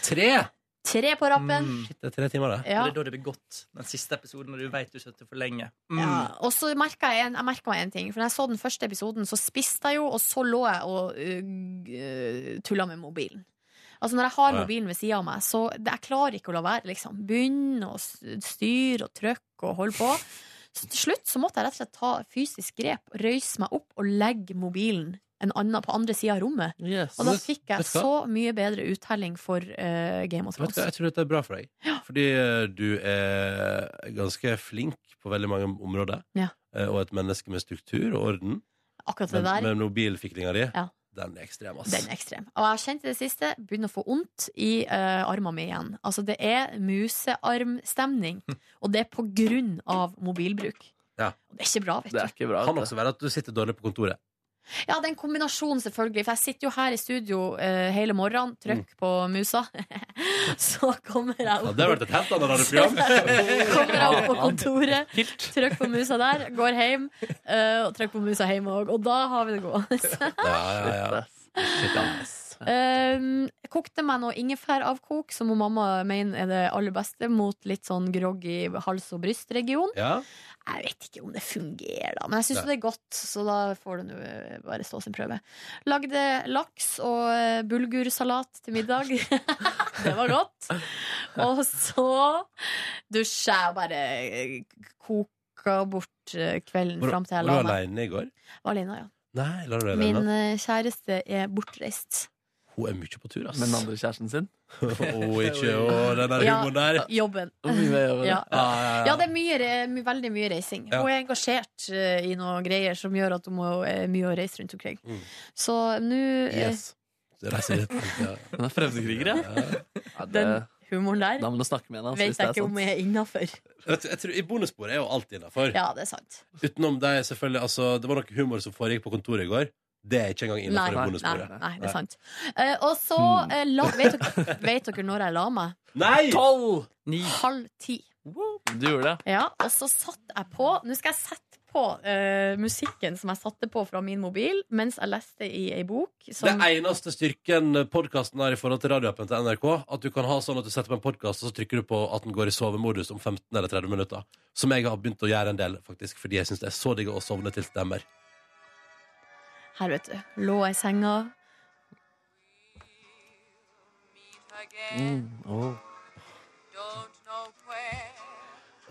B: Tre?
C: Tre på rappen.
D: Mm.
B: Shit, det er tre timer, det.
C: Ja.
M: Og Det er da det blir godt. Den siste episoden når du vet du sitter for lenge. Mm.
C: Ja, og så merka jeg, en- jeg merket meg en ting. For når jeg så den første episoden, så spiste jeg jo, og så lå jeg og uh, tulla med mobilen. Altså Når jeg har
N: Ja.
C: mobilen ved sida av meg, så det, jeg klarer ikke å la være. liksom Begynne å s- styre og trykke og holde på. Så til slutt så måtte jeg rett og slett ta fysisk grep, røyse meg opp og legge mobilen en annen, på andre sida av rommet.
B: Yes.
C: Og da
B: Vet-
C: fikk
B: vet
C: jeg
B: du hva?
C: så mye bedre uttelling for eh, Game of
B: Vet
C: Thrones.
B: du hva, Jeg tror dette er bra for deg. Fordi eh, du er ganske flink på veldig mange områder.
C: Ja.
B: eh, Og et menneske med struktur og orden.
C: Akkurat det
B: Men
C: der.
B: med mobilfiklinga di,
C: Ja.
B: den er ekstrem, ass.
C: Den er ekstrem. Og jeg har kjent i det siste begynner å få vondt i uh, armene mine igjen. Altså, det er musearmstemning, og det er på grunn av mobilbruk.
B: Ja.
C: Og det er ikke bra, vet du.
B: Kan også være at du sitter dårlig på kontoret.
C: Ja, det er en kombinasjon, selvfølgelig. For jeg sitter jo her i studio eh, hele morgenen, trykk på musa. Så kommer jeg
B: Mm. Ja,
C: opp
B: det har vært et helt annet radioprogram.
C: Kommer jeg opp på kontoret, trykk på musa der, går hjem, eh, og trykk på musa hjemme òg. Og da har vi det gående.
B: Ja, ja, ja.
C: Um, kokte meg noe ingefæravkok, som hun mamma mener er det aller beste, mot litt sånn grogg i hals- og brystregion.
B: Ja.
C: Jeg vet ikke om det fungerer, da, men jeg syns
B: Nei.
C: det er godt, så da får det nå eh, bare stå sin prøve. Lagde laks og eh, bulgursalat til middag. det var godt. Og så dusja jeg og bare eh, koka bort eh, kvelden
B: Var
C: fram til
B: var
C: jeg
B: du
C: la meg.
B: aleine i går?
C: Var alene, ja.
B: Nei, la du deg
C: Min
B: alene?
C: eh, kjæreste er bortreist.
B: Hun er mye på tur, ass.
D: Med den andre kjæresten sin?
B: Å, ikke å, den der
C: Ja,
B: humoren der.
C: Jobben.
D: Hvor mye det gjør,
C: Ja.
D: det? Ja, ja,
C: Ja,
D: ja.
C: det er mye, re- my- veldig mye reising.
D: Ja.
C: Hun er engasjert eh, i noen greier som gjør at hun må, er mye å reise rundt omkring.
B: Mm.
C: Så nå eh,
B: Yes. Det reiser litt. Ja.
D: Hun er fremmedkriger, ja. ja det,
C: Den humoren der
D: da må du snakke med henne. altså, hvis
C: vet
D: det
C: jeg
D: er
C: ikke om
D: sant.
C: jeg er innafor.
B: Jeg tror- jeg tror, I bonussporet er jo alt innafor.
C: Ja, det er sant.
B: Utenom deg, selvfølgelig. Altså, det var noe humor som foregikk på kontoret i går. Det er ikke engang
C: Nei,
B: innafor i
C: nei,
B: bonussporet.
C: nei, det er sant. Eh, og så
D: Hmm.
C: eh, la, vet, dere, vet dere når jeg la meg?
B: Nei!
D: Tolv! Ni.
C: Halv ti.
D: Du gjorde det?
C: Ja, og så satt jeg på Nå skal jeg sette på eh, musikken som jeg satte på fra min mobil mens jeg leste i ei bok som
B: Det eneste styrken podkasten har i forhold til radioappen til NRK, at du kan ha sånn at du setter på en podkast, og så trykker du på at den går i sovemodus om 15 eller 30 minutter. Som jeg har begynt å gjøre en del, faktisk, fordi jeg syns det er så digg å sovne til stemmer.
C: Her, vet du. Lå jeg i senga.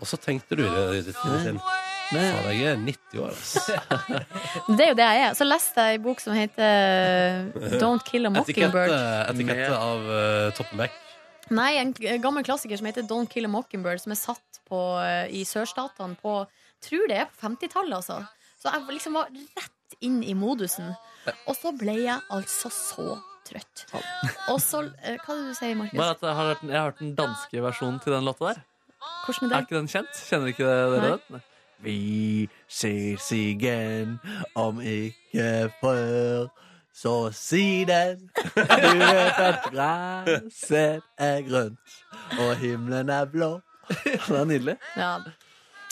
B: Og så tenkte du i det i ditt sinne sin Faen, jeg er 90 år, altså.
C: Det er jo det jeg er. Så leste jeg en bok som heter eh, Don't Kill a
D: eh.
C: Mockingbird.
B: Etikette, etikette av eh, Toppen Beck.
C: Nei, en k- gammel klassiker som heter Don't Kill a Mockingbird, som er satt på, eh, i sørstatene på tror det er på 50-tallet, altså. Så jeg liksom var rett inn i modusen. Og så ble jeg altså så trøtt. Og så eh, Hva er det du sier, Markus?
D: Bare at jeg har, hørt, jeg har hørt den danske versjonen til den låta der.
C: Hvordan
D: Er ikke den kjent? Kjenner ikke det- dere den?
O: Vi ses igjen om ikke før, så si den. Du vet at gresset er grønt, og himmelen er blå. Det er nydelig.
C: Ja.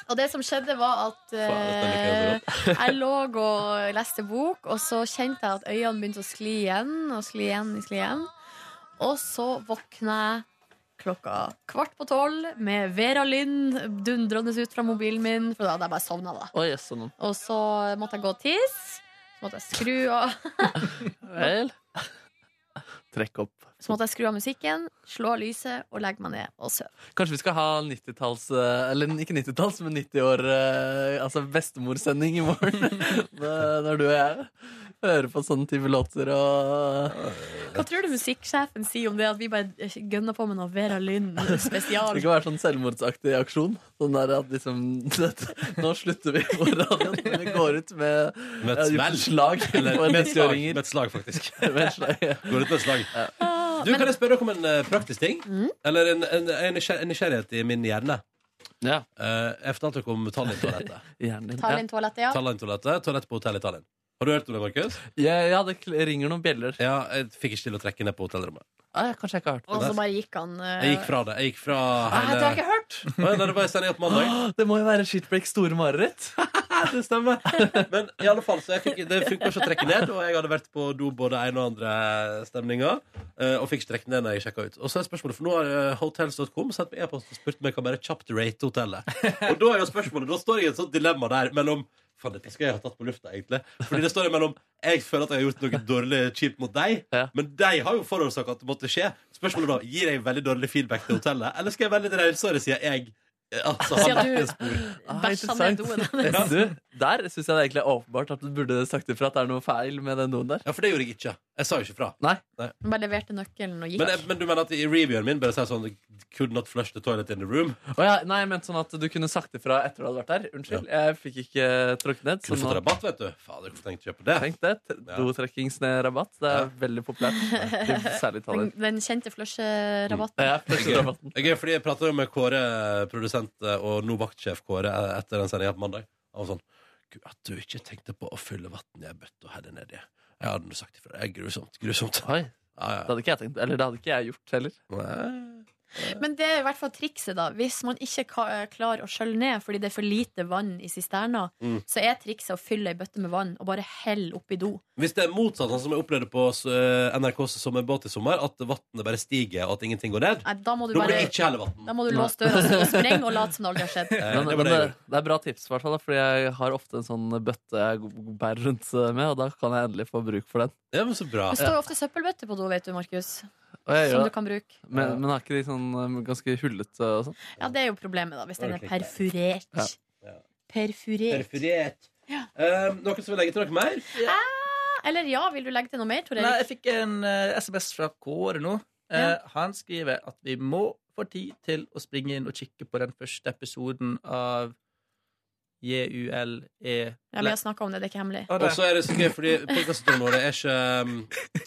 C: Og det som skjedde, var at
O: Faen,
C: eh, jeg lå og leste bok, og så kjente jeg at øynene begynte å skli igjen og skli igjen. Og, skli igjen. og så våkna jeg klokka kvart på tolv med Vera Lynn dundrende ut fra mobilen min, for da hadde jeg bare sovna, da.
D: Oi, jøss, sånn.
C: Og så måtte jeg gå og tisse. Så måtte jeg skru av
D: Vel. Trekk opp.
C: Så måtte jeg skru av musikken, slå av lyset og legge meg ned og sove.
D: Kanskje vi skal ha 90-talls eh, Eller ikke 90-talls, men 90-år eh, Altså bestemorsending i morgen. Når når du og jeg hører på sånne type låter og eh,
C: Hva tror du musikksjefen sier om det at vi bare gønner på med noe Vera Lynn spesial?
D: Det kan være sånn selvmordsaktig aksjon. Sånn der at liksom Nå slutter vi på radioen, men vi går ut med
B: Med
D: ja,
B: et
D: gjort
B: smell.
D: slag
B: Eller,
D: på en
B: med et slag,
D: 90-åringer.
B: med et slag, faktisk.
D: Med et slag, ja.
B: Går ut med et slag. Du, Kan jeg spørre dere om en eh, praktisk ting? Eller en, en, en, nysgjer- en nysgjerrighet i min hjerne? Eh,
D: Ja.
B: jeg fortalte dere om Tallinn-toalettet.
C: Tallinn-toalettet, ja.
B: Tallinn-toalettet, Toalett på hotell i Tallinn. Har du hørt om det, Markus?
D: Ja, det ringer noen bjeller.
B: Ja, Jeg fikk ikke til å trekke ned på hotellrommet.
D: Ah, ja, kanskje jeg ikke har hørt
C: Og
D: det.
C: så bare gikk han eh,
B: Jeg gikk fra det. Jeg gikk fra
D: Ah, det har jeg ikke hørt.
B: Nei, nei, det var i sendinga på mandag.
D: Åh, Det må jo være Shitbreaks store mareritt.
B: det stemmer. Men i alle fall, så jeg fikk, det funka ikke å trekke ned, og jeg hadde vært på do både en og andre stemninga, eh, og fikk ikke trukket ned når jeg sjekka ut. Og så er spørsmålet, for nå har eh, hotels.com sendt meg e-post og spurt om jeg kan bare kjapt rate hotellet. Og da er jo spørsmålet, da står jeg i et sånt dilemma der mellom Faen, dette skal jeg ha tatt på lufta, egentlig. Fordi det står jo mellom Jeg føler at jeg har gjort noe dårlig kjipt mot deg, men de har jo forårsaka at det måtte skje. Spørsmålet da, gir jeg veldig dårlig feedback til hotellet, eller skal jeg være litt rausere, sier jeg. eh, Altså,
C: Sier
B: har
C: du-
B: lagt en spor.
D: Ah,
C: Bæsja ned doen hennes.
D: Ja. Du, der syns jeg det egentlig er åpenbart at du burde sagt ifra at det er noe feil med den doen der.
B: Ja, for det gjorde jeg ikke. Jeg sa jo ikke fra.
D: Nei.
C: Han bare leverte nøkkelen og gikk.
B: Men, men du mener at i reviewen min bare sier sånn Could not flush the toilet in the room.
D: Å ja, nei, men sånn at du kunne sagt ifra etter du hadde vært der. Unnskyld, jeg fikk ikke eh, trukket ned.
B: Kunne fått rabatt, vet du. Fader, hvorfor tenkte jeg på det?
D: Tenk det. Dotrekkingsrabatt. Det er veldig populært. Det er Særlig i Italia.
C: Den, den kjente flusherabatten.
D: Ja,
B: Det er gøy. Det er gøy, fordi jeg prata jo med Kåre, produsent eh, og nå vaktsjef Kåre, eh, etter den sendinga på mandag. Han var sånn Gud, at du ikke tenkte på å fylle vann i ei bøtte og helle nedi. Jeg hadde nå sagt ifra. Det er grusomt. Grusomt.
D: Det hadde ikke jeg tenkt, eller det hadde ikke jeg gjort heller.
B: Mm.
C: Men det er i hvert fall trikset, da. Hvis man ikke ka- eh, klarer å skjølle ned fordi det er for lite vann i sisterna,
B: Mm.
C: så er trikset å fylle ei bøtte med vann og bare helle oppi do.
B: Hvis det er motsatt, sånn som jeg opplevde på eh, NRKs sommerbåt i sommer, at vannet bare stiger, og at ingenting går ned,
C: Nei, da må du
B: da må du
C: bare
B: ikke helle vann.
C: da må du låse døra og sprenge og late som det aldri har skjedd.
D: Men,
B: det
D: det,
B: var
D: men
B: det jeg
D: det, det er bra tips, i hvert fall, da, fordi jeg har ofte en sånn bøtte jeg g- bærer rundt eh, med, og da kan jeg endelig få bruk for den.
B: Ja, men så bra.
C: Det står jo ofte søppelbøtter på do, vet du, Markus.
D: Og jeg gjør
C: Som du
D: det.
C: kan bruke.
D: Men, men er ikke de sånn um, ganske hullete og sånn?
C: Ja, det er jo problemet, da, hvis den
D: Ok.
C: er perfurert.
D: Ja.
C: Perfurert.
B: Perforert. Eh, noen som vil legge til noe mer?
C: Ah, Eller ja, vil du legge til noe mer, Tor
M: Nei,
C: Erik?
M: jeg fikk en eh, SMS fra Kåre nå. Eh, han skriver at vi må få tid til å springe inn og kikke på den første episoden av JULE.
C: Ja, vi har snakka om det, det er ikke hemmelig.
B: Og så er det så gøy, fordi podkastene våre er ikke, um,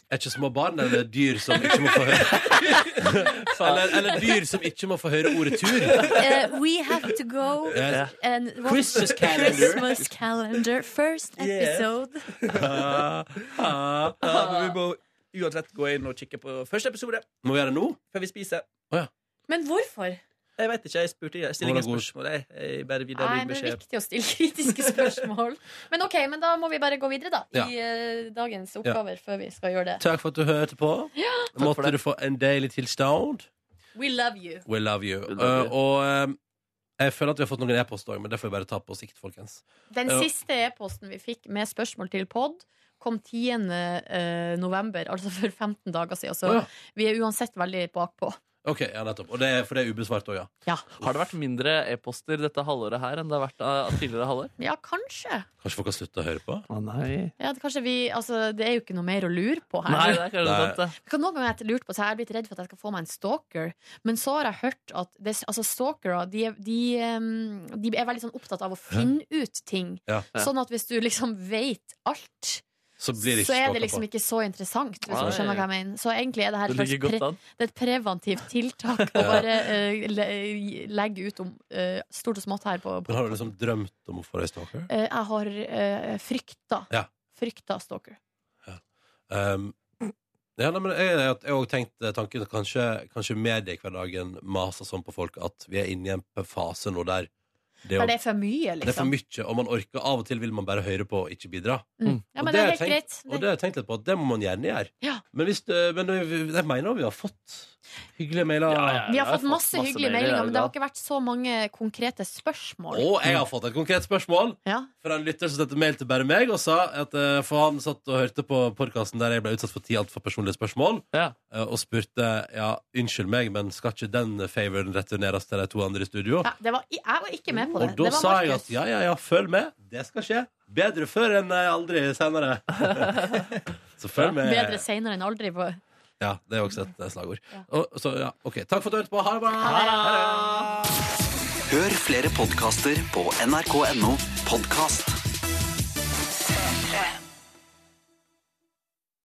B: er ikke små barn eller dyr som ikke må få høre eller, eller dyr som ikke må få høre ordet tur.
C: Eh, we have to go
B: Ja.
C: and watch
B: Christmas calendar.
C: Christmas calendar, First
M: Yeah.
C: episode.
M: vi må uansett gå inn og kikke på første episode
B: Må vi gjøre det nå?
M: før vi spiser.
C: Men hvorfor?
M: Jeg vet ikke, jeg spurte jeg stiller
B: Nå er
M: ingen
B: det god-
M: spørsmål. Jeg, jeg bare videre
C: Nei,
M: din
C: det er
M: beskjed.
C: viktig å stille kritiske spørsmål. Men ok, men da må vi bare gå videre, da.
B: Ja.
C: I eh, dagens oppgaver, før vi skal gjøre det.
B: Takk for at du hørte på. Måtte du få en deilig tilstand.
C: We love you.
B: We love you. Eh, og eh, jeg føler at vi har fått noen e-post òg, men det får vi bare ta på sikt, folkens.
C: Den
B: Eh,
C: siste e-posten vi fikk med spørsmål til pod, kom 10. eh, november, altså for 15 dager siden. Så
B: Å ja.
C: vi er uansett veldig bakpå.
B: Ok, ja, nettopp. Og det, er- for det er ubesvart òg, ja.
D: Har det vært mindre e-poster dette halvåret her enn det har vært eh, tidligere halvår?
C: Ja, kanskje.
B: Kanskje folk har slutta å høre på?
D: Å nei.
C: Ja, det, kanskje vi, altså, det er jo ikke noe mer å lure på her.
D: Nei, det er kanskje Nei. sant, det.
C: Jeg kan noen ganger ha lurt på, så jeg har blitt redd for at jeg skal få meg en stalker. Men så har jeg hørt at det, altså, stalkere de, er- de, em, de er veldig sånn opptatt av å finne ut ting.
B: Ja.
C: Sånn at hvis du liksom vet alt,
B: Så blir det ikke
C: så er
B: stalka
C: det liksom
B: på.
C: ikke så interessant. Hvis
B: Nei.
C: du skjønner hva jeg mener Så egentlig er det her
B: Det
C: et slags
B: ligger godt
C: pre-
B: an.
C: det er et preventivt tiltak
B: Ja.
C: å bare eh, le, legge ut om eh, stort og smått her på,
B: Men har du liksom drømt om å få deg stalker?
C: Eh, Jeg har eh, frykta
B: Ja.
C: Frykta stalker. Eh.
B: Um, ja, nei, men jeg jeg har òg tenkt eh, tanken at kanskje, kanskje mediehverdagen maser sånn på folk at vi er inne i en p- fase nå der det,
C: For
B: å-
C: det er for mye, liksom.
B: det er for mye, og man orker Av og til vil man bare høre på og ikke bidra.
C: Mm.
B: Og
C: Ja, men
B: det
C: det er
B: har jeg
C: helt
B: tenkt-
C: greit.
B: Og det har jeg tenkt litt på at det må man gjerne gjøre.
C: Ja.
B: Men, hvis, du- men vi- jeg mener vi har fått hyggelige mailer.
C: Vi har fått masse hyggelige meldinger, men det har ikke vært så mange konkrete spørsmål.
B: Og jeg har fått et konkret spørsmål fra en lytter som sendte mail til bare meg og sa at eh, for han satt og hørte på podkasten der jeg ble utsatt for ti altfor personlige spørsmål, eh, og spurte ja, unnskyld meg, men skal ikke den favoren returneres til de to andre i studio?
C: Ja, det var, jeg var ikke med på det.
B: Og da
C: det var
B: sa jeg
C: Markus.
B: at ja, ja, ja, følg med. Det skal skje. Bedre før enn eh, aldri senere. Så følg med.
C: Bedre seinere enn aldri. På.
B: Ja, det er også et eh, slagord. Og, så ja, OK. Takk for at du hørte på. Ha det bra!
P: Hør flere podkaster på nrk.no podkast.